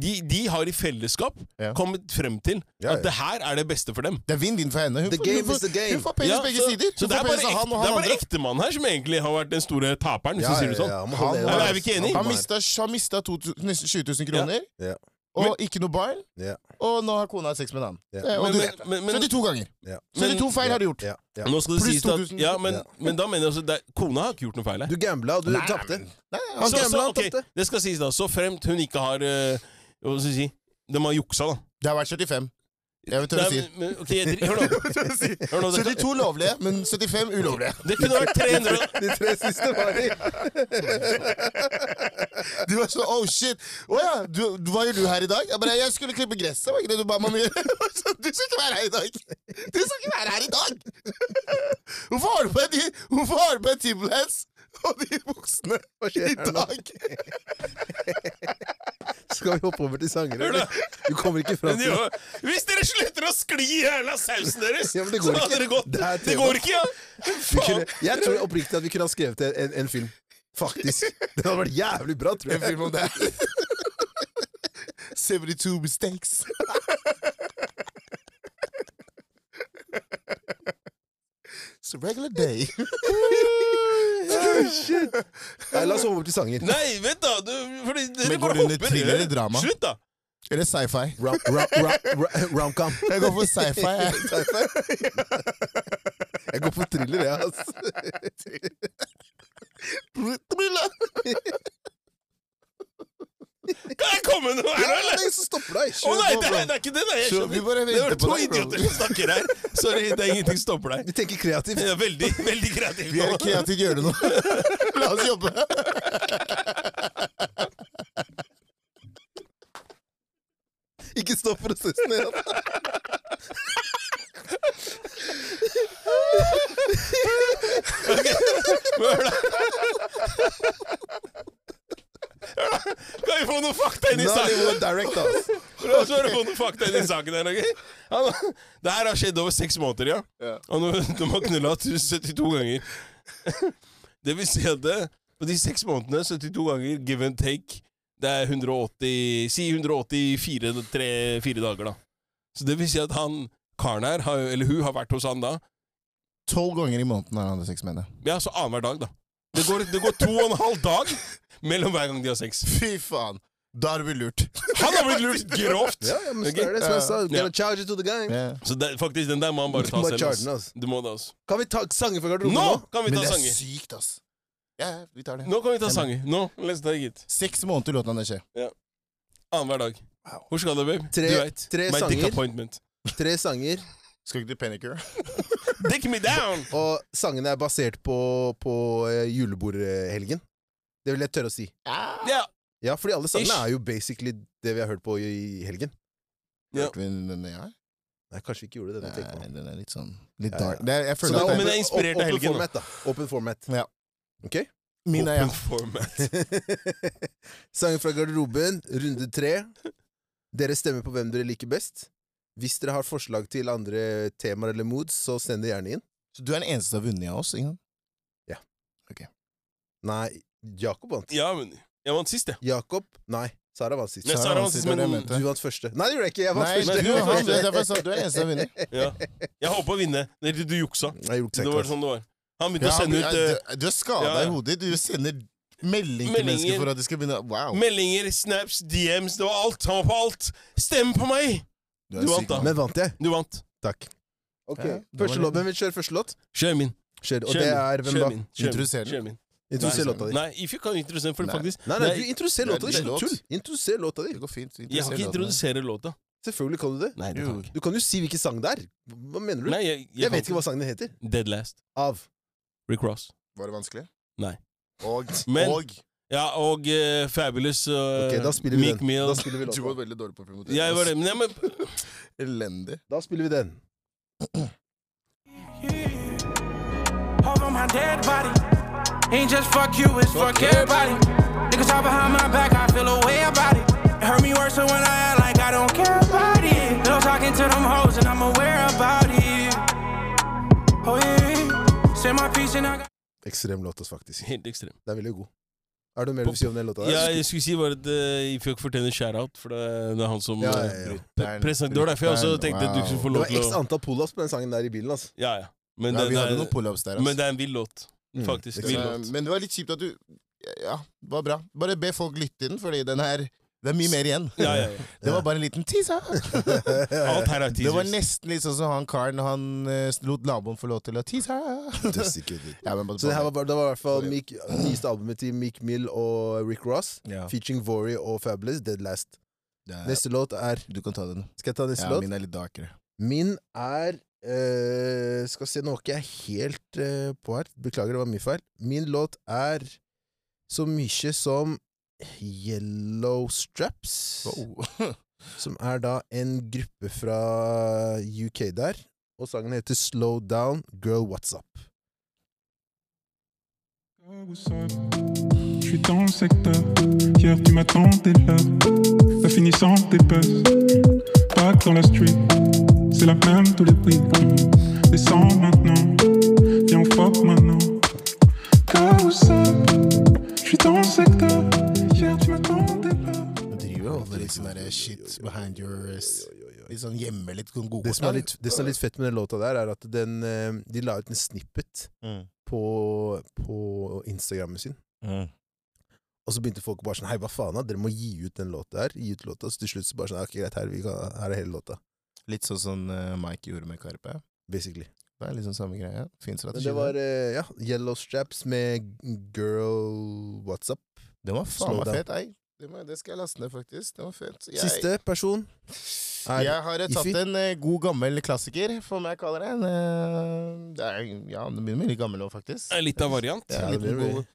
Speaker 1: de, de har i fellesskap
Speaker 3: Ja.
Speaker 1: kommet frem til
Speaker 2: Ja,
Speaker 1: at det her er det beste for dem.
Speaker 3: Det er vinn-vinn for henne. Hun
Speaker 2: The
Speaker 3: får-
Speaker 2: game
Speaker 3: hun får-
Speaker 2: is the game.
Speaker 3: Hun får penger
Speaker 1: Ja,
Speaker 3: begge
Speaker 1: så,
Speaker 3: sider.
Speaker 1: så
Speaker 3: Hun
Speaker 1: det
Speaker 3: får
Speaker 1: er bare,
Speaker 3: penger av han
Speaker 1: ekte, det
Speaker 3: og han
Speaker 1: er bare
Speaker 3: andre.
Speaker 1: ektemannen her som egentlig har vært den store taperen, hvis
Speaker 2: Ja,
Speaker 1: du sier det sånn.
Speaker 2: ja, man
Speaker 3: Han-
Speaker 2: holder-
Speaker 1: Nei, er vi ikke enige?
Speaker 3: Han mista, han mista to tu- nesten 20 000 kroner.
Speaker 2: Ja.
Speaker 3: Og ikke noe barn.
Speaker 2: Ja.
Speaker 3: Og nå har kona sex med en annen.
Speaker 2: Ja.
Speaker 3: Eh, Og
Speaker 1: Men-
Speaker 3: du
Speaker 1: men-
Speaker 3: vet det.
Speaker 1: men- men-
Speaker 3: 72 ganger.
Speaker 2: Ja.
Speaker 3: 72 feil har du gjort.
Speaker 2: Ja, ja.
Speaker 1: Nå skal det
Speaker 3: Pluss
Speaker 1: sies at
Speaker 3: 2000.
Speaker 1: ja, men,
Speaker 2: Ja.
Speaker 1: men da mener jeg også det er- Kona har ikke gjort noe feil her.
Speaker 2: Du gambla, og du tapte.
Speaker 3: Nei,
Speaker 2: Han
Speaker 1: Så, så,
Speaker 2: gambla, han
Speaker 1: ok,
Speaker 2: tapte.
Speaker 1: det skal sies, da. Så fremt hun ikke har eh, Hva skal jeg si De har juksa, da.
Speaker 3: Det har vært 75. Jeg vil tørre å si.
Speaker 1: Nei, men, ok, jeg, dri- hør nå. Hør nå det,
Speaker 3: 72 lovlige, men 75 ulovlige.
Speaker 1: det kunne vært 300
Speaker 2: De tre siste var de.
Speaker 3: Du var sånn oh shit. Å ja, du, du, hva gjør du her i dag? Jeg bare, jeg skulle klippe gresset, var ikke det du ba meg om å gjøre? Jeg var sånn, Du skal ikke være her i dag! Du skal ikke være her i dag! Hvorfor har du på deg de- hvorfor har du på deg Timberlands og de buksene
Speaker 2: Hva skjer
Speaker 3: i
Speaker 2: her nå?
Speaker 3: dag?
Speaker 2: Skal vi hoppe over til sanger,
Speaker 1: Hør
Speaker 2: eller?
Speaker 1: da.
Speaker 2: Du kommer ikke fram
Speaker 1: Men
Speaker 2: til
Speaker 1: jo, Hvis dere slutter å skli i hele sausen deres,
Speaker 2: Ja, men det går
Speaker 1: så hadde
Speaker 2: ikke.
Speaker 1: det gått.
Speaker 2: Det
Speaker 1: Det,
Speaker 2: er tema.
Speaker 1: går ikke, ja!
Speaker 2: Vi kunne,
Speaker 1: Faen.
Speaker 2: Jeg tror oppriktig at vi kunne ha skrevet en, en, en film. Faktisk. Den hadde vært jævlig bra, tror
Speaker 3: En
Speaker 2: jeg.
Speaker 3: film om det. 72 mistakes. It's a regular day.
Speaker 2: Nei, la oss hoppe over til sanger.
Speaker 1: Nei, vent, da! Du, fordi dere
Speaker 3: Men går
Speaker 1: bare
Speaker 3: det under
Speaker 1: hopper.
Speaker 3: thriller eller drama?
Speaker 1: Slutt, da!
Speaker 3: Eller sci-fi.
Speaker 2: Rom- rom- rom- rom- Romcom.
Speaker 3: Jeg går for sci-fi. jeg.
Speaker 2: Jeg går for thriller, jeg, ass.
Speaker 1: Kan jeg komme noe her,
Speaker 2: Ja,
Speaker 1: nå,
Speaker 2: det
Speaker 1: eller?
Speaker 2: er ingen som stopper deg.
Speaker 1: Å
Speaker 2: Kjør
Speaker 1: nei,
Speaker 2: på,
Speaker 1: det
Speaker 2: bro.
Speaker 1: er, det er ikke det! Nei, jeg
Speaker 3: Så
Speaker 1: skjønner.
Speaker 3: vi bare
Speaker 1: det var
Speaker 3: venter på
Speaker 1: to
Speaker 3: deg, bro.
Speaker 1: idioter som snakker her. Sorry, det er ingenting som stopper deg.
Speaker 2: Vi tenker kreativt.
Speaker 1: Jeg er veldig, veldig kreativ.
Speaker 3: Vi er
Speaker 1: nå.
Speaker 3: et kreativt hjørne nå. La oss jobbe.
Speaker 2: Ikke stopp prosessen igjen.
Speaker 1: Hør da. Hør da. Kan vi få noen fakta inn i
Speaker 2: Not
Speaker 1: saken?
Speaker 2: even direct, ass.
Speaker 1: La oss bare få noen fakta inn i saken her, ok? Han- Det her har skjedd over seks måneder, ja.
Speaker 3: Ja.
Speaker 1: Og nå de har knulla 72 ganger. Det vil si at det, på de seks månedene, 72 ganger, give and take Det er 180 Si 184 tre- fire dager, da. Så det vil si at han karen her, har, eller hun, har vært hos han da.
Speaker 3: Tolv ganger i måneden har han sex med det.
Speaker 1: Ja, så annenhver dag, da. Det går, det går to og en halv dag mellom hver gang de har sex.
Speaker 3: Fy faen. Da har vi lurt.
Speaker 1: Han har blitt lurt grovt!
Speaker 2: Ja, ja, men så er det som jeg sa. Gotta charge it to the gang.
Speaker 3: Ja.
Speaker 1: Så det, faktisk, den der må han bare
Speaker 2: Du
Speaker 1: ta
Speaker 2: må
Speaker 1: selv.
Speaker 2: charge
Speaker 1: ass.
Speaker 2: den, ass.
Speaker 1: Du må det, altså.
Speaker 2: Kan vi ta sanger fra garderoben
Speaker 1: Nå
Speaker 2: nå?
Speaker 1: kan vi
Speaker 3: Men
Speaker 1: ta
Speaker 3: det er
Speaker 1: sanger!
Speaker 3: sykt, ass. Ja, ja, vi tar det.
Speaker 1: Nå kan vi ta sanger. Nå, les deg, gitt.
Speaker 3: Seks måneder lot han det skje.
Speaker 1: Annenhver dag.
Speaker 2: Wow.
Speaker 1: Hvor skal du, babe?
Speaker 2: Tre-
Speaker 1: du veit.
Speaker 2: tre
Speaker 1: My dick
Speaker 2: sanger.
Speaker 1: appointment.
Speaker 2: Tre sanger,
Speaker 3: Skal ikke du panicke?
Speaker 1: Dick me down!
Speaker 2: og sangene er basert på, på eh, julebordhelgen. Det vil jeg tørre å si.
Speaker 1: Ja.
Speaker 2: Ja, fordi alle sangene
Speaker 1: Ish.
Speaker 2: er jo basically det vi har hørt på i i helgen.
Speaker 1: Ja.
Speaker 3: Hørte vi den- den her?
Speaker 2: Nei, kanskje vi ikke gjorde det. den tenker
Speaker 3: Nei,
Speaker 2: jeg på.
Speaker 3: den er litt sånn Litt
Speaker 2: Ja, ja.
Speaker 3: dark. Det er, jeg
Speaker 2: Så
Speaker 3: føler
Speaker 1: da-
Speaker 3: at
Speaker 1: men
Speaker 3: det
Speaker 1: det er inspirert av
Speaker 2: open
Speaker 1: helgen, da.
Speaker 2: Format, da. Open format.
Speaker 3: Ja.
Speaker 2: Ok?
Speaker 3: er min er
Speaker 1: Open
Speaker 3: jeg.
Speaker 1: format.
Speaker 2: Sanger fra garderoben, runde tre. Dere stemmer på hvem dere liker best. Hvis dere har forslag til andre temaer eller moods, så send det gjerne inn.
Speaker 3: Så du er den eneste som har vunnet av oss? Ingen?
Speaker 2: Nei, Jakob vant.
Speaker 1: Ja, men Jeg vant sist, jeg.
Speaker 2: Jakob? Nei. Sara vant sist.
Speaker 1: Nei,
Speaker 3: Sara
Speaker 1: Sara
Speaker 3: vant
Speaker 1: vant
Speaker 3: sist,
Speaker 1: sist,
Speaker 3: det var
Speaker 1: men
Speaker 3: det jeg mente.
Speaker 2: Du vant første. Nei, det gjorde jeg ikke. Jeg vant
Speaker 3: Nei, du,
Speaker 2: første.
Speaker 1: du
Speaker 3: han, det er derfor jeg sa du er den eneste som vinner.
Speaker 1: ja. Jeg håpa å vinne. Det er du- Du juksa.
Speaker 2: Nei, jeg gjorde ikke
Speaker 1: Det var
Speaker 2: sant.
Speaker 1: sånn det var. Han begynte å sende ut eh,
Speaker 3: du, du er skada
Speaker 1: ja, ja.
Speaker 3: i hodet. Du sender melding til
Speaker 1: Meldinger.
Speaker 3: mennesker for at de skal begynne Wow.
Speaker 1: meldinger, snaps, DMs, det var alt. Han var på alt. Stem på meg!
Speaker 3: er
Speaker 1: du
Speaker 3: syk,
Speaker 1: vant, da.
Speaker 3: mann.
Speaker 2: Men vant jeg.
Speaker 1: Du vant.
Speaker 2: Takk. Ok,
Speaker 3: Ja, det
Speaker 2: første
Speaker 3: var
Speaker 2: låt. Hvem vil kjøre første låt?
Speaker 1: Kjør min.
Speaker 2: Kjør. Og
Speaker 1: Kjør
Speaker 2: det
Speaker 1: min.
Speaker 2: er hvem
Speaker 1: Kjør
Speaker 2: da?
Speaker 1: min. Kjør min.
Speaker 3: Introduser den.
Speaker 1: Kjør min.
Speaker 2: Introduser
Speaker 1: Nei,
Speaker 2: låta di.
Speaker 1: Nei, if you kan introdusere den, for
Speaker 3: Nei.
Speaker 1: faktisk
Speaker 2: Nei, nei,
Speaker 1: Nei,
Speaker 2: du introduserer
Speaker 3: det er
Speaker 2: låta di.
Speaker 3: din
Speaker 2: Slutt
Speaker 3: låt.
Speaker 2: tull. Introduser låta di.
Speaker 3: Det går fint.
Speaker 1: Jeg har ikke introdusere låta.
Speaker 2: Selvfølgelig kan du det.
Speaker 1: Nei,
Speaker 3: det kan jeg
Speaker 2: Du kan jo si hvilken sang det er. Hva mener du?
Speaker 1: Nei, jeg, jeg,
Speaker 2: Jeg vet ikke hva sangen heter.
Speaker 1: Dead Last.
Speaker 2: Av.
Speaker 1: Rick Ross.
Speaker 3: Var det vanskelig?
Speaker 1: Nei.
Speaker 3: Og,
Speaker 1: Men-
Speaker 3: og
Speaker 1: Ja, og eh, Fabulous uh,
Speaker 2: Ok, da spiller vi
Speaker 1: Meek
Speaker 2: den.
Speaker 1: Mill.
Speaker 2: Da spiller vi
Speaker 3: Du var
Speaker 2: låta.
Speaker 3: veldig dårlig på å promotere.
Speaker 1: Jeg var det, men, jeg, men
Speaker 3: Elendig.
Speaker 2: Da spiller vi den.
Speaker 5: Over my dead body. Ain't just fuck you, it's fuck, everybody. Niggas talk behind my back, I feel a way about it. It hurt me worse than when I act like I don't care about it. Still talking to them hoes and I'm aware about it. Oh yeah, say my piece and I got.
Speaker 2: Ekstrem låt, ass, faktisk.
Speaker 1: helt ekstrem.
Speaker 2: Den er veldig god. Er det noe mer du vil si om den låta? der?
Speaker 1: Ja, jeg skulle si bare at eh, If You fortjener shout-out, for det, det er han som
Speaker 2: Ja, ja,
Speaker 1: eh,
Speaker 2: ja.
Speaker 1: pre- presenterte Det var derfor jeg også tenkte at du skulle få
Speaker 2: Det
Speaker 1: lov
Speaker 2: var
Speaker 1: til
Speaker 2: x
Speaker 1: å
Speaker 2: antall pull-ups på den sangen der i bilen. ass.
Speaker 1: Ja, ja. Men,
Speaker 3: Ja, vi hadde
Speaker 1: den
Speaker 3: noen
Speaker 1: er,
Speaker 3: pullups der.
Speaker 1: men
Speaker 3: Altså.
Speaker 1: det er en vill låt.
Speaker 2: Mm,
Speaker 1: Faktisk.
Speaker 2: det er
Speaker 1: Vill
Speaker 3: Så,
Speaker 1: låt.
Speaker 3: men det var litt kjipt at du Ja, det var bra. Bare be folk lytte til den, fordi den her Det er mye mer igjen.
Speaker 1: Ja, ja, ja.
Speaker 3: Det var bare en liten teaser.
Speaker 1: Alt her er
Speaker 3: Det var
Speaker 1: teasers.
Speaker 3: nesten litt sånn som han karen han eh, lot naboen få lov til å tease.
Speaker 2: Dødssykt kult.
Speaker 3: Ja, men bare-
Speaker 2: Så det her var, bare- det var i hvert fall Meek, nyeste albumet til Meek Mill og Rick Ross.
Speaker 3: Ja.
Speaker 2: Featuring Vory og Fabulous, Dead Last.
Speaker 3: Det er-
Speaker 2: Neste låt er
Speaker 3: Du kan ta den.
Speaker 2: Skal jeg ta neste
Speaker 3: Ja,
Speaker 2: låt?
Speaker 3: min er litt darkere.
Speaker 2: Min er eh, Skal se, nå er ikke jeg helt eh, på her. Beklager, det var mye feil. Min låt er så mye som Yellow Straps. oh. Som er da en gruppe fra UK der. Og sangen heter Slow Down Girl What's Up.
Speaker 6: Je suis dans le secteur. Hier, tu m'attendais là. La finissante épaisse. Pas dans la street. C'est la même tous les prix. Descends maintenant. Viens en fuck maintenant. Carousel. Je suis dans le secteur. Hier, tu m'attendais là.
Speaker 3: Driver og holder litt sånn der shit behind your ass.
Speaker 2: Oi, oi, oi,
Speaker 3: Litt sånn gjemme litt sånn gode
Speaker 2: Det som, er litt, det som er litt fett med den låta der, er at den, eh, de la ut en snippet
Speaker 3: Mm.
Speaker 2: på, på Instagrammen sin. Og så begynte folk bare sånn Hei, hva faen, da? Dere må gi ut den låta her. Gi ut låta. Så til slutt så bare sånn «Ja, Ok, greit, her, vi kan, her er hele låta.
Speaker 3: Litt sånn som eh, Mike gjorde med Karpe.
Speaker 2: Basically.
Speaker 3: Det er liksom samme greia. Fin
Speaker 2: Men
Speaker 3: strategi.
Speaker 2: det var eh, ja, Yellow Straps med Girl What's Up.
Speaker 3: den var faen
Speaker 2: Slow
Speaker 3: meg
Speaker 2: down.
Speaker 3: fet, ei. Det, må, det skal jeg laste ned, faktisk. Den var fet. Jeg,
Speaker 2: Siste person er
Speaker 3: jeg har eh, tatt
Speaker 2: Ify.
Speaker 3: en eh, god, gammel klassiker, får jeg kalle det. En, eh, det er, ja, den begynner å bli litt gammel nå, faktisk.
Speaker 1: Eh, Litt av variant.
Speaker 3: Ja,
Speaker 2: Ja, det
Speaker 3: liten
Speaker 2: blir-
Speaker 3: god-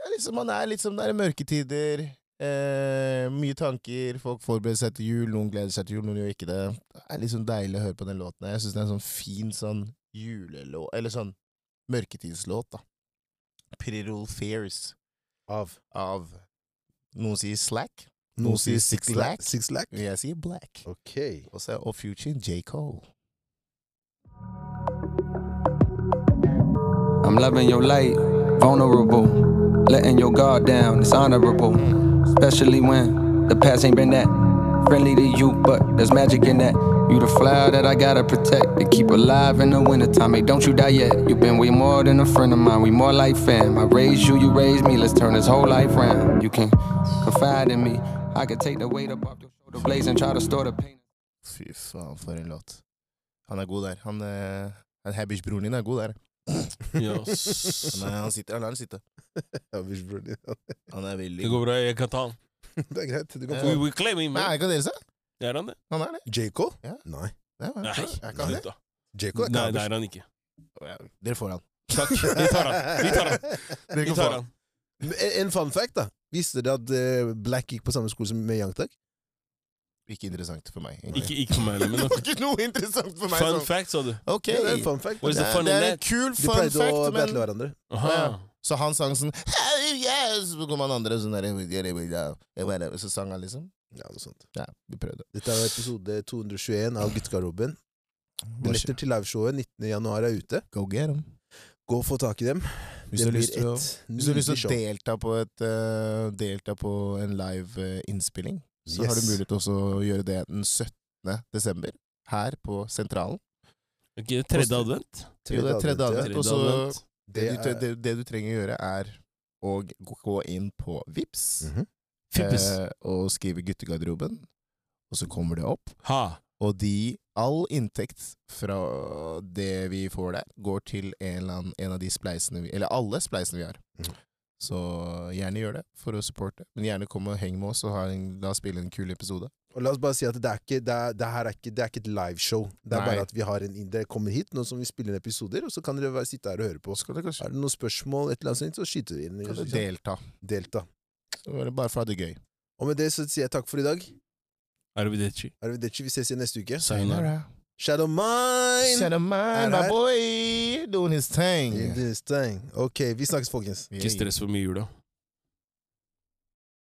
Speaker 3: ja, liksom, man er litt som det er i mørketider. Eh, mye tanker. Folk forbereder seg til jul. Noen gleder seg til jul, noen gjør ikke det. Det er liksom deilig å høre på den låten. her. Jeg syns det er en sånn fin sånn julelåt Eller sånn mørketidslåt, da. Pretty Little Fears
Speaker 2: av
Speaker 3: av Noen sier Slack, noen sier Six Lack.
Speaker 2: Six Lack.
Speaker 3: jeg sier Black.
Speaker 2: Ok.
Speaker 3: Og så er Og Future J. Cole.
Speaker 7: I'm loving your light, vulnerable. Letting your guard down, it's honorable. Especially when the past ain't been that friendly to you, but there's magic in that. You the flower that I gotta protect to keep alive in the wintertime. Hey, don't you die yet. You've been way more than a friend of mine, we more like fam. I raised you, you raised me, let's turn this whole life round. You can confide in me, I can take the weight up off your shoulder blades and try to store the pain.
Speaker 3: Fy faen, for en låt. Han er god der. Han, eh, han Habish-broren din er god der.
Speaker 1: Yes.
Speaker 3: Han, er, han sitter, han lar den sitte.
Speaker 2: Ja, hvis bror din-
Speaker 3: Han er veldig
Speaker 1: Det går bra, jeg kan ta han.
Speaker 2: det er greit. Du kan
Speaker 3: Ja.
Speaker 1: We
Speaker 2: få
Speaker 1: will claim him.
Speaker 3: Nei, er ikke han deres, da?
Speaker 1: Det er han, det.
Speaker 3: Han er det?
Speaker 2: J. Cole?
Speaker 3: Ja.
Speaker 2: Nei.
Speaker 3: Nei,
Speaker 1: Nei,
Speaker 3: er ikke han det?
Speaker 1: slutt da.
Speaker 2: J. Cole er
Speaker 1: Nei,
Speaker 2: ikke
Speaker 1: det er han ikke.
Speaker 3: Ja, Dere får han.
Speaker 1: Takk. Vi tar han. Vi tar han.
Speaker 3: Dere
Speaker 1: Vi
Speaker 3: kan
Speaker 1: tar
Speaker 3: få han.
Speaker 1: han.
Speaker 2: En- En fun fact, da. Visste dere at eh, Black gikk på samme skole som med Young Thug?
Speaker 3: Ikke interessant for meg. egentlig.
Speaker 1: Ikke, ikke for meg, men
Speaker 3: det
Speaker 1: nok.
Speaker 3: var ikke noe interessant for meg.
Speaker 1: Fun
Speaker 3: sånn.
Speaker 1: fact, sa du.
Speaker 3: Ok,
Speaker 2: Ja, det er en
Speaker 3: det,
Speaker 2: fun fact.
Speaker 1: What is the
Speaker 3: er-
Speaker 1: fun
Speaker 3: det
Speaker 1: in
Speaker 3: er en
Speaker 1: that?
Speaker 3: kul
Speaker 2: De
Speaker 3: fun
Speaker 2: pleide å
Speaker 3: fact, men
Speaker 2: battle hverandre.
Speaker 1: Aha.
Speaker 3: Så han sang sånn «Hey, yes! Så kom han andre og sånn der, «Yeah, yeah, yeah, yeah, yeah», Så sang han liksom.
Speaker 2: Ja, noe sånt.
Speaker 3: Ja, vi prøvde.
Speaker 2: Dette er jo episode 221
Speaker 3: Ah.
Speaker 2: av Guttegarderoben.
Speaker 3: Bare
Speaker 2: Billetter til liveshowet 19. januar er ute.
Speaker 3: Go get him.
Speaker 2: Gå og få tak i dem.
Speaker 3: Hvis du har lyst til å hvis du har lyst
Speaker 2: nydelig
Speaker 3: til å
Speaker 2: show.
Speaker 3: delta på, et, eh, delta på en live eh, innspilling, så har du
Speaker 2: Yes.
Speaker 3: mulighet til også å gjøre det den 17. desember, her på Sentralen.
Speaker 1: Ok, tredje advent.
Speaker 3: Jo, det er
Speaker 2: advent,
Speaker 3: tredje
Speaker 2: ja.
Speaker 3: advent,
Speaker 1: Tredje
Speaker 3: og så
Speaker 1: advent.
Speaker 3: det,
Speaker 2: Det
Speaker 3: du tre-
Speaker 2: er-
Speaker 3: det, det du trenger å gjøre, er å g- gå inn på Vips
Speaker 2: Mhm.
Speaker 1: Fippes.
Speaker 3: eh, og skrive 'Guttegarderoben', og så kommer det opp.
Speaker 1: Ha.
Speaker 3: Og de, all inntekt fra det vi får der, går til en, eller annen, en av de spleisene vi Eller alle spleisene vi har.
Speaker 2: Mhm.
Speaker 3: Så gjerne gjør det for å supporte. Men gjerne kom og heng med oss, og ha en, la oss spille en kul episode.
Speaker 2: Og la oss bare si at det, er ikke, det, er, det her er ikke, det er ikke et liveshow. Det er
Speaker 3: Nei.
Speaker 2: bare at vi har en inn- Dere kommer hit nå som vi spiller inn episoder, og så kan dere være, sitte her og høre på.
Speaker 3: Og så kan dere kanskje
Speaker 2: Er det noen spørsmål, et eller annet sånt, så skyter vi inn.
Speaker 3: kan dere
Speaker 2: ikke sant?
Speaker 3: delta.
Speaker 2: Delta.
Speaker 3: Så var det bare for å ha det gøy.
Speaker 2: Og med det så sier jeg takk for i dag.
Speaker 1: Arvideci.
Speaker 2: Arrivederci, vi ses igjen neste uke.
Speaker 1: Sayonara.
Speaker 2: Shadow Mine!
Speaker 3: Shout out mine, my
Speaker 2: her.
Speaker 3: boy, doing his thing.
Speaker 2: In this thing. Ok, vi snakkes, folkens.
Speaker 1: Ikke stress for mye i jula.